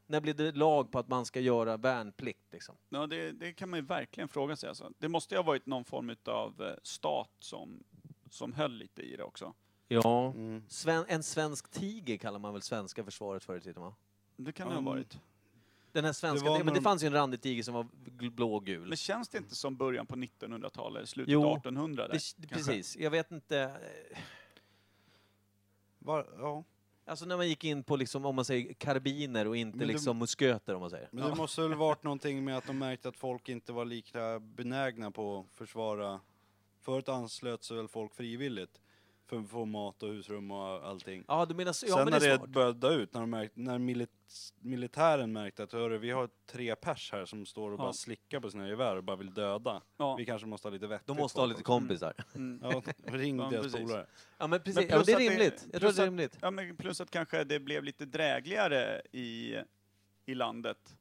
Speaker 3: När blev det lag på att man ska göra värnplikt liksom?
Speaker 1: ja. ja det, det kan man ju verkligen fråga sig. Alltså. Det måste ju ha varit någon form av stat som, som höll lite i det också.
Speaker 3: Ja.
Speaker 2: Mm.
Speaker 3: Sven, en svensk tiger kallar man väl svenska försvaret förr i tiden va?
Speaker 1: Det kan det ha
Speaker 2: Mm.
Speaker 1: varit.
Speaker 3: Den här svenska,
Speaker 2: Det var
Speaker 3: det men
Speaker 2: när
Speaker 3: det
Speaker 2: de-
Speaker 3: fanns ju en randig tiger som var gl- blågul.
Speaker 1: Men känns det inte som början på 1900-talet, slutet
Speaker 3: Jo,
Speaker 1: 1800? Där,
Speaker 3: Det- det-
Speaker 1: kanske?
Speaker 3: Precis, jag vet inte. eh,
Speaker 2: Var, ja.
Speaker 3: Alltså när man gick in på liksom, om man säger karbiner och inte
Speaker 2: Men det-
Speaker 3: liksom musköter om man säger.
Speaker 2: Men det måste väl varit någonting med att de märkte att folk inte var lika benägna på att försvara. Förut anslöt sig väl folk frivilligt för att få mat och husrum och allting.
Speaker 3: Ja, du menar så, ja
Speaker 2: Sen
Speaker 3: men
Speaker 2: när
Speaker 3: det är
Speaker 2: det
Speaker 3: smart.
Speaker 2: började dö ut, när, de märkte, när milit- militären märkte att hörru, vi har tre pers här som står och
Speaker 1: Ja.
Speaker 2: bara slickar på sina gevär och bara vill döda.
Speaker 1: Ja.
Speaker 2: Vi kanske måste ha lite vettigt
Speaker 3: De måste ha
Speaker 2: folk
Speaker 3: lite
Speaker 2: också."
Speaker 3: kompisar.
Speaker 1: Mm.
Speaker 2: Ja, ring
Speaker 1: Ja,
Speaker 2: deras
Speaker 1: precis.
Speaker 2: polare.
Speaker 3: Ja men
Speaker 1: Men
Speaker 3: precis, ja,
Speaker 1: plus
Speaker 3: det är
Speaker 1: att det-
Speaker 3: rimligt. Jag tror
Speaker 1: plus
Speaker 3: att det är
Speaker 1: att-
Speaker 3: rimligt.
Speaker 1: Ja, men plus att kanske det blev lite drägligare i, i landet.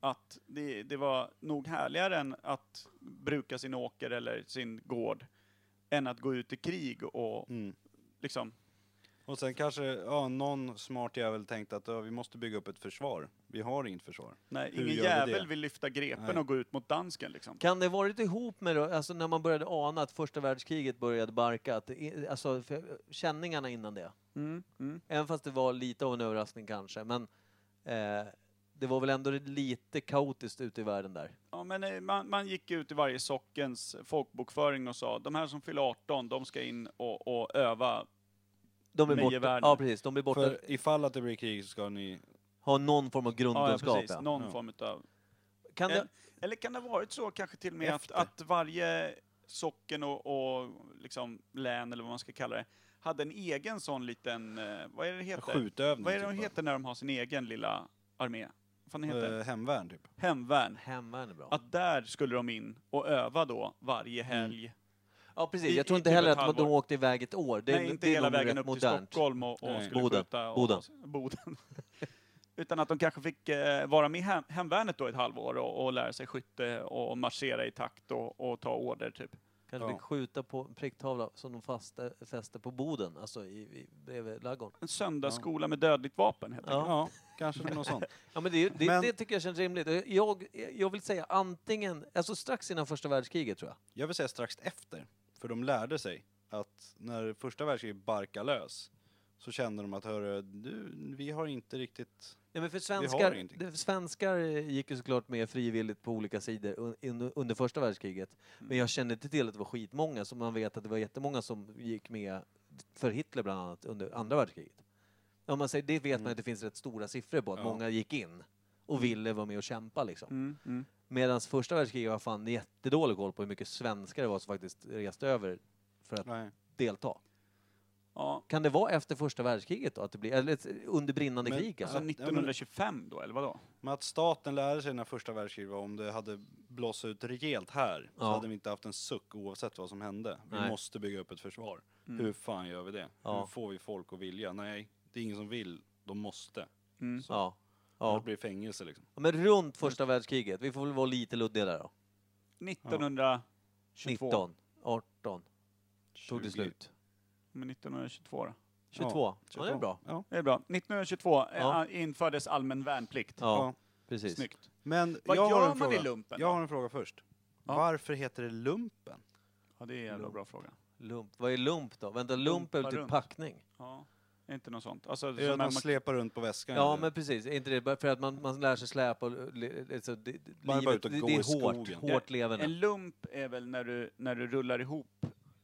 Speaker 1: Att det, det var nog härligare än att bruka sin åker eller sin gård än att gå ut i krig och
Speaker 2: Mm.
Speaker 1: liksom...
Speaker 2: Och sen kanske ja, någon smart jävel tänkte att ja, vi måste bygga upp ett försvar. Vi har inget försvar.
Speaker 1: Nej,
Speaker 2: Hur
Speaker 1: ingen
Speaker 2: gör vi
Speaker 1: jävel
Speaker 2: det?
Speaker 1: vill lyfta grepen
Speaker 2: Nej.
Speaker 1: och gå ut mot dansken liksom.
Speaker 3: Kan det varit ihop med då, alltså när man började ana att första världskriget började barka, att, det är- alltså för- känningarna innan det?
Speaker 1: Mm,
Speaker 3: Även fast det var lite av en överraskning kanske, men eh, det var väl ändå lite kaotiskt ute i världen där.
Speaker 1: Ja, men eh, man, man gick ut i varje sockens folkbokföring och sa de här som fyller 18, de ska in och, och öva.
Speaker 3: De är
Speaker 1: Men i
Speaker 3: borta.
Speaker 1: världen.
Speaker 3: Ja, precis. De är borta.
Speaker 2: För ifall att det blir krig så ska ni...
Speaker 3: Ha någon form av
Speaker 1: Ja, ja,
Speaker 3: grundkunskap.
Speaker 1: precis.
Speaker 3: Ja,
Speaker 1: Någon
Speaker 2: Ja.
Speaker 1: form utav
Speaker 3: kan det,
Speaker 1: Eller, Eh, eller kan det ha varit så kanske till och med att,
Speaker 2: Efter.
Speaker 1: att varje socken och, och liksom län, eller vad man ska kalla det, hade en egen sån liten, eh, vad är det det heter?
Speaker 2: Skjutövning.
Speaker 1: Vad är det de
Speaker 2: typ,
Speaker 1: heter när de har sin egen lilla armé? Vad fan
Speaker 2: va?
Speaker 1: heter det?
Speaker 2: Eh, hemvärn typ.
Speaker 1: Hemvärn.
Speaker 3: Hemvärn är bra.
Speaker 1: Att där skulle de in och öva då varje
Speaker 3: Mm.
Speaker 1: helg.
Speaker 3: ja, precis.
Speaker 1: i-
Speaker 3: Jag tror
Speaker 1: i
Speaker 3: inte
Speaker 1: typ
Speaker 3: heller
Speaker 1: ett
Speaker 3: att de
Speaker 1: halvår.
Speaker 3: åkte iväg ett år. Det, är-
Speaker 1: Nej, inte
Speaker 3: det är
Speaker 1: hela
Speaker 3: nog
Speaker 1: vägen
Speaker 3: rätt
Speaker 1: upp till
Speaker 3: modernt.
Speaker 1: Stockholm och, och
Speaker 2: Nej.
Speaker 1: skulle
Speaker 3: Boden.
Speaker 1: skjuta. Och,
Speaker 3: Boden.
Speaker 1: Boden. Utan att de kanske fick eh, vara med i hem, hemvärnet då ett halvår och, och lära sig skytte och marschera i takt och, och ta order typ.
Speaker 3: Kanske
Speaker 2: Ja.
Speaker 3: fick skjuta på en pricktavla som de faste, fäste på boden, alltså i, i, bredvid ladugården.
Speaker 1: En söndagsskola med dödligt vapen helt enkelt.
Speaker 3: Ja.
Speaker 2: Ja, kanske något sånt.
Speaker 3: Ja, men det, det,
Speaker 2: Men-
Speaker 3: det tycker jag känns rimligt. Och Jag, jag vill säga antingen, alltså strax innan första världskriget tror jag.
Speaker 2: Jag vill säga strax efter, för de lärde sig att när första världskriget barkade lös så kände de att hörru, du, vi har inte riktigt...
Speaker 3: Nej, men för
Speaker 2: har
Speaker 3: svenskar,
Speaker 2: ingenting.
Speaker 3: det, svenskar eh, gick ju såklart med frivilligt på olika sidor un, in, under första världskriget. Men jag kände inte till att det var skitmånga, så man vet att det var jättemånga som gick med för Hitler bland annat under andra världskriget. Om man säger, det vet man att det finns rätt stora siffror på, att
Speaker 2: Ja.
Speaker 3: många gick in och ville vara med och kämpa liksom.
Speaker 1: Mm, mm.
Speaker 3: Medan första världskriget var fan jättedålig koll på hur mycket svenskar det var som faktiskt reste över för att
Speaker 2: Nej.
Speaker 3: delta.
Speaker 1: Ja,
Speaker 3: Kan det vara efter första världskriget då? Att det blir, eller ett- under brinnande
Speaker 2: Men,
Speaker 3: krig
Speaker 1: alltså
Speaker 3: alltså?
Speaker 2: Ja, men-
Speaker 1: 1925 då, eller vadå?
Speaker 2: Men att staten lärde sig när första världskriget var om det hade blåst ut rejält här så
Speaker 3: Ja.
Speaker 2: hade vi inte haft en suck oavsett vad som hände. Vi
Speaker 3: Nej.
Speaker 2: måste bygga upp ett försvar. Hur fan gör vi det?
Speaker 3: Ja.
Speaker 2: Hur får vi folk att vilja? Nej, det är ingen som vill. De måste.
Speaker 1: Mm.
Speaker 2: Så.
Speaker 3: Ja.
Speaker 2: Då
Speaker 3: ja.
Speaker 2: blir det fängelse liksom.
Speaker 3: Ja, Men runt första världskriget, vi får väl vara lite luddiga där då.
Speaker 1: 1922.
Speaker 3: 19, 18, tog
Speaker 2: 20.
Speaker 3: det slut.
Speaker 1: Men 1922 då?
Speaker 3: 22, ja, det är
Speaker 2: 22.
Speaker 3: bra.
Speaker 2: Ja.
Speaker 1: Det är bra. 1922 eh,
Speaker 3: Ja.
Speaker 1: infördes allmän värnplikt.
Speaker 3: Ja,
Speaker 2: Ja.
Speaker 3: precis.
Speaker 1: Snyggt.
Speaker 2: Men
Speaker 1: Vad
Speaker 2: jag har
Speaker 1: gör
Speaker 2: en
Speaker 1: man i
Speaker 2: fråga.
Speaker 1: lumpen?
Speaker 2: Jag har en fråga först.
Speaker 1: Ja.
Speaker 2: Varför heter det lumpen?
Speaker 1: Ja, det är en jävla bra fråga.
Speaker 3: Lump. Vad är lump då? Vänta, lump är väl
Speaker 1: Lumpa
Speaker 3: typ
Speaker 1: runt.
Speaker 3: packning?
Speaker 1: Ja. Inte något sånt. Alltså,
Speaker 2: Är det att
Speaker 1: som
Speaker 2: man
Speaker 1: man-
Speaker 2: släpar runt på väskan?
Speaker 3: Ja,
Speaker 2: eller?
Speaker 3: men precis. Är inte det bara för att man, man lär sig släpa och... le- le- Alltså, det, det-
Speaker 2: Man är bara
Speaker 3: livet,
Speaker 2: ute och
Speaker 3: det,
Speaker 2: går
Speaker 3: det
Speaker 2: i
Speaker 3: är hårt,
Speaker 2: skogen.
Speaker 3: hårt leverne.
Speaker 1: En lump är väl när du, när du rullar ihop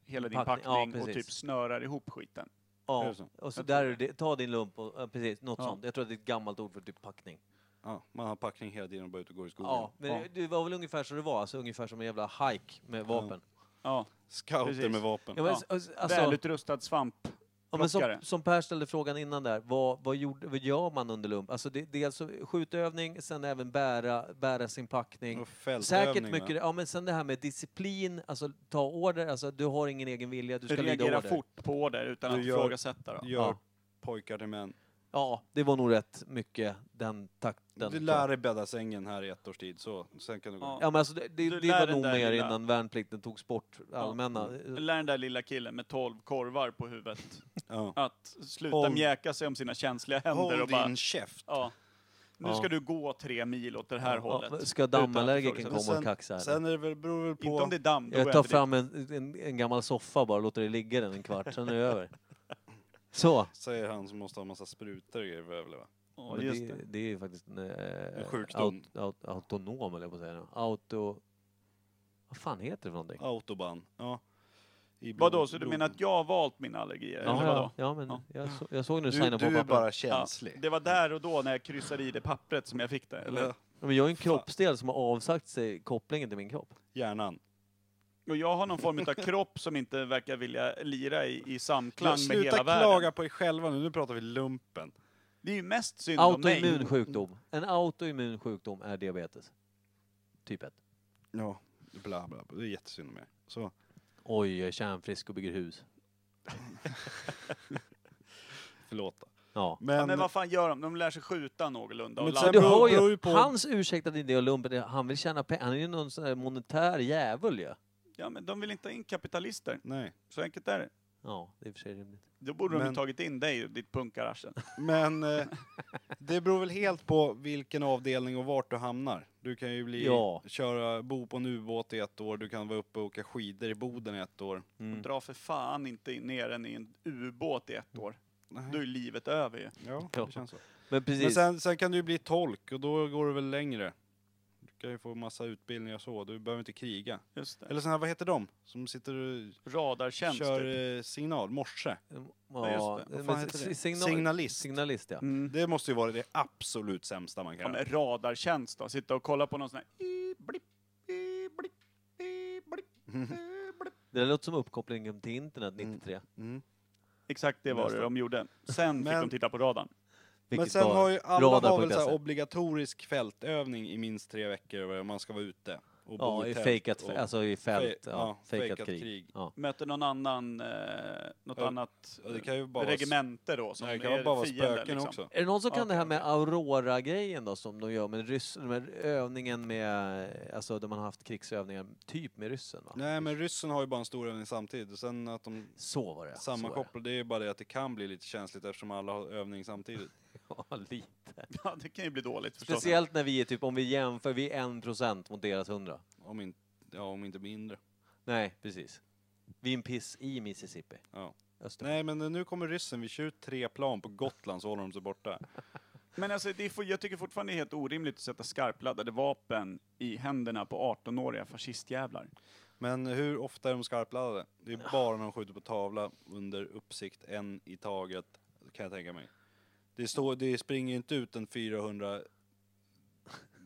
Speaker 1: hela din
Speaker 3: Packning,
Speaker 1: packning,
Speaker 3: ja,
Speaker 1: och
Speaker 3: precis.
Speaker 1: typ snörar ihop skiten.
Speaker 2: Är
Speaker 3: Ja,
Speaker 2: det så?
Speaker 3: och så
Speaker 1: Jag tror
Speaker 3: där, är det, ta din lump och... ja, Precis, något
Speaker 1: Ja.
Speaker 3: sånt. Jag tror att det är ett gammalt ord för typ packning.
Speaker 2: Ja, man har packning hela tiden och bara ut och går i skogen.
Speaker 3: Ja, men
Speaker 1: Ja.
Speaker 3: det var väl ungefär så det var. Alltså ungefär som en jävla hike med vapen.
Speaker 1: Ja.
Speaker 2: Scouter
Speaker 1: Precis.
Speaker 2: med vapen.
Speaker 3: Ja, men, alltså,
Speaker 1: Välutrustad svamp.
Speaker 3: Ja, men som,
Speaker 1: Plockare.
Speaker 3: som Per ställde frågan innan där, vad, vad, gjorde, vad gör man under lump? Alltså det, dels så skjutövning, sen även bära, bära sin packning.
Speaker 2: Och fältövning,
Speaker 3: Säkert mycket,
Speaker 2: va?
Speaker 3: ja men sen det här med disciplin, alltså ta order, alltså du har ingen egen vilja, du
Speaker 1: Du
Speaker 3: ska lyda
Speaker 1: reagerar
Speaker 3: order.
Speaker 1: fort på order utan
Speaker 2: Du
Speaker 1: att
Speaker 2: gör-
Speaker 1: ifrågasätta. Då.
Speaker 2: Gör
Speaker 3: Ja.
Speaker 2: pojkar till män.
Speaker 3: Ja, det var nog rätt mycket den takten.
Speaker 2: Du lär dig bädda sängen här i ett års tid, så sen kan du gå.
Speaker 1: Ja.
Speaker 3: Ja men alltså det,
Speaker 1: Du
Speaker 3: det, det
Speaker 1: lär
Speaker 3: var
Speaker 1: den
Speaker 3: nog
Speaker 1: där
Speaker 3: mer
Speaker 1: lilla-
Speaker 3: innan värnplikten togs bort, allmänna.
Speaker 1: Lär den där lilla killen med 12 korvar på huvudet
Speaker 2: Ja.
Speaker 1: att sluta
Speaker 2: Håll-
Speaker 1: mjäka sig om sina känsliga händer och
Speaker 2: Håll
Speaker 1: bara...
Speaker 2: din käft!
Speaker 1: Ja, nu
Speaker 3: Ja.
Speaker 1: ska du gå tre mil åt det här
Speaker 3: Ja,
Speaker 1: hållet.
Speaker 3: ska dammallergikern
Speaker 1: Utan-
Speaker 3: komma och kaxa? eller?
Speaker 2: sen är det väl, beror väl på...
Speaker 1: Inte om det är damm, då
Speaker 3: Jag
Speaker 1: är
Speaker 3: tar
Speaker 1: det
Speaker 3: fram en, en, en gammal soffa bara och låter det ligga den en kvart, sen är det över. Så.
Speaker 2: Säger han som måste ha massa sprutor och grejer för att överleva.
Speaker 1: Ja,
Speaker 3: Men
Speaker 1: just
Speaker 3: det,
Speaker 1: det.
Speaker 3: det är ju faktiskt en, eh,
Speaker 2: En sjukdom.
Speaker 3: aut- aut- autonom, eller på att säga. nu. Auto... Vad fan heter det för någonting?
Speaker 2: Autobahn. Ja. I blod-
Speaker 1: Vadå, så du
Speaker 2: blod-
Speaker 1: menar att jag har valt mina allergier?
Speaker 3: ja,
Speaker 1: eller vadå?
Speaker 3: ja, ja, men
Speaker 1: Ja.
Speaker 3: Jag, så, jag såg när du
Speaker 2: Du,
Speaker 3: signade på
Speaker 2: du är
Speaker 3: pappret.
Speaker 2: bara
Speaker 1: Ja,
Speaker 2: känslig.
Speaker 1: det var där och då när jag kryssade i det pappret som jag fick det, eller?
Speaker 2: Eller
Speaker 3: Ja, Men jag är en kroppsdel som har avsagt sig kopplingen till min kropp.
Speaker 2: hjärnan.
Speaker 1: Och jag har någon form av kropp som inte verkar vilja lira i, i samklang med
Speaker 2: Sluta
Speaker 1: hela
Speaker 2: klaga
Speaker 1: världen.
Speaker 2: på er själva nu, nu pratar vi lumpen.
Speaker 1: Det är ju mest synd om
Speaker 3: Autoimmun
Speaker 1: mig.
Speaker 3: sjukdom. En autoimmun sjukdom är diabetes. Typ 1.
Speaker 2: Ja, bla bla, bla. det är jättesynd om er. Så.
Speaker 3: Oj, jag är kärnfrisk och bygger hus.
Speaker 2: Förlåt. då.
Speaker 3: Ja.
Speaker 1: Ja, men vad fan gör de? De lär sig skjuta någorlunda. Och
Speaker 2: Men
Speaker 1: ladda.
Speaker 2: sen
Speaker 3: Du
Speaker 2: beror-
Speaker 3: hör
Speaker 2: beror
Speaker 3: ju,
Speaker 2: ju på-
Speaker 3: hans ursäktade idé och lumpen, är att han vill tjäna pengar. Han är ju någon sån där monetär djävul ju.
Speaker 1: Ja, men de vill inte ha in kapitalister.
Speaker 2: Nej.
Speaker 1: Så enkelt är det.
Speaker 3: Ja, det är i och för sig rimligt.
Speaker 1: Då borde de
Speaker 2: Men-
Speaker 1: ju tagit in dig och ditt punkararsel.
Speaker 2: Men eh, det beror väl helt på vilken avdelning och vart du hamnar. Du kan ju bli,
Speaker 3: Ja.
Speaker 2: köra, bo på en ubåt i ett år, du kan vara uppe och åka skidor i Boden i ett år.
Speaker 3: Mm.
Speaker 1: Dra för fan inte in- ner den i en ubåt i ett år. Då är livet över ju.
Speaker 2: Ja,
Speaker 3: Ja,
Speaker 2: det känns så.
Speaker 3: Men precis.
Speaker 2: Men sen, sen kan du ju bli tolk och då går det väl längre. Du kan ju få massa utbildningar så, du behöver inte kriga.
Speaker 1: Just det.
Speaker 2: Eller sådana här, vad heter de? Som sitter och
Speaker 1: Radartjänst.
Speaker 2: kör
Speaker 1: typ.
Speaker 2: eh, signal, morse.
Speaker 1: Ja,
Speaker 3: Ja,
Speaker 1: just det.
Speaker 2: Vad fan
Speaker 3: men
Speaker 2: heter
Speaker 3: si-
Speaker 2: det?
Speaker 3: signal-
Speaker 2: Signalist.
Speaker 3: Signalist, ja.
Speaker 1: Mm.
Speaker 2: Det måste ju vara det absolut sämsta man
Speaker 1: Ja,
Speaker 2: kan
Speaker 1: men
Speaker 2: göra.
Speaker 1: radartjänst då? Sitta och kolla på någon sån här... i, blipp, i, blipp, i, blipp, i, blipp.
Speaker 3: Det där låter som uppkopplingen till internet 93.
Speaker 2: Mm.
Speaker 1: Exakt det var det de gjorde. Sen fick
Speaker 2: Men-
Speaker 1: de titta på radarn.
Speaker 2: Men
Speaker 3: Vilket
Speaker 2: sen
Speaker 3: var
Speaker 2: har ju alla har väl
Speaker 3: radar.se.
Speaker 2: så här obligatorisk fältövning i minst tre veckor och man ska vara ute. Och
Speaker 3: Ja,
Speaker 2: bor
Speaker 3: i
Speaker 2: tält
Speaker 3: fejkat,
Speaker 2: och-
Speaker 3: alltså i fält,
Speaker 2: Fe-
Speaker 3: ja, fejkat krig. Ja.
Speaker 1: Möter någon annan, eh, något
Speaker 2: Ja,
Speaker 1: annat eh,
Speaker 2: Ja, Det kan ju bara vara, s-
Speaker 1: regemente då som
Speaker 2: nej, det kan
Speaker 1: är
Speaker 2: ju bara vara
Speaker 1: fienden,
Speaker 2: spöken
Speaker 1: liksom.
Speaker 2: också.
Speaker 3: Är det någon som kan
Speaker 2: Okej,
Speaker 3: det här med Aurora-grejen då som de gör med ryssen, med övningen med, alltså där man har haft krigsövningar typ med ryssen va?
Speaker 2: Nej, men ryssen har ju bara en stor övning samtidigt. Och sen att de
Speaker 3: Så var det. så var det.
Speaker 2: sammankopplar, det är ju bara det att det kan bli lite känsligt eftersom alla har övning samtidigt.
Speaker 3: Ja, lite.
Speaker 1: Ja, det kan ju bli dåligt förstås.
Speaker 3: Speciellt när vi är typ, om vi jämför, vi är en procent mot deras hundra.
Speaker 2: Om inte, ja, om inte mindre.
Speaker 3: Nej, precis. Vi är en piss i Mississippi.
Speaker 2: Ja.
Speaker 3: Öster.
Speaker 2: Nej, men nu kommer ryssen. Vi kör ut tre plan på Gotland så håller de sig borta.
Speaker 1: Men alltså, det får, jag tycker fortfarande det är helt orimligt att sätta skarpladdade vapen i händerna på 18-åriga fascistjävlar.
Speaker 2: Men hur ofta är de skarpladdade? Det är bara när de skjuter på tavla under uppsikt, en i taget, kan jag tänka mig. Det, står, det springer ju inte ut en 400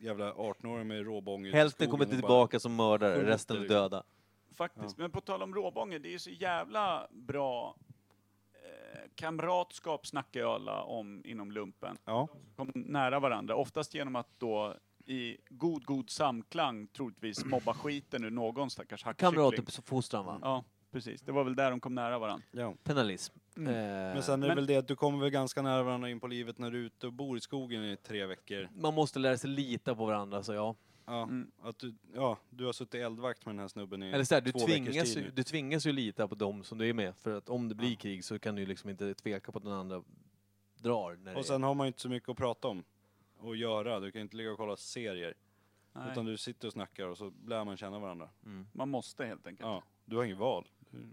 Speaker 2: jävla 18-åring med råbång ut i
Speaker 3: Hälften
Speaker 2: skogen
Speaker 3: kommer
Speaker 2: och bara-
Speaker 3: tillbaka som mördare,
Speaker 2: skjuter
Speaker 3: resten är
Speaker 2: liksom.
Speaker 3: döda.
Speaker 1: Faktiskt. Men på tal om råbången, det är ju så jävla bra eh, kamratskap snackar ju alla om inom lumpen.
Speaker 2: Ja,
Speaker 1: kom nära varandra, oftast genom att då i god, god samklang troligtvis mobba skiten ur någon stackars hackkyckling.
Speaker 3: Kamratfostran va?
Speaker 1: Ja, precis. Det var väl där de kom nära varandra.
Speaker 2: ja.
Speaker 3: Penalism. Eh,
Speaker 2: Mm. Men sen är
Speaker 1: Men-
Speaker 2: det väl det att du kommer väl ganska nära varandra in på livet när du är ute och bor i skogen i tre veckor.
Speaker 3: man måste lära sig lita på varandra, så ja.
Speaker 2: Ja,
Speaker 1: Mm.
Speaker 2: att du, ja du har suttit eldvakt med den här snubben i
Speaker 3: Eller så här, du,
Speaker 2: två veckors
Speaker 3: tvingas
Speaker 2: tid
Speaker 3: ju,
Speaker 2: nu.
Speaker 3: du tvingas ju lita på dem som du är med, för att om det blir krig så kan du ju liksom inte tveka på att den andra drar. När
Speaker 2: Och sen har man ju inte så mycket att prata om och göra. Du kan inte ligga och kolla serier.
Speaker 1: Nej,
Speaker 2: Utan du sitter och snackar och så lär man känna varandra.
Speaker 1: Man måste helt enkelt.
Speaker 2: Ja, du har inget val.
Speaker 3: det är.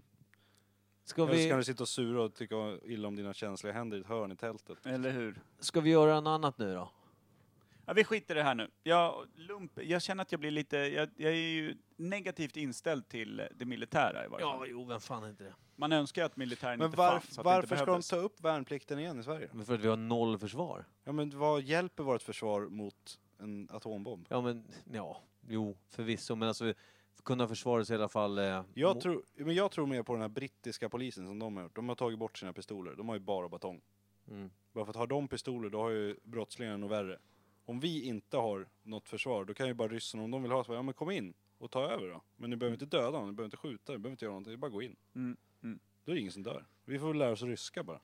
Speaker 3: Ska,
Speaker 2: Eller så kan
Speaker 3: vi,
Speaker 2: du sitta och sura och tycka illa om dina känsliga händer i ett hörn i tältet.
Speaker 1: Eller hur?
Speaker 3: ska vi göra något annat nu då?
Speaker 1: Ja, vi skiter i det här nu. Jag, lump, jag känner att jag blir lite... Jag, jag är ju negativt inställd till det militära i varje fall.
Speaker 3: jo, vem fan är inte det?
Speaker 1: Man önskar att militären
Speaker 2: Men
Speaker 1: inte fanns,
Speaker 2: varf-
Speaker 1: att det
Speaker 2: varför
Speaker 1: inte
Speaker 2: ska de
Speaker 1: behövdes.
Speaker 2: ta upp värnplikten igen i Sverige?
Speaker 3: Men för att vi har noll försvar.
Speaker 2: Ja men vad hjälper vårt försvar mot en atombomb?
Speaker 3: Ja, men ja, jo, förvisso, men alltså kunna försvara sig i alla fall. Eh,
Speaker 2: Jag
Speaker 3: mo-
Speaker 2: tror, men jag tror mer på den här brittiska polisen som de har gjort. De har tagit bort sina pistoler. De har ju bara batong.
Speaker 3: Mm.
Speaker 2: Bara för att har de pistoler, då har ju brottslingen nog värre. Om vi inte har något försvar, då kan ju bara ryssarna, om de vill ha så bara, ja men kom in och ta över då. Men ni behöver inte döda någon, ni behöver inte skjuta, ni behöver inte göra någonting, det är bara att gå in.
Speaker 1: Mm, mm.
Speaker 2: Då är det ingen som dör. Vi får väl lära oss ryska bara.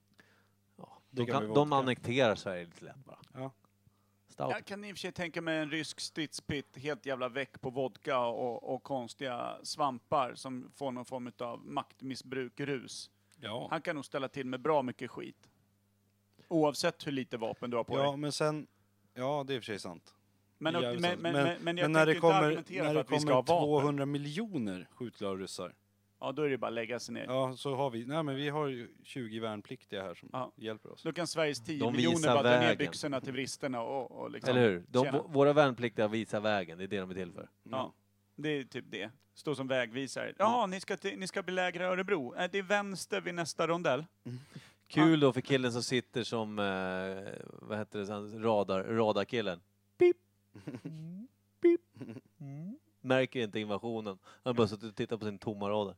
Speaker 3: Ja, de,
Speaker 2: dricka med
Speaker 3: kan,
Speaker 2: vodka.
Speaker 3: de annekterar Sverige lite lätt bara.
Speaker 2: Ja.
Speaker 3: Stout.
Speaker 1: Jag kan i och för sig tänka mig en rysk stridspitt helt jävla väck på vodka och, och konstiga svampar som får någon form av maktmissbruk-rus.
Speaker 2: Ja.
Speaker 1: Han kan nog ställa till med bra mycket skit. Oavsett hur lite vapen du har på
Speaker 2: Ja,
Speaker 1: dig.
Speaker 2: men sen... Ja, det är i och för sig sant.
Speaker 1: Men,
Speaker 2: Det är
Speaker 1: men,
Speaker 2: jävligt
Speaker 1: men,
Speaker 2: sant.
Speaker 1: men, men, jag
Speaker 2: när det
Speaker 1: tänker inte
Speaker 2: kommer,
Speaker 1: argumentera
Speaker 2: när
Speaker 1: för
Speaker 2: det
Speaker 1: att vi ska ha
Speaker 2: kommer
Speaker 1: vapen.
Speaker 2: 200 miljoner skjutglada ryssar,
Speaker 1: Ja, då är det bara att lägga sig ner.
Speaker 2: ja, så har vi... Nej, men vi har ju 20 värnpliktiga här som
Speaker 1: Ja.
Speaker 2: hjälper oss.
Speaker 1: Då kan Sveriges 10
Speaker 3: De
Speaker 1: miljoner
Speaker 3: visar
Speaker 1: bara dra ner
Speaker 3: vägen.
Speaker 1: byxorna till vristerna och, och liksom...
Speaker 3: Eller hur? De,
Speaker 1: tjena.
Speaker 3: vå- våra värnpliktiga visar vägen, det är det de är till för.
Speaker 1: Ja, det är typ det. Stå som vägvisare.
Speaker 3: Mm.
Speaker 1: Ja, ni ska, till, ni ska belägra Örebro. Eh, Det är vänster vid nästa rondell.
Speaker 3: Kul då för killen som sitter som, eh, vad heter det, sen, radar, radarkillen. Pip! Mm, Pip! Mm. Märker inte invasionen. Han har bara suttit och tittat på sin tomma radar.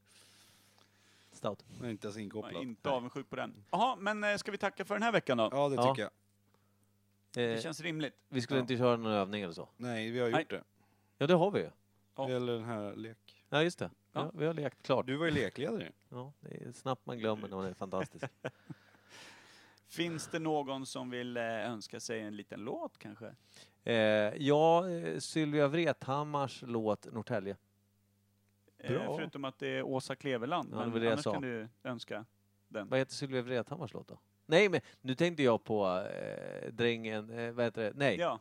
Speaker 3: Stout.
Speaker 2: Men inte ens
Speaker 1: Jag är
Speaker 2: inkopplad.
Speaker 1: inte avundsjuk på den. Jaha, men eh, ska vi tacka för den här veckan då?
Speaker 2: Ja, det
Speaker 3: Ja.
Speaker 2: tycker jag.
Speaker 1: Det
Speaker 3: Eh,
Speaker 1: känns rimligt.
Speaker 3: vi skulle
Speaker 2: ja.
Speaker 3: inte köra någon övning eller så?
Speaker 2: Nej, vi har gjort
Speaker 1: Nej.
Speaker 2: det.
Speaker 3: Ja, det har vi ju.
Speaker 1: Ja.
Speaker 2: Eller den här lek.
Speaker 3: Ja, just det.
Speaker 1: Ja.
Speaker 3: Ja, vi har lekt klart.
Speaker 2: Du var ju lekledare.
Speaker 3: Ja, det är snabbt man glömmer när man är fantastisk.
Speaker 1: Finns det någon som vill eh, önska sig en liten låt kanske?
Speaker 3: Eh, ja, eh, Sylvia Vrethammars låt Norrtälje.
Speaker 1: Eh,
Speaker 2: Bra.
Speaker 1: förutom att det är Åsa Kleveland.
Speaker 3: Ja, det
Speaker 1: men
Speaker 3: var det jag
Speaker 1: annars
Speaker 3: sa.
Speaker 1: kan du önska den.
Speaker 3: Vad heter Sylvia Vrethammars låt då? Nej, men nu tänkte jag på eh, Drängen, eh, vad heter det? Nej.
Speaker 1: Ja.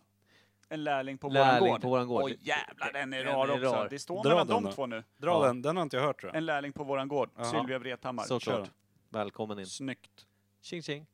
Speaker 1: En lärling på
Speaker 3: Lärling
Speaker 1: våran gård.
Speaker 3: på våran gård.
Speaker 1: Åh jävlar, den är
Speaker 3: Den
Speaker 1: rar
Speaker 3: är
Speaker 1: också.
Speaker 3: rar.
Speaker 1: Det står
Speaker 2: Dra
Speaker 1: mellan
Speaker 2: den
Speaker 1: de
Speaker 2: då.
Speaker 1: två nu.
Speaker 2: Dra
Speaker 3: Ja.
Speaker 2: den, den har inte jag hört tror jag.
Speaker 1: En lärling på våran gård,
Speaker 2: Jaha.
Speaker 1: Sylvia Vrethammar.
Speaker 2: Kör.
Speaker 3: Såklart. Välkommen in.
Speaker 1: Snyggt.
Speaker 3: Tjing tjing.